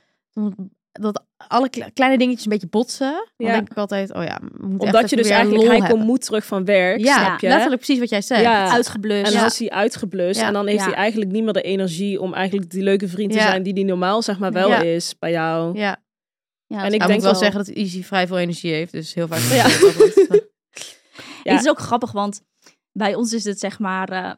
[SPEAKER 5] dat alle kle- kleine dingetjes een beetje botsen. Dan
[SPEAKER 4] Ja.
[SPEAKER 5] denk ik altijd, oh ja, we moeten echt
[SPEAKER 4] Omdat je
[SPEAKER 5] even
[SPEAKER 4] dus
[SPEAKER 5] weer
[SPEAKER 4] eigenlijk,
[SPEAKER 5] lol
[SPEAKER 4] hij
[SPEAKER 5] hebben.
[SPEAKER 4] komt moe terug van werk,
[SPEAKER 5] Ja,
[SPEAKER 4] snap je?
[SPEAKER 5] letterlijk precies wat jij zegt.
[SPEAKER 4] Ja.
[SPEAKER 3] Uitgeblust.
[SPEAKER 4] En dan
[SPEAKER 5] Ja.
[SPEAKER 4] is hij uitgeblust
[SPEAKER 5] Ja.
[SPEAKER 4] en dan heeft
[SPEAKER 3] Ja.
[SPEAKER 4] hij eigenlijk niet meer de energie om eigenlijk die leuke vriend te
[SPEAKER 5] Ja.
[SPEAKER 4] zijn die die normaal zeg maar wel
[SPEAKER 5] Ja.
[SPEAKER 4] is bij jou.
[SPEAKER 5] Ja.
[SPEAKER 3] Ja,
[SPEAKER 4] en
[SPEAKER 3] dat-
[SPEAKER 4] ik
[SPEAKER 5] Ik
[SPEAKER 4] denk
[SPEAKER 5] moet wel
[SPEAKER 4] wel-
[SPEAKER 5] zeggen dat Easy vrij veel energie heeft, dus heel vaak.
[SPEAKER 4] Ja. Ja.
[SPEAKER 3] Het is ook grappig, want bij ons is het zeg maar. eh,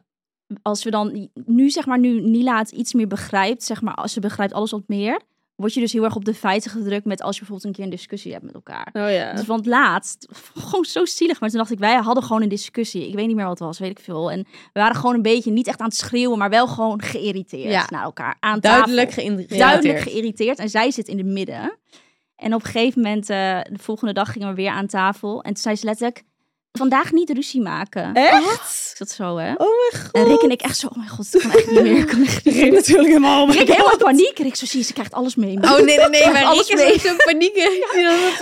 [SPEAKER 3] als we dan nu zeg maar, nu Nila het iets meer begrijpt, zeg maar, als ze begrijpt alles wat meer, word je dus heel erg op de feiten gedrukt met als je bijvoorbeeld een keer een discussie hebt met elkaar.
[SPEAKER 4] Oh ja.
[SPEAKER 3] Dus want laatst, gewoon zo zielig, maar toen dacht ik, wij hadden gewoon een discussie. Ik weet niet meer wat het was, weet ik veel. En we waren gewoon een beetje niet echt aan het schreeuwen, maar wel gewoon geïrriteerd
[SPEAKER 5] Ja.
[SPEAKER 3] naar elkaar. Aan
[SPEAKER 5] Duidelijk
[SPEAKER 3] tafel.
[SPEAKER 5] geïnteresseerd.
[SPEAKER 3] duidelijk geïrriteerd. En zij zit in de midden. En op een gegeven moment, eh, de volgende dag gingen we weer aan tafel. En toen zei ze letterlijk, vandaag niet ruzie maken.
[SPEAKER 4] Echt?
[SPEAKER 3] Is dat zo, hè?
[SPEAKER 4] Oh mijn god.
[SPEAKER 3] En Rick en ik echt zo, oh mijn god, ik kan echt niet meer. Ik kan echt niet
[SPEAKER 4] Rick
[SPEAKER 3] meer.
[SPEAKER 4] natuurlijk helemaal. oh my
[SPEAKER 3] Rick
[SPEAKER 4] god.
[SPEAKER 3] helemaal in paniek. Rick zo, zie je, ze krijgt alles mee. Maar,
[SPEAKER 5] Oh nee, nee, nee, maar
[SPEAKER 3] Alles
[SPEAKER 5] Riek is
[SPEAKER 3] mee.
[SPEAKER 5] ook zo'n paniek.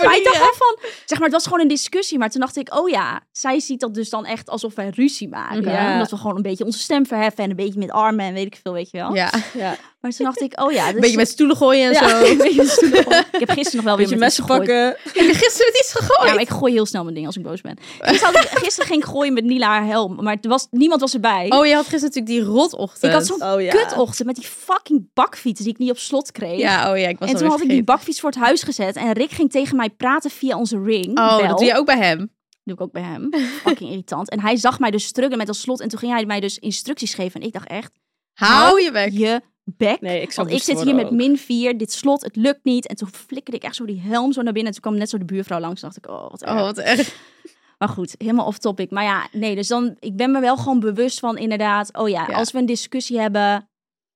[SPEAKER 3] maar ik dacht wel van, zeg maar, het was gewoon een discussie. Maar toen dacht ik, oh ja, zij ziet dat dus dan echt alsof wij ruzie maken.
[SPEAKER 4] Ja.
[SPEAKER 3] Omdat we gewoon een beetje onze stem verheffen en een beetje met armen en weet ik veel, weet je wel.
[SPEAKER 5] Ja,
[SPEAKER 4] Ja.
[SPEAKER 3] Maar toen dacht ik, oh ja. Dus,
[SPEAKER 5] een beetje met stoelen gooien en
[SPEAKER 3] Ja,
[SPEAKER 5] zo.
[SPEAKER 3] een beetje met stoelen. Ik heb gisteren nog wel weer
[SPEAKER 4] Beetje
[SPEAKER 3] met iets
[SPEAKER 4] messen
[SPEAKER 3] gegooid.
[SPEAKER 4] pakken.
[SPEAKER 5] Heb je gisteren met iets gegooid?
[SPEAKER 3] Ja, maar ik gooi heel snel mijn ding als ik boos ben. Gisteren, had ik- gisteren ging ik gooien met Nila haar helm, maar er was, niemand was erbij.
[SPEAKER 5] Oh, je had gisteren natuurlijk die rotochtend.
[SPEAKER 3] ik had zo'n
[SPEAKER 4] Oh ja.
[SPEAKER 3] kutochtend met die fucking bakfiets die ik niet op slot kreeg.
[SPEAKER 5] Ja, oh ja, ik was
[SPEAKER 3] en
[SPEAKER 5] alweer
[SPEAKER 3] toen had ik die
[SPEAKER 5] vergeten.
[SPEAKER 3] bakfiets voor het huis gezet. En Rick ging tegen mij praten via onze ring.
[SPEAKER 5] Oh,
[SPEAKER 3] bel.
[SPEAKER 5] dat doe je ook bij hem.
[SPEAKER 3] doe ik ook bij hem. Fucking irritant. En hij zag mij dus struggelen met dat slot. En toen ging hij mij dus instructies geven. En ik dacht echt,
[SPEAKER 5] Hou je weg.
[SPEAKER 3] je bek.
[SPEAKER 4] Nee, ik zou
[SPEAKER 3] Want ik
[SPEAKER 4] woest
[SPEAKER 3] zit hier
[SPEAKER 4] worden
[SPEAKER 3] met
[SPEAKER 4] ook.
[SPEAKER 3] min 4, dit slot, het lukt niet. En toen flikkerde ik echt zo die helm zo naar binnen. En toen kwam net zo de buurvrouw langs. En dacht ik, oh, wat erg.
[SPEAKER 5] Oh, wat erg.
[SPEAKER 3] Maar goed, helemaal off topic. Maar ja, nee, dus dan, ik ben me wel gewoon bewust van inderdaad, oh ja,
[SPEAKER 5] Ja.
[SPEAKER 3] als we een discussie hebben,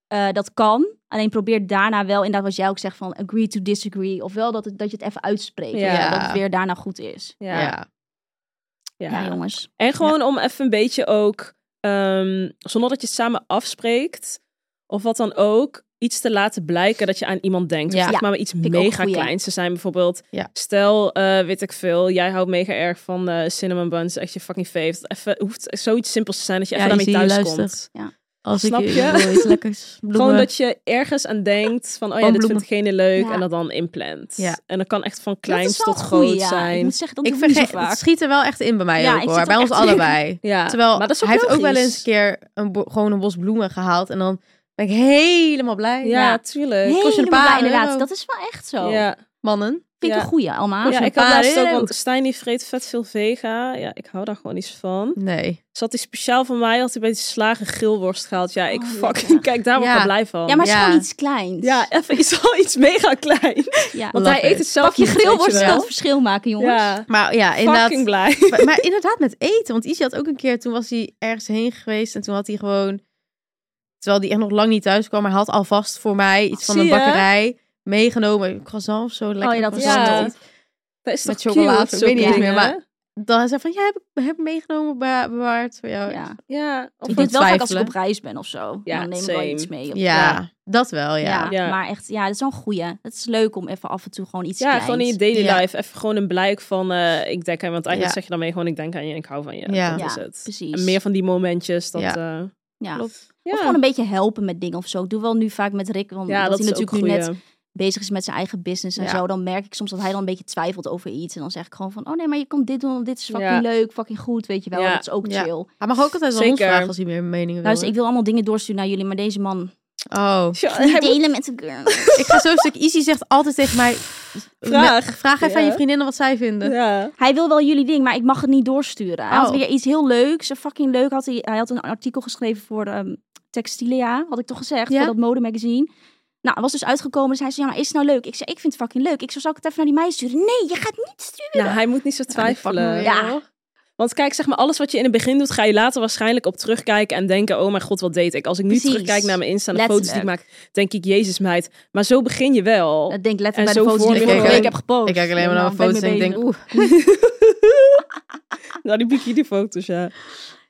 [SPEAKER 3] eh, dat kan. Alleen probeer daarna wel, inderdaad wat jij ook zegt van agree to disagree. Ofwel dat, het, dat je het even uitspreekt,
[SPEAKER 4] Ja.
[SPEAKER 3] ja. dat het weer daarna goed is.
[SPEAKER 5] Ja.
[SPEAKER 4] Ja.
[SPEAKER 3] Ja,
[SPEAKER 4] ja.
[SPEAKER 3] jongens.
[SPEAKER 4] En gewoon om even een beetje ook, ehm, zonder dat je het samen afspreekt, of wat dan ook, iets te laten blijken dat je aan iemand denkt.
[SPEAKER 5] Ja.
[SPEAKER 4] Ja.
[SPEAKER 3] Ja,
[SPEAKER 4] maar iets
[SPEAKER 3] ik ook
[SPEAKER 4] mega
[SPEAKER 3] een goeie.
[SPEAKER 4] kleins te zijn, bijvoorbeeld.
[SPEAKER 5] Ja.
[SPEAKER 4] Stel, eh, weet ik veel, jij houdt mega erg van eh, cinnamon buns, echt je fucking fave. Dat Even, hoeft zoiets simpels te zijn dat je
[SPEAKER 5] Ja,
[SPEAKER 4] even daarmee
[SPEAKER 5] Izzy,
[SPEAKER 4] thuis
[SPEAKER 5] luister.
[SPEAKER 4] komt.
[SPEAKER 5] Als
[SPEAKER 4] Snap
[SPEAKER 5] ik
[SPEAKER 4] je?
[SPEAKER 5] wil iets lekkers.
[SPEAKER 4] Gewoon
[SPEAKER 5] bloemen.
[SPEAKER 4] dat je ergens aan denkt van, oh ja, dit
[SPEAKER 5] Palmbloemen.
[SPEAKER 4] vindt degene leuk
[SPEAKER 3] Ja.
[SPEAKER 4] en dat dan inplant.
[SPEAKER 5] Ja.
[SPEAKER 4] En dat kan echt van
[SPEAKER 3] dat
[SPEAKER 4] kleins
[SPEAKER 3] is wel
[SPEAKER 4] tot
[SPEAKER 3] een goeie,
[SPEAKER 4] groot
[SPEAKER 3] ja. Ik
[SPEAKER 4] zijn.
[SPEAKER 3] moet zeggen, dat
[SPEAKER 5] Ik
[SPEAKER 3] doe ik niet
[SPEAKER 5] vergeet,
[SPEAKER 3] zo
[SPEAKER 5] het
[SPEAKER 3] vaak.
[SPEAKER 5] schiet er wel echt in bij mij
[SPEAKER 3] Ja,
[SPEAKER 5] ook
[SPEAKER 3] ik
[SPEAKER 5] hoor.
[SPEAKER 3] zit
[SPEAKER 5] Bij
[SPEAKER 3] ook
[SPEAKER 5] ons
[SPEAKER 3] echt-
[SPEAKER 5] allebei.
[SPEAKER 4] Ja,
[SPEAKER 5] Terwijl
[SPEAKER 4] maar dat is ook
[SPEAKER 5] hij heeft ook wel
[SPEAKER 4] logisch.
[SPEAKER 5] eens een keer een bo- gewoon een bos bloemen gehaald. En dan ben ik helemaal blij.
[SPEAKER 4] Ja,
[SPEAKER 3] Ja.
[SPEAKER 4] tuurlijk.
[SPEAKER 3] Helemaal
[SPEAKER 5] kost je een
[SPEAKER 3] blij,
[SPEAKER 5] paar
[SPEAKER 3] inderdaad.
[SPEAKER 5] euro.
[SPEAKER 3] Dat is wel echt zo.
[SPEAKER 4] Ja.
[SPEAKER 5] Mannen.
[SPEAKER 3] Vind ik
[SPEAKER 4] Ja.
[SPEAKER 3] een goeie, allemaal.
[SPEAKER 4] Ja,
[SPEAKER 5] zo'n
[SPEAKER 4] ik had
[SPEAKER 5] paar
[SPEAKER 4] laatst ook,
[SPEAKER 5] euro.
[SPEAKER 4] want Stijn die vreet vet veel vega. Ja, ik hou daar gewoon niet zo van.
[SPEAKER 5] Nee.
[SPEAKER 4] Dus had hij speciaal voor mij, had hij bij die slagen grilworst gehaald. Ja, ik
[SPEAKER 3] Oh,
[SPEAKER 4] fucking,
[SPEAKER 3] lekker.
[SPEAKER 4] kijk, daar word ik
[SPEAKER 5] Ja.
[SPEAKER 4] wel blij van.
[SPEAKER 3] Ja, maar het is
[SPEAKER 5] Ja.
[SPEAKER 3] gewoon iets kleins.
[SPEAKER 4] Ja, even iets, wel iets mega klein.
[SPEAKER 3] Ja.
[SPEAKER 4] Want
[SPEAKER 5] Love
[SPEAKER 4] hij eet
[SPEAKER 5] it.
[SPEAKER 4] het zelf
[SPEAKER 3] Pak je
[SPEAKER 4] niet, weet
[SPEAKER 3] grillworst
[SPEAKER 4] wel.
[SPEAKER 3] kan het verschil maken, jongens.
[SPEAKER 4] Ja,
[SPEAKER 5] Maar ja, inderdaad.
[SPEAKER 4] fucking blij.
[SPEAKER 5] maar, maar inderdaad met eten. Want Izzy had ook een keer, toen was hij ergens heen geweest en toen had hij gewoon, terwijl hij echt nog lang niet thuis kwam, maar hij had alvast voor mij iets van
[SPEAKER 4] Zie
[SPEAKER 5] een
[SPEAKER 4] je?
[SPEAKER 5] bakkerij meegenomen. Een croissant of zo, lekker
[SPEAKER 3] Oh ja, dat is
[SPEAKER 5] croissant.
[SPEAKER 4] Ja.
[SPEAKER 5] of iets.
[SPEAKER 4] Dat is
[SPEAKER 5] Met
[SPEAKER 4] toch
[SPEAKER 5] chocolade,
[SPEAKER 4] cute,
[SPEAKER 5] ik weet niet eens meer,
[SPEAKER 4] zulke
[SPEAKER 5] maar-
[SPEAKER 4] dingen.
[SPEAKER 5] Dan zei hij van, ja, heb ik, heb ik meegenomen be- bewaard voor jou.
[SPEAKER 3] Ja.
[SPEAKER 4] Ja, of
[SPEAKER 3] Ik doe
[SPEAKER 5] van
[SPEAKER 3] het wel vaak als ik
[SPEAKER 5] twijfelen.
[SPEAKER 3] op reis ben of zo.
[SPEAKER 4] Ja,
[SPEAKER 3] dan neem ik wel
[SPEAKER 4] same.
[SPEAKER 3] iets mee. Of-
[SPEAKER 5] Ja, dat wel, ja.
[SPEAKER 3] Ja,
[SPEAKER 4] Ja.
[SPEAKER 3] maar echt, ja, dat is wel een goeie. Het is leuk om even af en toe gewoon iets
[SPEAKER 4] ja
[SPEAKER 3] kleins.
[SPEAKER 4] gewoon in je daily
[SPEAKER 5] Ja.
[SPEAKER 4] life. Even gewoon een blijk van, eh, ik denk aan je. Want eigenlijk
[SPEAKER 5] Ja.
[SPEAKER 4] zeg je daarmee gewoon, ik denk aan je en ik hou van je.
[SPEAKER 5] Ja.
[SPEAKER 4] Dat
[SPEAKER 3] Ja,
[SPEAKER 4] is het.
[SPEAKER 3] precies.
[SPEAKER 4] En meer van die momentjes. Dat,
[SPEAKER 5] Ja.
[SPEAKER 4] eh,
[SPEAKER 3] Ja.
[SPEAKER 4] klopt.
[SPEAKER 3] Of
[SPEAKER 4] Ja,
[SPEAKER 3] gewoon een beetje helpen met dingen of zo. Ik doe wel nu vaak met Rick, want
[SPEAKER 4] ja
[SPEAKER 3] omdat
[SPEAKER 4] dat is
[SPEAKER 3] hij
[SPEAKER 4] natuurlijk
[SPEAKER 3] natuurlijk
[SPEAKER 4] ook
[SPEAKER 3] nu
[SPEAKER 4] goeie.
[SPEAKER 3] net bezig is met zijn eigen business en
[SPEAKER 5] Ja.
[SPEAKER 3] zo. Dan merk ik soms dat hij dan een beetje twijfelt over iets. En dan zeg ik gewoon van, oh nee, maar je kan dit doen, want dit is fucking
[SPEAKER 4] Ja.
[SPEAKER 3] leuk, fucking goed, weet je wel.
[SPEAKER 4] Ja.
[SPEAKER 3] Dat is ook
[SPEAKER 5] Ja.
[SPEAKER 3] chill.
[SPEAKER 5] Hij mag ook altijd wel ons
[SPEAKER 4] Zeker.
[SPEAKER 5] vragen als hij meer meningen wil.
[SPEAKER 3] Luister, ik wil allemaal dingen doorsturen naar jullie, maar deze man...
[SPEAKER 5] Oh,
[SPEAKER 4] Ja, hij
[SPEAKER 3] Niet
[SPEAKER 4] moet-
[SPEAKER 3] delen met een girl.
[SPEAKER 5] ik ga zo'n stuk. Izzy zegt altijd tegen mij,
[SPEAKER 4] Vraag.
[SPEAKER 5] me- vraag even aan
[SPEAKER 4] Ja.
[SPEAKER 5] je vriendinnen wat zij vinden.
[SPEAKER 4] Ja.
[SPEAKER 3] Hij wil wel jullie ding, maar ik mag het niet doorsturen. Hij had
[SPEAKER 5] Oh.
[SPEAKER 3] weer iets heel leuks. Een fucking leuk. Had hij, hij had een artikel geschreven voor ehm, Textilia, had ik toch gezegd,
[SPEAKER 7] Ja.
[SPEAKER 3] voor dat modemagazine. Nou, het was dus uitgekomen. Zei ze, ja, maar is het nou leuk? Ik zei, ik vind het fucking leuk. Ik zou, zal ik het even naar die meisjes sturen? Nee, je gaat niet sturen.
[SPEAKER 4] Nou, hij moet niet zo twijfelen.
[SPEAKER 3] Ja,
[SPEAKER 4] Want kijk, zeg maar, alles wat je in het begin doet, ga je later waarschijnlijk op terugkijken en denken: oh mijn god, wat deed ik? Als ik nu
[SPEAKER 3] Precies.
[SPEAKER 4] terugkijk naar mijn Insta en de foto's die ik
[SPEAKER 3] Letterlijk.
[SPEAKER 4] maak, denk ik: Jezus, meid. Maar zo begin je
[SPEAKER 3] dat
[SPEAKER 4] wel.
[SPEAKER 3] denk ik
[SPEAKER 4] En
[SPEAKER 3] letterlijk
[SPEAKER 4] zo
[SPEAKER 3] bij de foto's die ik
[SPEAKER 4] vorm je
[SPEAKER 3] vorige week heb
[SPEAKER 5] gewoon-
[SPEAKER 3] gepost.
[SPEAKER 5] Ik kijk alleen maar naar mijn
[SPEAKER 3] ben
[SPEAKER 5] foto's en ik
[SPEAKER 3] mee
[SPEAKER 5] denk,
[SPEAKER 3] bezig.
[SPEAKER 5] oeh.
[SPEAKER 4] nou, die bikini-foto's, ja.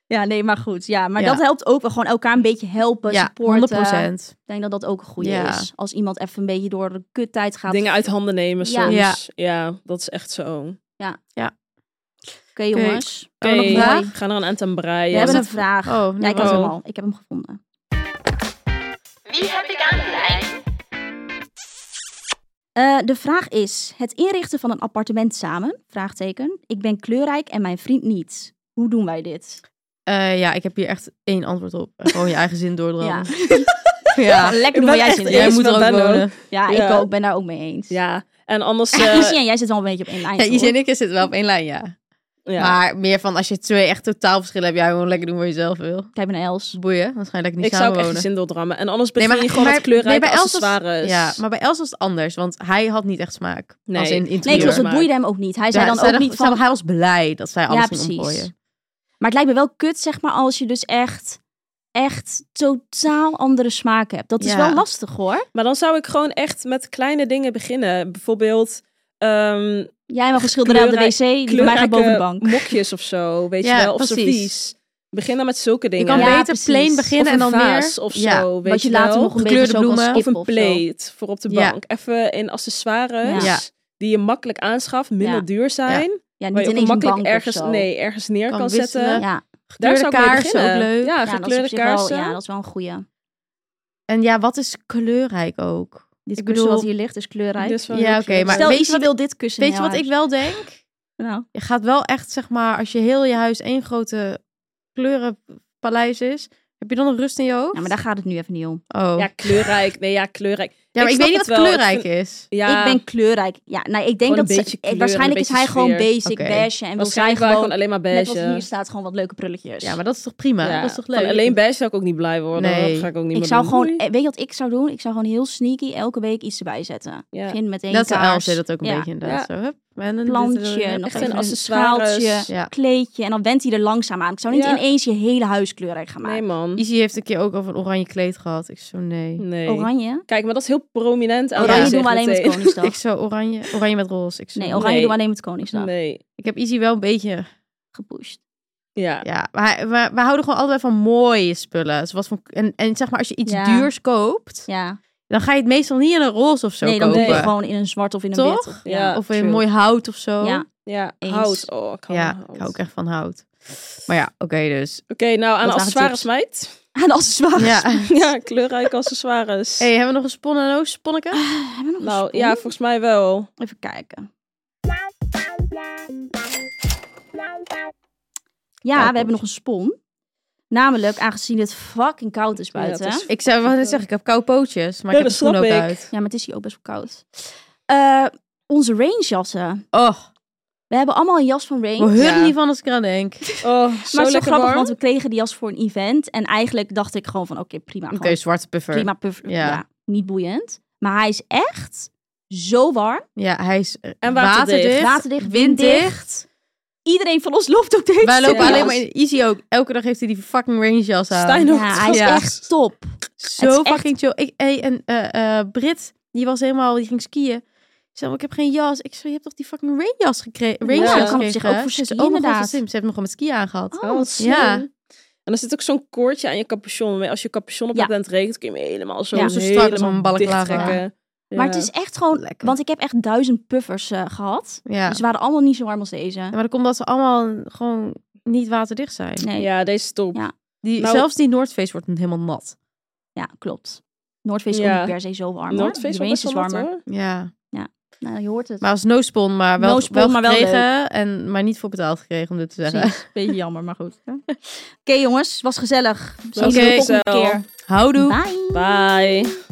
[SPEAKER 3] Ja, nee, maar goed. Ja, maar
[SPEAKER 5] Ja.
[SPEAKER 3] dat helpt ook wel. Gewoon elkaar een beetje helpen,
[SPEAKER 5] Ja,
[SPEAKER 3] supporten.
[SPEAKER 5] 100%.
[SPEAKER 3] Ik denk dat dat ook een goede
[SPEAKER 5] Ja.
[SPEAKER 3] is. Als iemand even een beetje door de kuttijd gaat.
[SPEAKER 4] Dingen uit handen nemen
[SPEAKER 3] Ja.
[SPEAKER 4] soms.
[SPEAKER 5] Ja.
[SPEAKER 4] Ja. dat is echt zo.
[SPEAKER 3] Oké, jongens.
[SPEAKER 4] Oké,
[SPEAKER 3] nog een vraag?
[SPEAKER 4] we gaan er een eind aan
[SPEAKER 3] We
[SPEAKER 4] breien.
[SPEAKER 3] hebben een vraag.
[SPEAKER 5] Oh,
[SPEAKER 3] ja, ik had
[SPEAKER 4] oh.
[SPEAKER 3] hem al. Ik heb hem gevonden.
[SPEAKER 2] Wie heb ik aan de lijn?
[SPEAKER 3] Eh, de vraag is, het inrichten van een appartement samen? Vraagteken. Ik ben kleurrijk en mijn vriend niet. Hoe doen wij dit?
[SPEAKER 5] Eh, ja, ik heb hier echt één antwoord op. Gewoon je eigen zin doordrammen. Ja.
[SPEAKER 3] lekker doen
[SPEAKER 4] Ik ben
[SPEAKER 3] waar jij
[SPEAKER 4] echt
[SPEAKER 3] zin in
[SPEAKER 5] Jij
[SPEAKER 4] eerst
[SPEAKER 3] hebt.
[SPEAKER 5] moet er
[SPEAKER 4] met
[SPEAKER 5] ook
[SPEAKER 4] Ben ook.
[SPEAKER 5] wonen.
[SPEAKER 3] Ja, ik
[SPEAKER 4] Ja.
[SPEAKER 3] ook. ben daar ook mee eens.
[SPEAKER 4] Ja, en anders... eh,
[SPEAKER 3] Izzy en jij zitten wel een beetje op één lijn.
[SPEAKER 5] Ja, Izzy
[SPEAKER 3] toch?
[SPEAKER 5] en ik zitten wel op één lijn, ja.
[SPEAKER 4] ja.
[SPEAKER 5] Maar meer van als je twee echt totaal verschillen hebt, jij gewoon lekker doen wat je zelf wil.
[SPEAKER 3] Kijk maar naar Els.
[SPEAKER 5] Boeien, waarschijnlijk niet
[SPEAKER 4] ik zou ook
[SPEAKER 5] samen
[SPEAKER 4] echt
[SPEAKER 5] wonen.
[SPEAKER 4] je zin doordrammen. En anders
[SPEAKER 5] Nee,
[SPEAKER 4] begin
[SPEAKER 5] maar-
[SPEAKER 4] je gewoon
[SPEAKER 5] maar-
[SPEAKER 4] met kleurrijke
[SPEAKER 5] nee, bij Els was-
[SPEAKER 4] accessoires.
[SPEAKER 5] Ja, maar bij Els was het anders, want hij had niet echt smaak.
[SPEAKER 4] dus- Nee.
[SPEAKER 5] Als in
[SPEAKER 3] Nee,
[SPEAKER 5] interieur.
[SPEAKER 3] klopt. Het
[SPEAKER 4] maar-
[SPEAKER 3] boeide hem ook niet. Hij
[SPEAKER 5] Ja,
[SPEAKER 3] zei dan
[SPEAKER 5] zij
[SPEAKER 3] ook
[SPEAKER 5] dacht-
[SPEAKER 3] niet van...
[SPEAKER 5] zij- Hij was blij dat zij alles
[SPEAKER 3] Ja,
[SPEAKER 5] ging
[SPEAKER 3] precies.
[SPEAKER 5] omgooien.
[SPEAKER 3] Maar het lijkt me wel kut, zeg maar, als je dus echt, echt totaal andere smaak hebt. Dat is
[SPEAKER 5] Ja.
[SPEAKER 3] wel lastig hoor.
[SPEAKER 4] Maar dan zou ik gewoon echt met kleine dingen beginnen. Bijvoorbeeld... ehm,
[SPEAKER 3] Jij mag een schilderij op de
[SPEAKER 4] Kleurrijk-
[SPEAKER 3] wc, die bij mij gaat boven de bank.
[SPEAKER 4] kleurrijke mokjes of zo, weet
[SPEAKER 5] Ja,
[SPEAKER 4] je wel, of
[SPEAKER 5] precies.
[SPEAKER 4] servies. Begin dan met zulke
[SPEAKER 5] Je
[SPEAKER 4] dingen.
[SPEAKER 5] kan
[SPEAKER 3] Ja,
[SPEAKER 5] beter
[SPEAKER 3] precies.
[SPEAKER 5] plain beginnen
[SPEAKER 4] of
[SPEAKER 5] en
[SPEAKER 4] een
[SPEAKER 5] dan
[SPEAKER 4] vaas
[SPEAKER 5] meer...
[SPEAKER 4] of zo,
[SPEAKER 5] Ja,
[SPEAKER 4] weet
[SPEAKER 3] Wat je later
[SPEAKER 4] wel.
[SPEAKER 3] nog een beetje
[SPEAKER 5] Gekleurde
[SPEAKER 3] zo kan
[SPEAKER 5] bloemen.
[SPEAKER 4] of
[SPEAKER 3] skippen
[SPEAKER 4] een
[SPEAKER 3] of zo.
[SPEAKER 4] plate voor op de
[SPEAKER 5] Ja.
[SPEAKER 4] bank. Even in accessoires
[SPEAKER 5] Ja.
[SPEAKER 4] die je makkelijk aanschaft, minder
[SPEAKER 3] Ja.
[SPEAKER 4] duur zijn,
[SPEAKER 3] Ja,
[SPEAKER 4] waar
[SPEAKER 3] niet
[SPEAKER 4] je ook
[SPEAKER 3] ineens een
[SPEAKER 4] makkelijk
[SPEAKER 3] bank
[SPEAKER 4] ergens,
[SPEAKER 3] of zo.
[SPEAKER 4] nee, ergens neer
[SPEAKER 5] Kan
[SPEAKER 4] kan,
[SPEAKER 5] wisselen.
[SPEAKER 4] zetten.
[SPEAKER 3] Ja,
[SPEAKER 4] Daar zou ik mee
[SPEAKER 5] kaarsen
[SPEAKER 4] beginnen.
[SPEAKER 5] ook leuk.
[SPEAKER 4] Ja,
[SPEAKER 3] ja, dat is op
[SPEAKER 4] gekleurde
[SPEAKER 3] zich wel,
[SPEAKER 4] kaarsen.
[SPEAKER 3] ja, dat is wel een goeie.
[SPEAKER 5] En ja, wat is kleurrijk ook?
[SPEAKER 3] Dit
[SPEAKER 5] Ik
[SPEAKER 3] kussen
[SPEAKER 5] bedoel-
[SPEAKER 3] wat hier ligt is kleurrijk.
[SPEAKER 4] Dus wel
[SPEAKER 5] Ja,
[SPEAKER 4] heel
[SPEAKER 5] oké,
[SPEAKER 4] kleurrijk.
[SPEAKER 5] maar
[SPEAKER 3] Stel,
[SPEAKER 5] weet
[SPEAKER 3] Izzy
[SPEAKER 5] je-
[SPEAKER 3] wil dit kussen
[SPEAKER 5] Weet je
[SPEAKER 3] in
[SPEAKER 5] wat
[SPEAKER 3] jouw
[SPEAKER 5] ik wel denk?
[SPEAKER 3] huis. Nou,
[SPEAKER 5] je gaat wel echt, zeg maar, als je heel je huis één grote kleurenpaleis is, heb je dan nog rust in je hoofd?
[SPEAKER 3] ja, maar daar gaat het nu even niet om.
[SPEAKER 5] Oh. Ja,
[SPEAKER 4] Ja, kleurrijk. Nee, ja, kleurrijk.
[SPEAKER 5] maar ik,
[SPEAKER 4] snap
[SPEAKER 5] weet niet
[SPEAKER 4] het
[SPEAKER 5] wat
[SPEAKER 4] wel. Ik
[SPEAKER 5] kleurrijk
[SPEAKER 4] vind-
[SPEAKER 5] is.
[SPEAKER 4] Ja,
[SPEAKER 3] Ik ben kleurrijk. Ja, nou, ik denk
[SPEAKER 4] Gewoon een
[SPEAKER 3] dat ze-
[SPEAKER 4] beetje kleur,
[SPEAKER 3] waarschijnlijk
[SPEAKER 4] een
[SPEAKER 3] is hij
[SPEAKER 4] beetje
[SPEAKER 3] gewoon
[SPEAKER 4] sfeer.
[SPEAKER 3] basic
[SPEAKER 5] Oké.
[SPEAKER 3] beige en wil zij
[SPEAKER 4] waarschijnlijk wel gewoon
[SPEAKER 3] gewoon,
[SPEAKER 4] alleen maar
[SPEAKER 3] net
[SPEAKER 4] beige.
[SPEAKER 3] wat hier staat, gewoon wat leuke prulletjes.
[SPEAKER 5] Ja, maar dat is toch prima?
[SPEAKER 4] Ja,
[SPEAKER 5] Dat is toch
[SPEAKER 4] van
[SPEAKER 5] leuk?
[SPEAKER 4] alleen bij zou ik ook niet blij worden.
[SPEAKER 5] Nee.
[SPEAKER 4] Dat ga ik ook niet
[SPEAKER 3] Ik
[SPEAKER 4] meer
[SPEAKER 3] zou
[SPEAKER 4] doen.
[SPEAKER 3] gewoon,
[SPEAKER 4] Doei.
[SPEAKER 3] eh, weet je wat ik zou doen? Ik zou gewoon heel sneaky elke week iets erbij zetten.
[SPEAKER 4] Ja.
[SPEAKER 3] Begin met één
[SPEAKER 5] Dat is
[SPEAKER 3] kaars,
[SPEAKER 5] Els deed dat ook een
[SPEAKER 3] ja,
[SPEAKER 5] beetje inderdaad. Zo, hup. En een
[SPEAKER 3] Dus plantje, nog
[SPEAKER 4] Echt
[SPEAKER 3] even
[SPEAKER 4] een
[SPEAKER 3] een
[SPEAKER 4] accessoires.
[SPEAKER 3] schaaltje,
[SPEAKER 5] Ja.
[SPEAKER 3] kleedje. En dan wendt hij er langzaam aan. Ik zou niet
[SPEAKER 4] Ja.
[SPEAKER 3] ineens je hele huis kleurrijk gaan
[SPEAKER 4] Nee,
[SPEAKER 3] maken.
[SPEAKER 4] man.
[SPEAKER 5] Izzy heeft een keer ook over een oranje kleed gehad. Ik zo, nee.
[SPEAKER 4] Nee.
[SPEAKER 3] Oranje?
[SPEAKER 4] Kijk, maar dat is heel prominent. aan
[SPEAKER 3] Oranje
[SPEAKER 4] haar
[SPEAKER 3] doen we
[SPEAKER 4] gezicht
[SPEAKER 3] alleen met
[SPEAKER 4] meteen.
[SPEAKER 5] Ik
[SPEAKER 3] Koningsdag.
[SPEAKER 5] zo, oranje, oranje met roze. Ik zo,
[SPEAKER 3] Nee, oranje
[SPEAKER 4] Nee.
[SPEAKER 3] doen we alleen met Koningsdag.
[SPEAKER 4] Nee.
[SPEAKER 5] Ik heb Izzy wel een beetje...
[SPEAKER 3] Gepusht.
[SPEAKER 4] Ja.
[SPEAKER 5] Ja, maar hij- we, we houden gewoon allebei van mooie spullen. Zoals van, en, en zeg maar, als je iets
[SPEAKER 3] Ja.
[SPEAKER 5] duurs koopt,
[SPEAKER 3] Ja.
[SPEAKER 5] dan ga je het meestal niet in een roze of zo
[SPEAKER 3] nee, dan
[SPEAKER 5] kopen.
[SPEAKER 3] doe je
[SPEAKER 4] kopen.
[SPEAKER 3] gewoon in een zwart of in een
[SPEAKER 5] Toch?
[SPEAKER 3] wit. Of,
[SPEAKER 4] Ja.
[SPEAKER 5] eh, Of in
[SPEAKER 4] true.
[SPEAKER 5] mooi hout of zo.
[SPEAKER 3] Ja.
[SPEAKER 4] Ja,
[SPEAKER 3] Eens.
[SPEAKER 4] hout. Oh, ik hou
[SPEAKER 5] ja,
[SPEAKER 4] van hout.
[SPEAKER 5] ik hou ook echt van hout. Maar ja, oké, dus.
[SPEAKER 4] Oké, nou, aan
[SPEAKER 3] waren
[SPEAKER 4] accessoires,
[SPEAKER 3] tips?
[SPEAKER 4] meid.
[SPEAKER 3] En accessoires.
[SPEAKER 5] Ja.
[SPEAKER 4] ja, kleurrijke accessoires.
[SPEAKER 5] hey, hebben we nog een spon en oos sponneke?
[SPEAKER 3] Ah, Hebben we nog
[SPEAKER 4] Nou,
[SPEAKER 3] een
[SPEAKER 4] ja,
[SPEAKER 3] spoel?
[SPEAKER 4] volgens mij wel.
[SPEAKER 3] Even kijken. Ja, we hebben nog een spon. Namelijk, aangezien het fucking koud is buiten.
[SPEAKER 4] Ja, het is-
[SPEAKER 5] Ik zou wel net zeggen, ik heb koude pootjes, maar
[SPEAKER 4] Ja,
[SPEAKER 5] ik heb de
[SPEAKER 4] dat
[SPEAKER 5] schoen ook
[SPEAKER 4] snap ik.
[SPEAKER 5] uit.
[SPEAKER 3] Ja, maar het is hier ook best wel koud. Eh, onze rangejassen.
[SPEAKER 5] Oh,
[SPEAKER 3] We hebben allemaal een jas van Range.
[SPEAKER 5] we hurren
[SPEAKER 4] Ja.
[SPEAKER 5] niet van als ik eraan denk. Oké,
[SPEAKER 4] Oh, zo
[SPEAKER 3] maar het is zo
[SPEAKER 4] lekker
[SPEAKER 3] grappig,
[SPEAKER 4] warm.
[SPEAKER 3] want we kregen die jas voor een event. En eigenlijk dacht ik gewoon van, oké, prima. gewoon
[SPEAKER 5] zwarte puffer.
[SPEAKER 3] prima, puff.
[SPEAKER 5] Ja.
[SPEAKER 3] Ja. niet boeiend. Maar hij is echt zo warm.
[SPEAKER 5] Ja, hij is eh,
[SPEAKER 4] En waterdicht.
[SPEAKER 3] Waterdicht,
[SPEAKER 5] winddicht.
[SPEAKER 3] Iedereen van ons loopt ook deze
[SPEAKER 5] Wij lopen
[SPEAKER 3] jas.
[SPEAKER 5] alleen maar in Easy ook. Elke dag heeft hij die fucking range jas aan.
[SPEAKER 4] Stijn ook.
[SPEAKER 3] Ja, hij is
[SPEAKER 5] Ja.
[SPEAKER 3] echt top.
[SPEAKER 5] Zo
[SPEAKER 3] Het is
[SPEAKER 5] fucking chill. Ik, hey, en eh, eh, Brit, die was helemaal, die ging skiën. Ze zei, "Oh, ik heb geen jas. Ik zei, je hebt toch die fucking rainjas gekregen? Rainjas
[SPEAKER 4] dat
[SPEAKER 3] kan op zich
[SPEAKER 5] gekregen?
[SPEAKER 3] ook voor
[SPEAKER 5] Ze is
[SPEAKER 3] skiën,
[SPEAKER 5] oh mijn god, wat
[SPEAKER 3] inderdaad.
[SPEAKER 5] slim. Ze heeft me gewoon met ski aangehad.
[SPEAKER 4] Oh, wat slim.
[SPEAKER 5] Ja.
[SPEAKER 4] En er zit ook zo'n koordje aan je capuchon. Als je capuchon op
[SPEAKER 3] Ja.
[SPEAKER 4] hebt en het regent, kun je hem helemaal zo,
[SPEAKER 5] Ja, zo strak als
[SPEAKER 4] helemaal
[SPEAKER 5] een balaclava.
[SPEAKER 4] dichttrekken.
[SPEAKER 3] Maar
[SPEAKER 4] Ja.
[SPEAKER 3] het is echt gewoon...
[SPEAKER 5] Lekker.
[SPEAKER 3] Want ik heb echt duizend puffers eh, gehad.
[SPEAKER 5] Ja.
[SPEAKER 3] Dus ze waren allemaal niet zo warm als deze.
[SPEAKER 5] maar dat komt omdat ze allemaal gewoon niet waterdicht zijn.
[SPEAKER 3] Nee.
[SPEAKER 4] Ja, deze is top.
[SPEAKER 3] Ja.
[SPEAKER 5] Die,
[SPEAKER 4] Nou-
[SPEAKER 5] zelfs die Noordface wordt helemaal nat.
[SPEAKER 3] Ja, klopt. Noordvis is
[SPEAKER 4] Ja.
[SPEAKER 3] ook niet per se zo warm. hoor.
[SPEAKER 4] Noordface
[SPEAKER 3] Die
[SPEAKER 4] wel
[SPEAKER 3] Range
[SPEAKER 4] best
[SPEAKER 3] is
[SPEAKER 4] wel nat,
[SPEAKER 3] warmer.
[SPEAKER 4] hoor.
[SPEAKER 5] Ja.
[SPEAKER 3] Nou, je hoort het.
[SPEAKER 5] Maar als no spon, maar wel,
[SPEAKER 3] No spon,
[SPEAKER 5] wel
[SPEAKER 3] maar wel
[SPEAKER 5] gekregen. en, maar niet voor betaald gekregen, om dit te zeggen.
[SPEAKER 3] Precies. Beetje jammer, maar goed. Oké jongens, was gezellig. Misschien
[SPEAKER 5] Oké,
[SPEAKER 3] okay, de volgende
[SPEAKER 4] gezellig.
[SPEAKER 3] keer.
[SPEAKER 5] Houdoe.
[SPEAKER 3] Bye.
[SPEAKER 4] Bye.